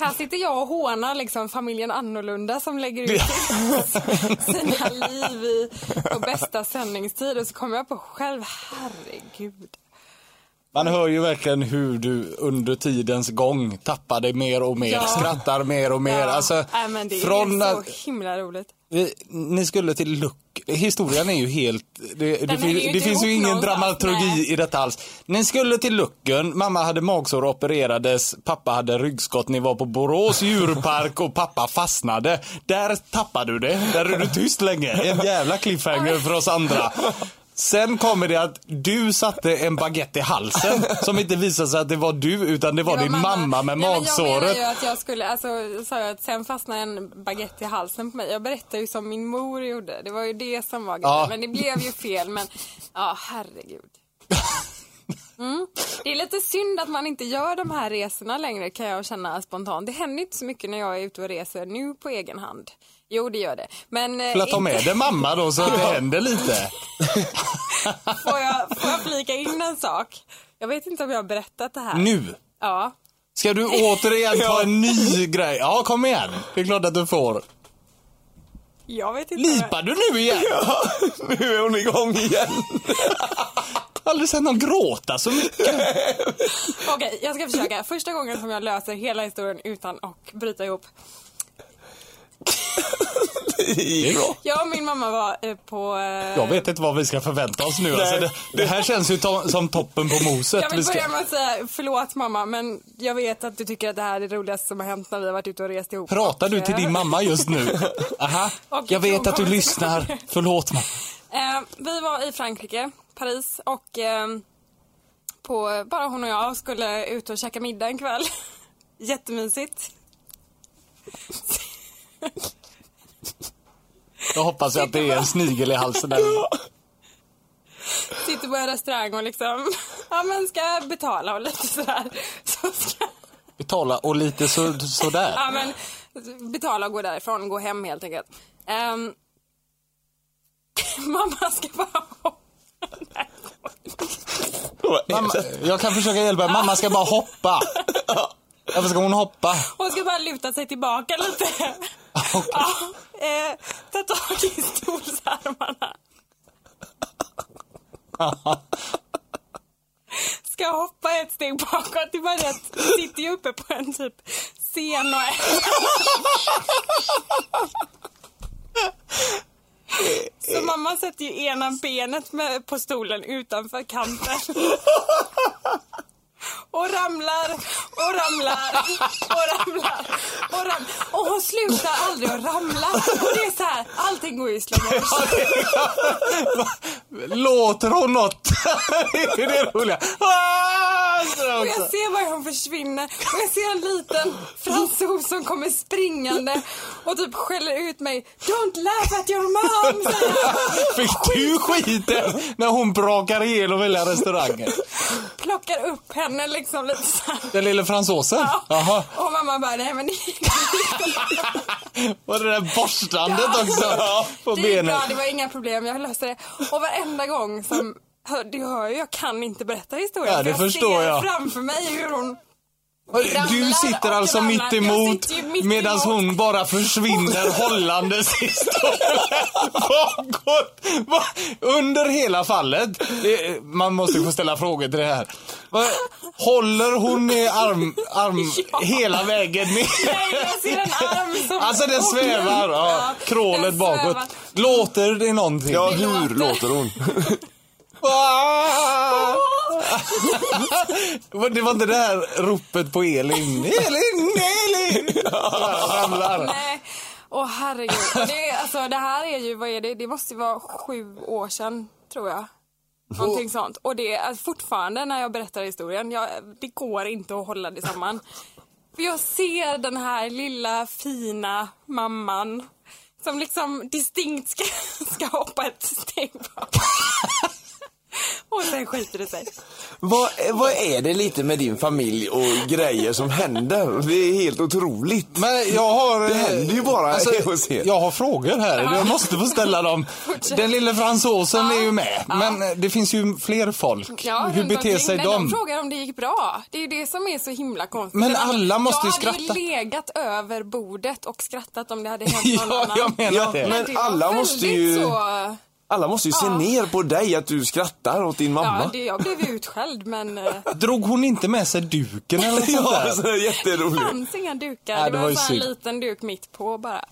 Här sitter jag och hånar liksom familjen Annorlunda som lägger ut sina liv i, på bästa sändningstid och så kommer jag på själv, herregud.
Man hör ju verkligen hur du under tidens gång tappar dig mer och mer,
Ja.
skrattar mer och mer. Alltså,
Nej, men det
från
är
att
så himla roligt.
vi, ni skulle till Luck. Historien är ju helt... Det, det,
hänger
fin,
ju
det
inte
finns ju
ihop
ingen
någonstans,
dramaturgi
nej.
i detta alls. Ni skulle till Lucken, mamma hade magsår och opererades, pappa hade ryggskott, ni var på Borås djurpark och pappa fastnade. Där tappade du det, där är du tyst länge. En jävla cliffhanger för oss andra. Sen kommer det att du satte en baguette i halsen som inte visade sig att det var du utan det var, din mamma, med
Nej, men Jag menar
magsåret.
ju att jag skulle, alltså sa jag att sen fastnade en baguette i halsen på mig. Jag berättade ju som min mor gjorde. Det var ju det som var grejen.
Ja.
Men det blev ju fel. Men ja, herregud. Mm. Det är lite synd att man inte gör de här resorna längre kan jag känna spontant. Det händer ju inte så mycket när jag är ute och reser nu på egen hand. Jo, det gör det. Men eh,
Jag ta med
inte-
dig mamma då så att det händer lite.
får, jag, får jag flika in en sak? Jag vet inte om jag har berättat det här.
Nu!
Ja.
Ska du återigen ta en ny grej? Ja, kom igen. Det är klart att du får.
Jag vet inte. om jag-
Lipar du nu igen? Ja, nu är hon igång igen. Aldrig sett någon gråta så mycket.
Okej, jag ska försöka. Första gången som jag löser hela historien utan att bryta ihop. Jag och min mamma var eh, på... eh,
Jag vet inte vad vi ska förvänta oss nu. Alltså, det, det här känns ju to- som toppen på moset.
Jag
Vi
vill
ska-
börja med att säga förlåt mamma, men jag vet att du tycker att det här är det roligaste som har hänt när vi har varit ute och rest ihop.
Pratar du
Och,
till
eh,
din mamma just nu? Aha.
Och
Jag vet
från-
att du lyssnar. Förlåt mig.
Eh, vi var i Frankrike, Paris och eh, på, bara hon och jag skulle ut och käka middag en kväll. Jättemysigt.
Jag hoppas att det är en snigel i halsen. Där.
sitter på en restaurang och liksom, ja men ska jag betala och lite sådär. Så ska,
Betala och lite så, sådär.
ja men betala och gå därifrån, gå hem helt enkelt. Ehm, mamma ska bara hoppa. Nej,
Mamma, jag kan försöka hjälpa er. Mamma ska bara hoppa. Varför ska hon hoppa?
Hon ska bara luta sig tillbaka lite. Ja, eh, ta tag i stolsarmarna. Ska hoppa ett steg bakåt. Det är bara det att vi sitter ju uppe på en typ scen och Så mamma sätter ju ena benet med, på stolen utanför kanten. Och ramlar och ramlar och ramlar och ramlar. Och hon slutar aldrig att ramla. Och det är så här, allting går ju i slow motion.
Låter hon något? det är det roliga. Ah!
Fransen
Och jag
också!
ser varje gång hon försvinner och jag ser en liten fransos som kommer springande och typ skäller ut mig. Don't laugh at your mom! säger han.
Fick du skiten när hon brakar ihjäl och väljer restaurangen?
Plockar upp henne liksom lite såhär.
Den lille fransosen? Jaha.
Och mamma bara, nej men det är
Var det där borstandet också? Ja, på
Det är
benen.
bra, det var inga problem, jag löste det. Och varenda gång som, hör, du hör ju, jag kan inte berätta historien.
Ja, det
för jag
förstår
ser
jag.
framför mig hur hon
Du
ramlar
sitter
och
alltså
ramlar.
mitt
Jag
emot
sitter ju mitt
medan
emot.
hon bara försvinner hållandes i stolen. Vad går- vad- Under hela fallet, det- man måste få ställa frågor till det här. Vad- Håller hon i arm, arm
Ja.
hela vägen ner?
Nej, jag ser en arm som...
Alltså den
åker
svävar,
upp.
ja. Krålet
den
bakåt.
svävar.
Låter det någonting?
Ja, hur låter hon?
Ah! det var inte det här ropet på Elin. Elin, Elin! Ramlar.
Nej. Åh herregud. Det, är- alltså, det här är ju, vad är det? Det måste ju vara sju år sedan, tror jag. Någonting sånt. Och det är alltså, fortfarande när jag berättar historien, jag, det går inte att hålla det samman. För jag ser den här lilla fina mamman som liksom distinkt ska, ska hoppa ett steg bak. Och sen skiter det sig.
Vad, vad är det lite med din familj och grejer som händer? Det är helt otroligt.
Men jag har... alltså,
Det händer ju bara hos er.
Jag har frågor här. Jag måste få ställa dem. Den lille fransosen är ju med. Men eh, det finns ju fler folk.
Ja,
Hur
runt
beter
omkring.
sig
Nej,
de?
De frågar om det gick bra. Det är ju det som är så himla konstigt.
Men
För att
alla måste ju
Jag
skratta.
hade ju legat över bordet och skrattat om det hade hänt någon
Ja,
annan.
jag menar
Ja,
det.
men-
Det var
alla måste
väldigt
ju-
Så...
Alla måste ju se ner på dig att du skrattar åt din
Ja,
mamma.
det, jag blev ju utskälld men eh, det
Drog hon inte med sig duken eller något sånt
Ja,
där?
så det är jätteroligt.
fanns inga dukar.
Nej,
det,
det
var,
var ju
bara en
synd.
liten duk mitt på bara.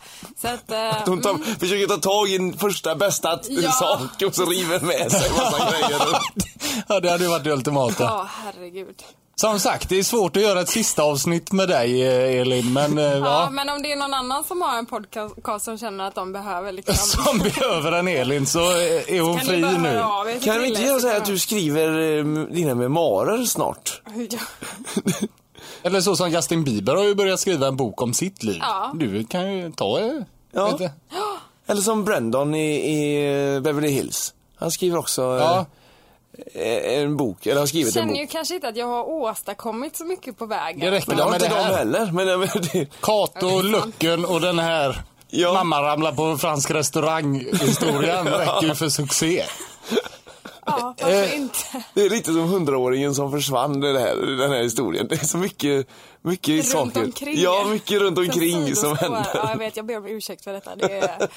Så att, eh,
Hon tar, försöker ta tag i den första bästa t-
Ja.
sak och så river med sig massa grejer.
Ja, det hade ju varit det ultimata.
Ja, herregud.
Som sagt, det är svårt att göra ett sista avsnitt med dig eh, Elin, men eh,
Ja.
ja.
men om det är någon annan som har en podcast som känner att de behöver liksom...
Som behöver en Elin så eh, är hon
Kan ni
fri
bara
nu.
höra av er till
Kan vi inte
Krille,
göra
så
så här
kan
att du skriver eh, dina memoarer snart?
man- Ja.
Eller så som Justin Bieber har ju börjat skriva en bok om sitt liv.
Ja.
Du kan ju ta eh,
Ja.
lite.
Eller som Brandon i, i eh, Beverly Hills. Han skriver också eh,
Ja.
eh, en bok, eller har
Jag
skrivit en
känner ju
bok.
kanske inte att jag har åstadkommit så mycket på vägen.
Det räcker
Men det har
med
inte
det
de
här.
heller. Men, eh, men, det,
Kato, Lucken och den här
Ja.
Mamma ramlar på fransk restaurang-historien räcker ju för succé.
Ja, varför inte? Eh,
det är lite som hundraåringen som försvann det här, den här historien. Det är så mycket, mycket
Runt
saker.
omkring.
Ja, mycket runt
Sen
omkring som
sidospår. Ja, jag
händer.
vet, jag ber om ursäkt för detta. Det är...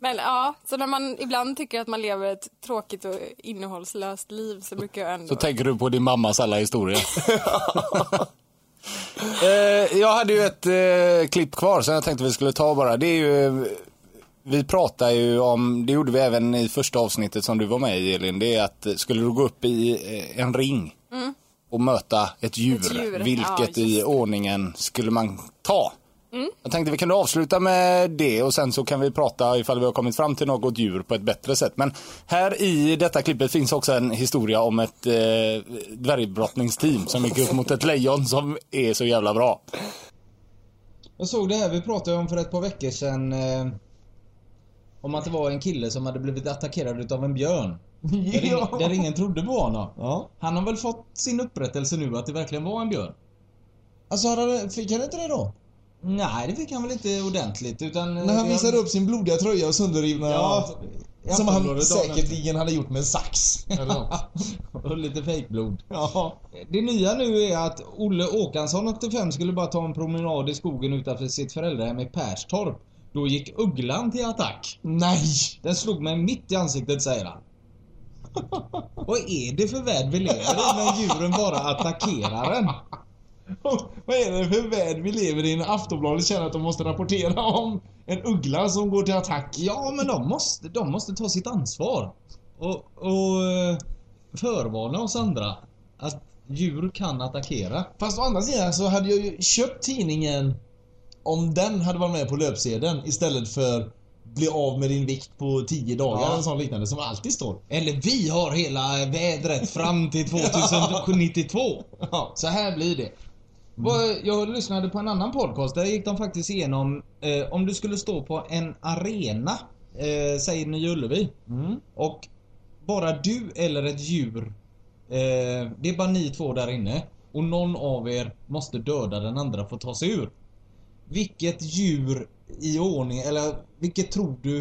Men ja, så när man ibland tycker att man lever ett tråkigt och innehållslöst liv så brukar jag ändå...
Så tänker du på din mammas alla historier. eh, jag hade ju ett eh, klipp kvar som jag tänkte vi skulle ta bara. Det är ju, eh, vi pratar ju om, det gjorde vi även i första avsnittet som du var med i Elin, det är att eh, skulle du gå upp i eh, en ring och möta ett djur,
Mm. Ett djur, ja, just
vilket
det. Mm.
i ordningen skulle man ta? Jag tänkte vi kunde avsluta med det och sen så kan vi prata ifall vi har kommit fram till något djur på ett bättre sätt. Men här i detta klippet finns också en historia om ett eh, dvärgbrottningsteam som gick upp mot ett lejon som är så jävla bra.
Jag såg det här vi pratade om för ett par veckor sedan. Eh, om att det var en kille som hade blivit attackerad utav en björn. Där, ing, där ingen trodde på honom. Han har väl fått sin upprättelse nu att det verkligen var en björn?
Alltså hade- fick han inte det då?
Nej, det fick han väl inte ordentligt utan... eh,
När han visade upp sin blodiga tröja och sönderrivna...
Ja, i
som han
Aftonbladet dagen
säkerligen hade gjort med en sax.
Och lite fejkblod.
ja.
Det nya nu är att Olle Åkansson, 85, skulle bara ta en promenad i skogen utanför sitt föräldrahem i Perstorp. Då gick ugglan till attack.
Nej!
Den slog mig mitt i ansiktet, säger han. Vad är det för värld vi lever i när djuren bara attackerar en?
Vad är det för värld vi lever i när Aftonbladet känner att de måste rapportera om en uggla som går till attack?
Ja, men de måste, de måste ta sitt ansvar. Och, och eh, förvarna oss andra att djur kan attackera.
Fast å andra sidan så hade jag ju köpt tidningen om den hade varit med på löpsedeln istället för
bli av med din vikt på 10 dagar eller sånt liknande som alltid står. Eller vi har hela vädret fram till 2092. Så här blir det. Vad- Jag lyssnade på en annan podcast, där gick de faktiskt igenom eh, om du skulle stå på en arena, eh, säg Nya Ullevi. Och bara du eller ett djur, eh, det är bara ni två där inne. Och någon av er måste döda den andra för att ta sig ur. Vilket djur i ordning, eller vilket tror du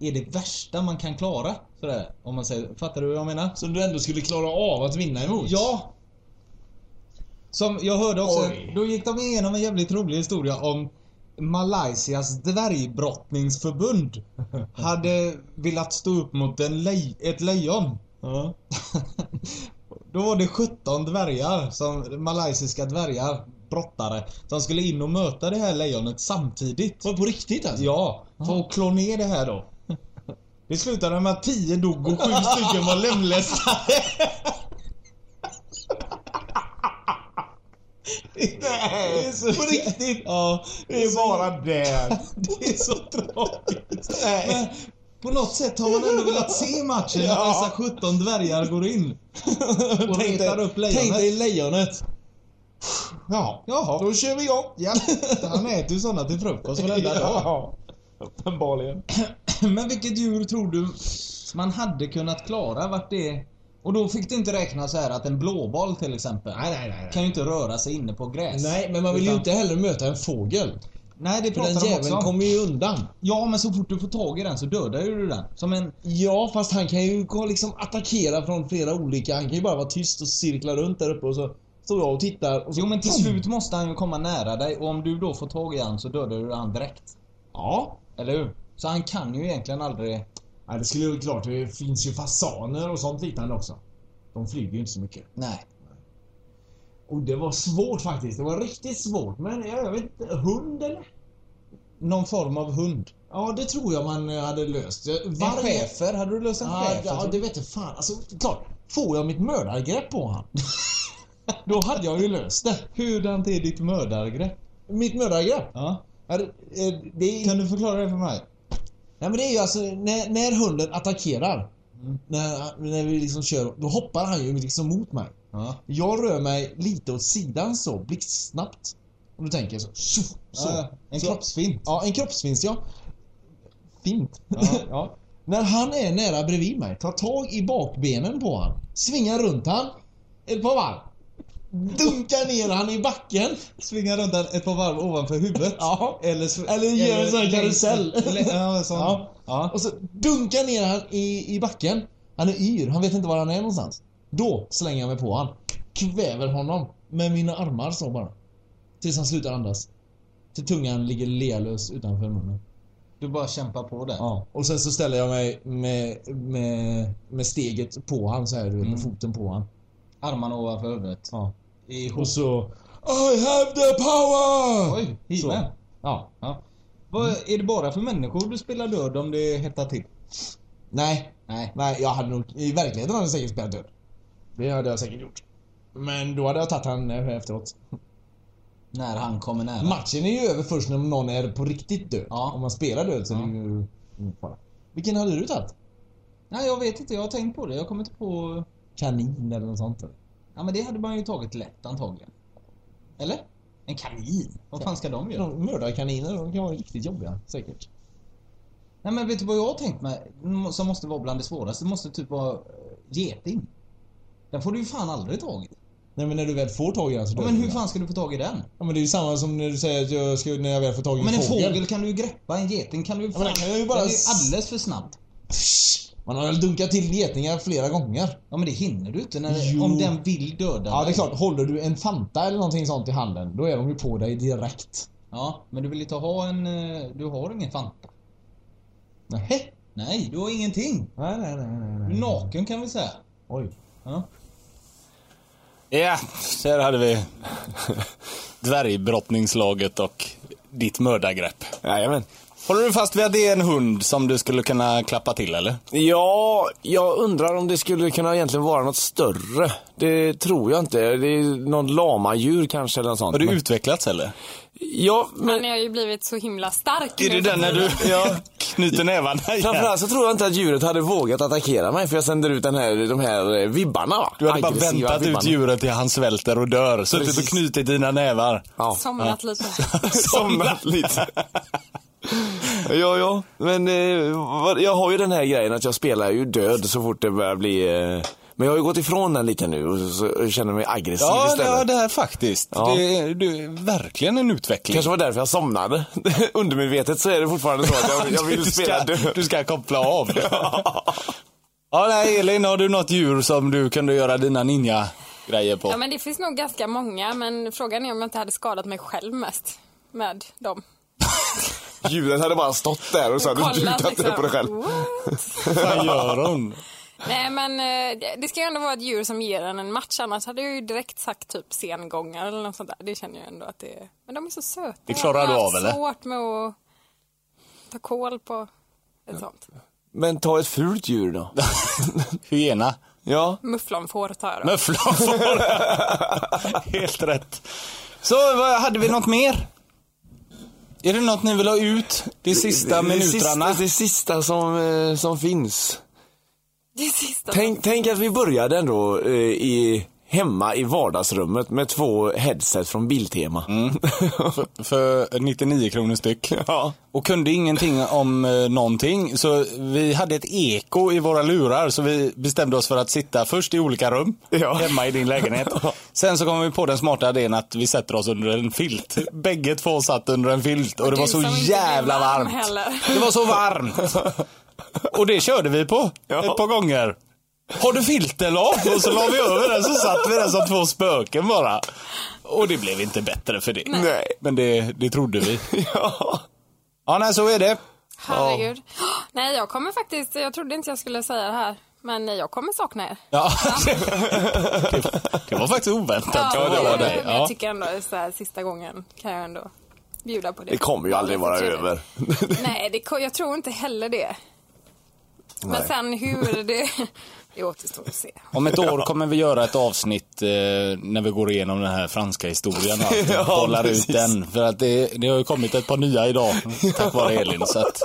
är det värsta man kan klara? Sådär, om man säger, fattar du vad jag menar? Som du ändå skulle klara av att vinna emot? Ja! Som jag hörde också, då gick de igenom en jävligt rolig historia om Malaysias dvärgbrottningsförbund hade velat stå upp mot en lej- ett lejon. Då var det 17 dvärgar, som, malaysiska dvärgar, brottare, som skulle in och möta det här lejonet samtidigt. Var på riktigt alltså? Ja, för att klå ner det här då. Det slutade med att 10 dog och 7 stycken var lemlästade. Det är så... På riktigt? Ja. Det är bara där. Det är så tragiskt. Men på något sätt har man ändå velat se matchen när
Ja.
dessa 17 dvärgar går in. Och
Tänk dig-
retar upp lejonet.
tänk dig
lejonet. Ja, Jaha. då kör vi igång. Ja. Han äter ju såna till frukost varenda dag. Uppenbarligen. Men vilket djur tror du man hade kunnat klara? Vart det... Och då fick du inte räkna så här att en blåboll till exempel kan ju inte röra sig inne på gräs.
Nej, men man vill ju inte
heller möta en fågel. Nej, det
För
pratar
den
de
jäveln
också om.
kommer
ju undan. Ja, men så fort du får tag i den så dödar ju du den. Som en...
Ja, fast han kan ju gå- liksom attackera från flera olika. Han kan ju bara vara tyst och cirkla runt där uppe och så står jag och tittar. Och så...
Jo, men till slut måste han ju komma nära dig och om du då får tag i han så dödar du han direkt. Ja. Eller hur? Så han kan ju egentligen aldrig...
Nej, det skulle ju klart. Det finns ju fasaner och sånt liknande också. De flyger ju inte så mycket.
Nej.
Och det var svårt faktiskt. Det var riktigt svårt. Men jag vet inte. Hund eller?
Någon form av hund?
Ja, det tror jag man eh, hade löst. Jag-
En schäfer? Hade du löst en
ja,
schäfer?
Ja,
tror
det
du?
vet jag fan. Alltså, klart. Får jag mitt mördargrepp på han? Då hade jag ju löst det.
Hurdant är ditt mördargrepp?
Mitt mördargrepp?
Ja.
Ja, det, eh, det är...
Kan du förklara det för mig?
Nej men det är ju alltså när, när hunden attackerar. När, när vi liksom kör, då hoppar han ju liksom mot mig.
Ja.
Jag rör mig lite åt sidan så, blixtsnabbt. Och då tänker jag så, tjoff, så.
Ja, en
så,
kroppsfint.
Ja, en kroppsvinst ja. Fint.
Ja, ja.
När han är nära bredvid mig, tar tag i bakbenen på han, svingar runt han ett par varv. Dunkar ner han i backen.
Svinga runt den ett par varv ovanför huvudet. ja. Eller, sv-
Eller gör en sån här
längs-
karusell.
lä- Ja, sån.
Ja. Och så dunkar ner han i, i backen. Han är yr, han vet inte var han är någonstans. Då slänger jag mig på han. Kväver honom med mina armar så bara. Tills han slutar andas. Till tungan ligger lealös utanför munnen.
Du bara kämpar på där.
Ja. Och sen så ställer jag mig med, med, med steget på han så här, du vet,
Mm.
med foten på han.
Armarna ovanför huvudet.
Ja.
I
Och så... I have the power!
Oj,
Så. Mm.
He-Man. Ja. ja. Vad, är det bara för människor du spelar död om det hettar till?
Nej. Nej. Nej, jag hade nog... I verkligheten hade jag säkert spelat död. Det hade jag säkert gjort. Men då hade jag tagit han eh, efteråt.
När han kommer nära.
Matchen är ju över först när någon är på riktigt död. Om man spelar död så är det ju ingen fara. Vilken hade du tagit?
Nej, jag vet inte. Jag har tänkt på det. Jag kommer inte på...
Kanin eller något sånt eller?
Ja, men det hade man ju tagit lätt antagligen. Eller? En kanin? Vad fan ska de göra?
De mördarkaniner, de kan vara riktigt jobbiga säkert.
Nej, men vet du vad jag har tänkt mig? Som måste vara bland det svåraste. Det måste typ vara eh, geting. Den får du ju fan aldrig tag i.
Nej men när du väl får tag i den så
Ja,
dör
men
du
hur
den.
fan ska du få tag i den?
Ja men det är ju samma som när du säger att jag ska, när jag väl får tag i
Ja,
en
men en
fågel.
fågel kan du ju greppa. En geting kan du ju
Ja, men den kan jag ju bara
Den är ju
s-
alldeles för snabb.
Man har väl dunkat till getingar flera gånger.
Ja, men det hinner du inte när,
Jo.
om den vill döda
Ja det är
dig.
klart, håller du en Fanta eller någonting sånt i handen, då är de ju på dig direkt.
Ja, men du vill inte ha en... eh, Du har ingen Fanta. Nej. Nej, du har ingenting.
Nej, nej, nej, nej.
Du är naken kan vi säga.
Oj.
Ja.
Ja, där hade vi dvärgbrottningslaget och ditt mördargrepp.
Jajamän.
Håller du fast vid att det är en hund som du skulle kunna klappa till eller?
Ja, jag undrar om det skulle kunna egentligen vara något större. Det tror jag inte. Det är någon lamadjur kanske eller något sånt.
Har du
men-
utvecklats eller?
Ja, men...
Han har ju blivit så himla stark.
Är det
nu
den
för
när
tiden.
du ja, Knyter nävarna igen.
Framförallt så tror jag inte att djuret hade vågat attackera mig för jag sänder ut den här, de här eh, vibbarna. va?
Du hade bara
Aggressiva
väntat ut
vibbarna.
djuret till han svälter och dör. Suttit och
Precis.
knutit dina nävar.
Ja.
Somnat lite.
Somnat lite. Ja, ja. Men eh, vad- jag har ju den här grejen att jag spelar ju död så fort det börjar bli... Eh, men jag har ju gått ifrån den lite nu och så, så känner mig aggressiv
Ja, det,
istället.
ja, det här faktiskt.
Ja.
Det, är- du, verkligen en utveckling.
Kanske var därför jag somnade. Undermedvetet så är det fortfarande så att jag, jag
Du
vill
ska-
spela död.
Du ska koppla av. ja, nej, Elin, har du något djur som du kunde göra dina ninja-grejer på?
Ja, men det finns nog ganska många, men frågan är om jag inte hade skadat mig själv mest med dem.
Djuret hade bara stått där och så hade
Kollat
du tittat
liksom.
på dig själv.
What?
Vad gör hon?
Nej, men eh, det- det ska ju ändå vara ett djur som ger en en match, annars hade jag ju direkt sagt typ sengångare eller något sånt där. Det känner jag ändå att det är. Men de är så söta.
Det klarar
Jag har
du
haft
av, eller?
svårt med att ta koll på ett sånt.
Men ta ett fult djur då.
Hyena.
Ja.
Mufflonfår tar jag då.
Mufflonfår. Helt rätt. Så, vad, hade vi något mer? Är det något ni vill ha ut de sista minuterna?
Det, sista, det sista som, eh, som finns.
Det sista.
Tänk, tänk att vi började ändå eh, i, hemma i vardagsrummet med två headset från Biltema.
För- För 99 kronor styck. Och kunde ingenting om eh, någonting. Så vi hade ett eko i våra lurar. Så vi bestämde oss för att sitta först i olika rum. Hemma i din lägenhet. Sen så kom vi på den smarta idén att vi sätter oss under en filt. Bägge två satt under en filt. Och det
Du
var så
som inte blir
jävla
varm
varmt.
heller.
Det var så varmt. Och det körde vi på ett par gånger. Har du filten av? Och så la vi över den så satt vi där som två spöken bara. Och det blev inte bättre för det.
Nej.
Men det, det trodde vi. ja. Ja, nej så är det.
Herregud. Nej, jag kommer faktiskt, jag trodde inte jag skulle säga det här, men jag kommer sakna er.
Ja. det, det var faktiskt oväntat.
Men jag tycker ändå så här, sista gången kan jag ändå bjuda på det.
Det kommer ju aldrig vara över.
Nej, det, ko- jag tror inte heller det. Men
Nej.
sen hur det... Det återstår att se.
Om ett år kommer vi göra ett avsnitt eh, när vi går igenom den här franska historien och allt.
Ja,
kollar
precis.
ut den. För att det, det har ju kommit ett par nya idag tack vare Elin. Så att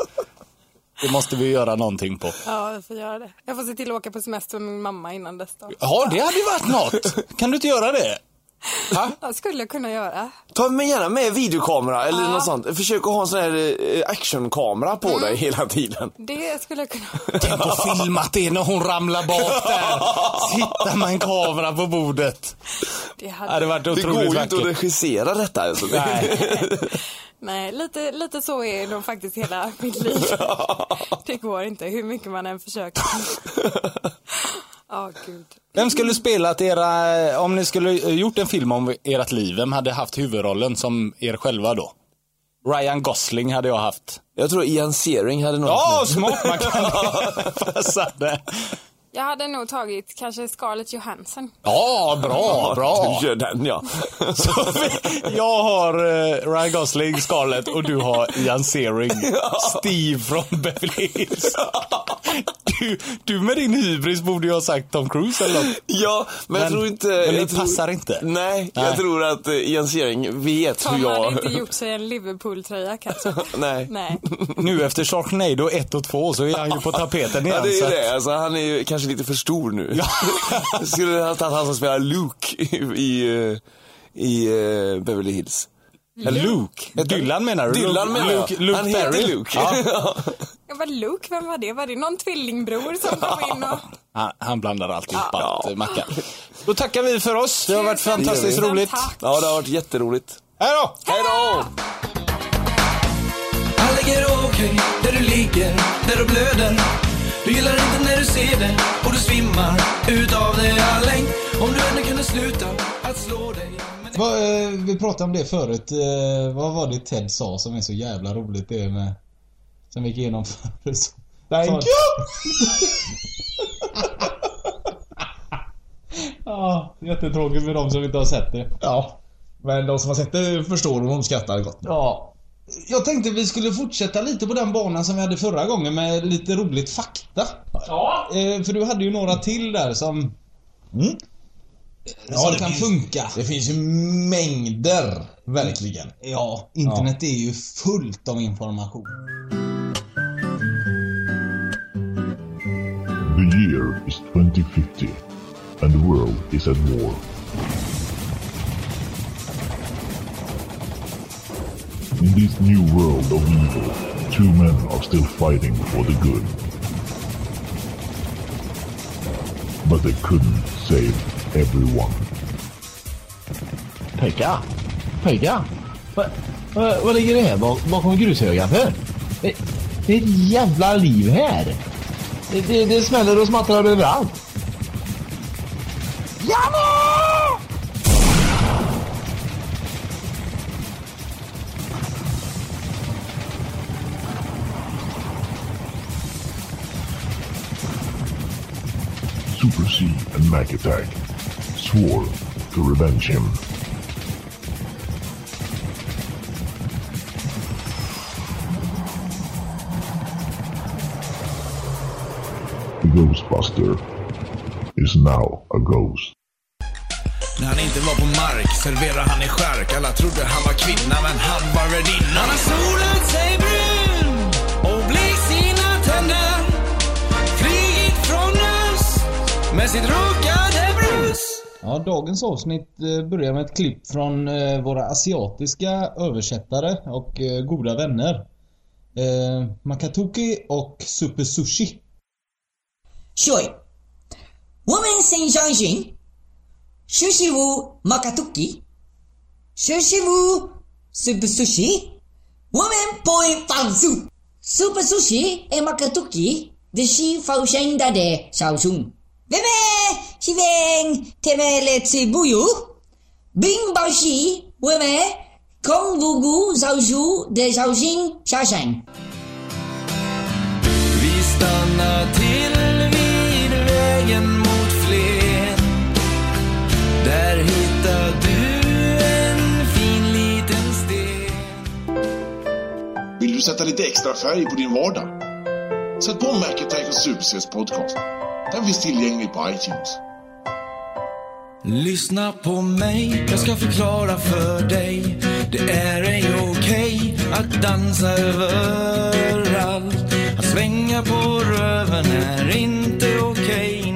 det måste vi göra någonting på.
Ja, vi får göra det. Jag får se till att åka på semester med min mamma innan dess då.
Ja, det hade ju varit något. Kan du inte göra det?
Det skulle jag kunna göra.
Ta med gärna med videokamera eller något sånt. Försök att ha en sån här eh, actionkamera på
Mm.
dig hela tiden.
Det skulle jag kunna.
Tänk på filmat det när hon ramlar bak där. Sitta med en kamera på bordet.
Det
Det hade
hade...
varit
Det
otroligt
går ju inte
vackert.
att regissera detta. Alltså.
Nej.
Nej, lite, lite så är nog faktiskt hela mitt liv. Det går inte, hur mycket man än försöker. Ja, gud.
Vem skulle spelat era, om ni skulle eh, gjort en film om ert liv, vem hade haft huvudrollen som er själva då? Ryan Gosling hade jag haft.
Jag tror Ian Searing hade något.
Ja, smart! Man kan passa det.
Jag hade nog tagit kanske Scarlett Johansson.
Ja, bra, bra.
Du gör den ja.
Så vi, jag har eh, Ryan Gosling, Scarlett och du har Ian Searing. Steve från Beverly Hills. Du, du med din hybris borde ju ha sagt Tom Cruise eller något.
Ja, men, jag
Men-
tror inte...
men det
jag tror,
passar inte.
Nej,
Nej.
jag tror att eh, Ian Searing vet
Tom
hur jag...
hade inte gjort sig en Liverpool-tröja kanske.
Nej.
Nej.
Nu efter Sharknado 1 och 2 så är han ju på tapeten igen.
Ja, det är
så
ju
att-
det. Alltså, han är ju kanske lite för stor nu. Skulle ha tagit han som spelar Luke i, i, eh, i eh, Beverly Hills. Eller
Luke? Dylan menar du?
Dylan menar jag.
Luke, Luke
han heter
Perry.
Luke.
Ja.
Jag var Luke, vem var det? Var det någon tvillingbror som kom in och...
Han, Ah, han blandar alltid ihop
Ah,
allt, eh, Mackan. Då tackar vi för oss. Det har varit
Tusen
fantastiskt
tack.
roligt.
Ja, det har varit jätteroligt.
Hej då!
Hej då!
Han lägger omkring där du ligger, där du blöder. Du gillar inte när du ser det och du svimmar utav det all längd. Om du ännu kunde sluta att slå dig.
Vad, eh, vi pratade om det förut. Eh, vad var det Ted sa som är så jävla roligt det med... Som vi gick igenom förut.
Thank
you! ja, jättetråkigt för de som inte har sett det. Ja. Men de som har sett det förstår och de skrattar gott. Ja. Jag tänkte vi skulle fortsätta lite på den banan som vi hade förra gången med lite roligt fakta. Ja. Eh, för du hade ju några till där som... Mm. som kan funka.
Det finns ju mängder. Verkligen.
Ja, internet är ju fullt av information.
is 2050 and the world is at war. In this new world of evil, two men are still fighting for the good. But they couldn't save everyone.
Pojkar! Pojkar! Vad va, vad ligger det här bak, bakom grushögen för? Det, det är ett jävla liv här! Det, det, det smäller och smattrar överallt! Janne!
Super C and Mac Attack swore to revenge him. The Ghostbuster is now a ghost.
När han inte var på mark serverar han i skärk Alla trodde han var kvinna men han var värdinna Han har solat sig brun och blekt sina tänder Flygit från öst med sitt ruckade brus
Ja, dagens avsnitt eh, börjar med ett klipp från eh, våra asiatiska översättare och eh, goda vänner. Eh, Makatoki och Super Sushi.
Sure. Woman Sen Shanshin. Sushi wo Makatoki. Sushi wo Super Sushi. Woman Point Fansu. Super Sushi e Makatoki. Deshi Faushen Dade Shaoshun. Bebe! Shiveng! Temele Tsubuyu. Bing Bashi. Weme. Kong Wugu Shaoshu de Shaoshin Shashang.
Vi stannar till vid vägen mot Flen Där hittar du en fin liten sten
Vill du sätta lite extra färg på din vardag? Sätt på Mac Attack och Supersets podcast. Den finns tillgänglig på iTunes.
Lyssna på mig, jag ska förklara för dig. Det är ej okej att dansa överallt. Att svänga på röven är inte okej.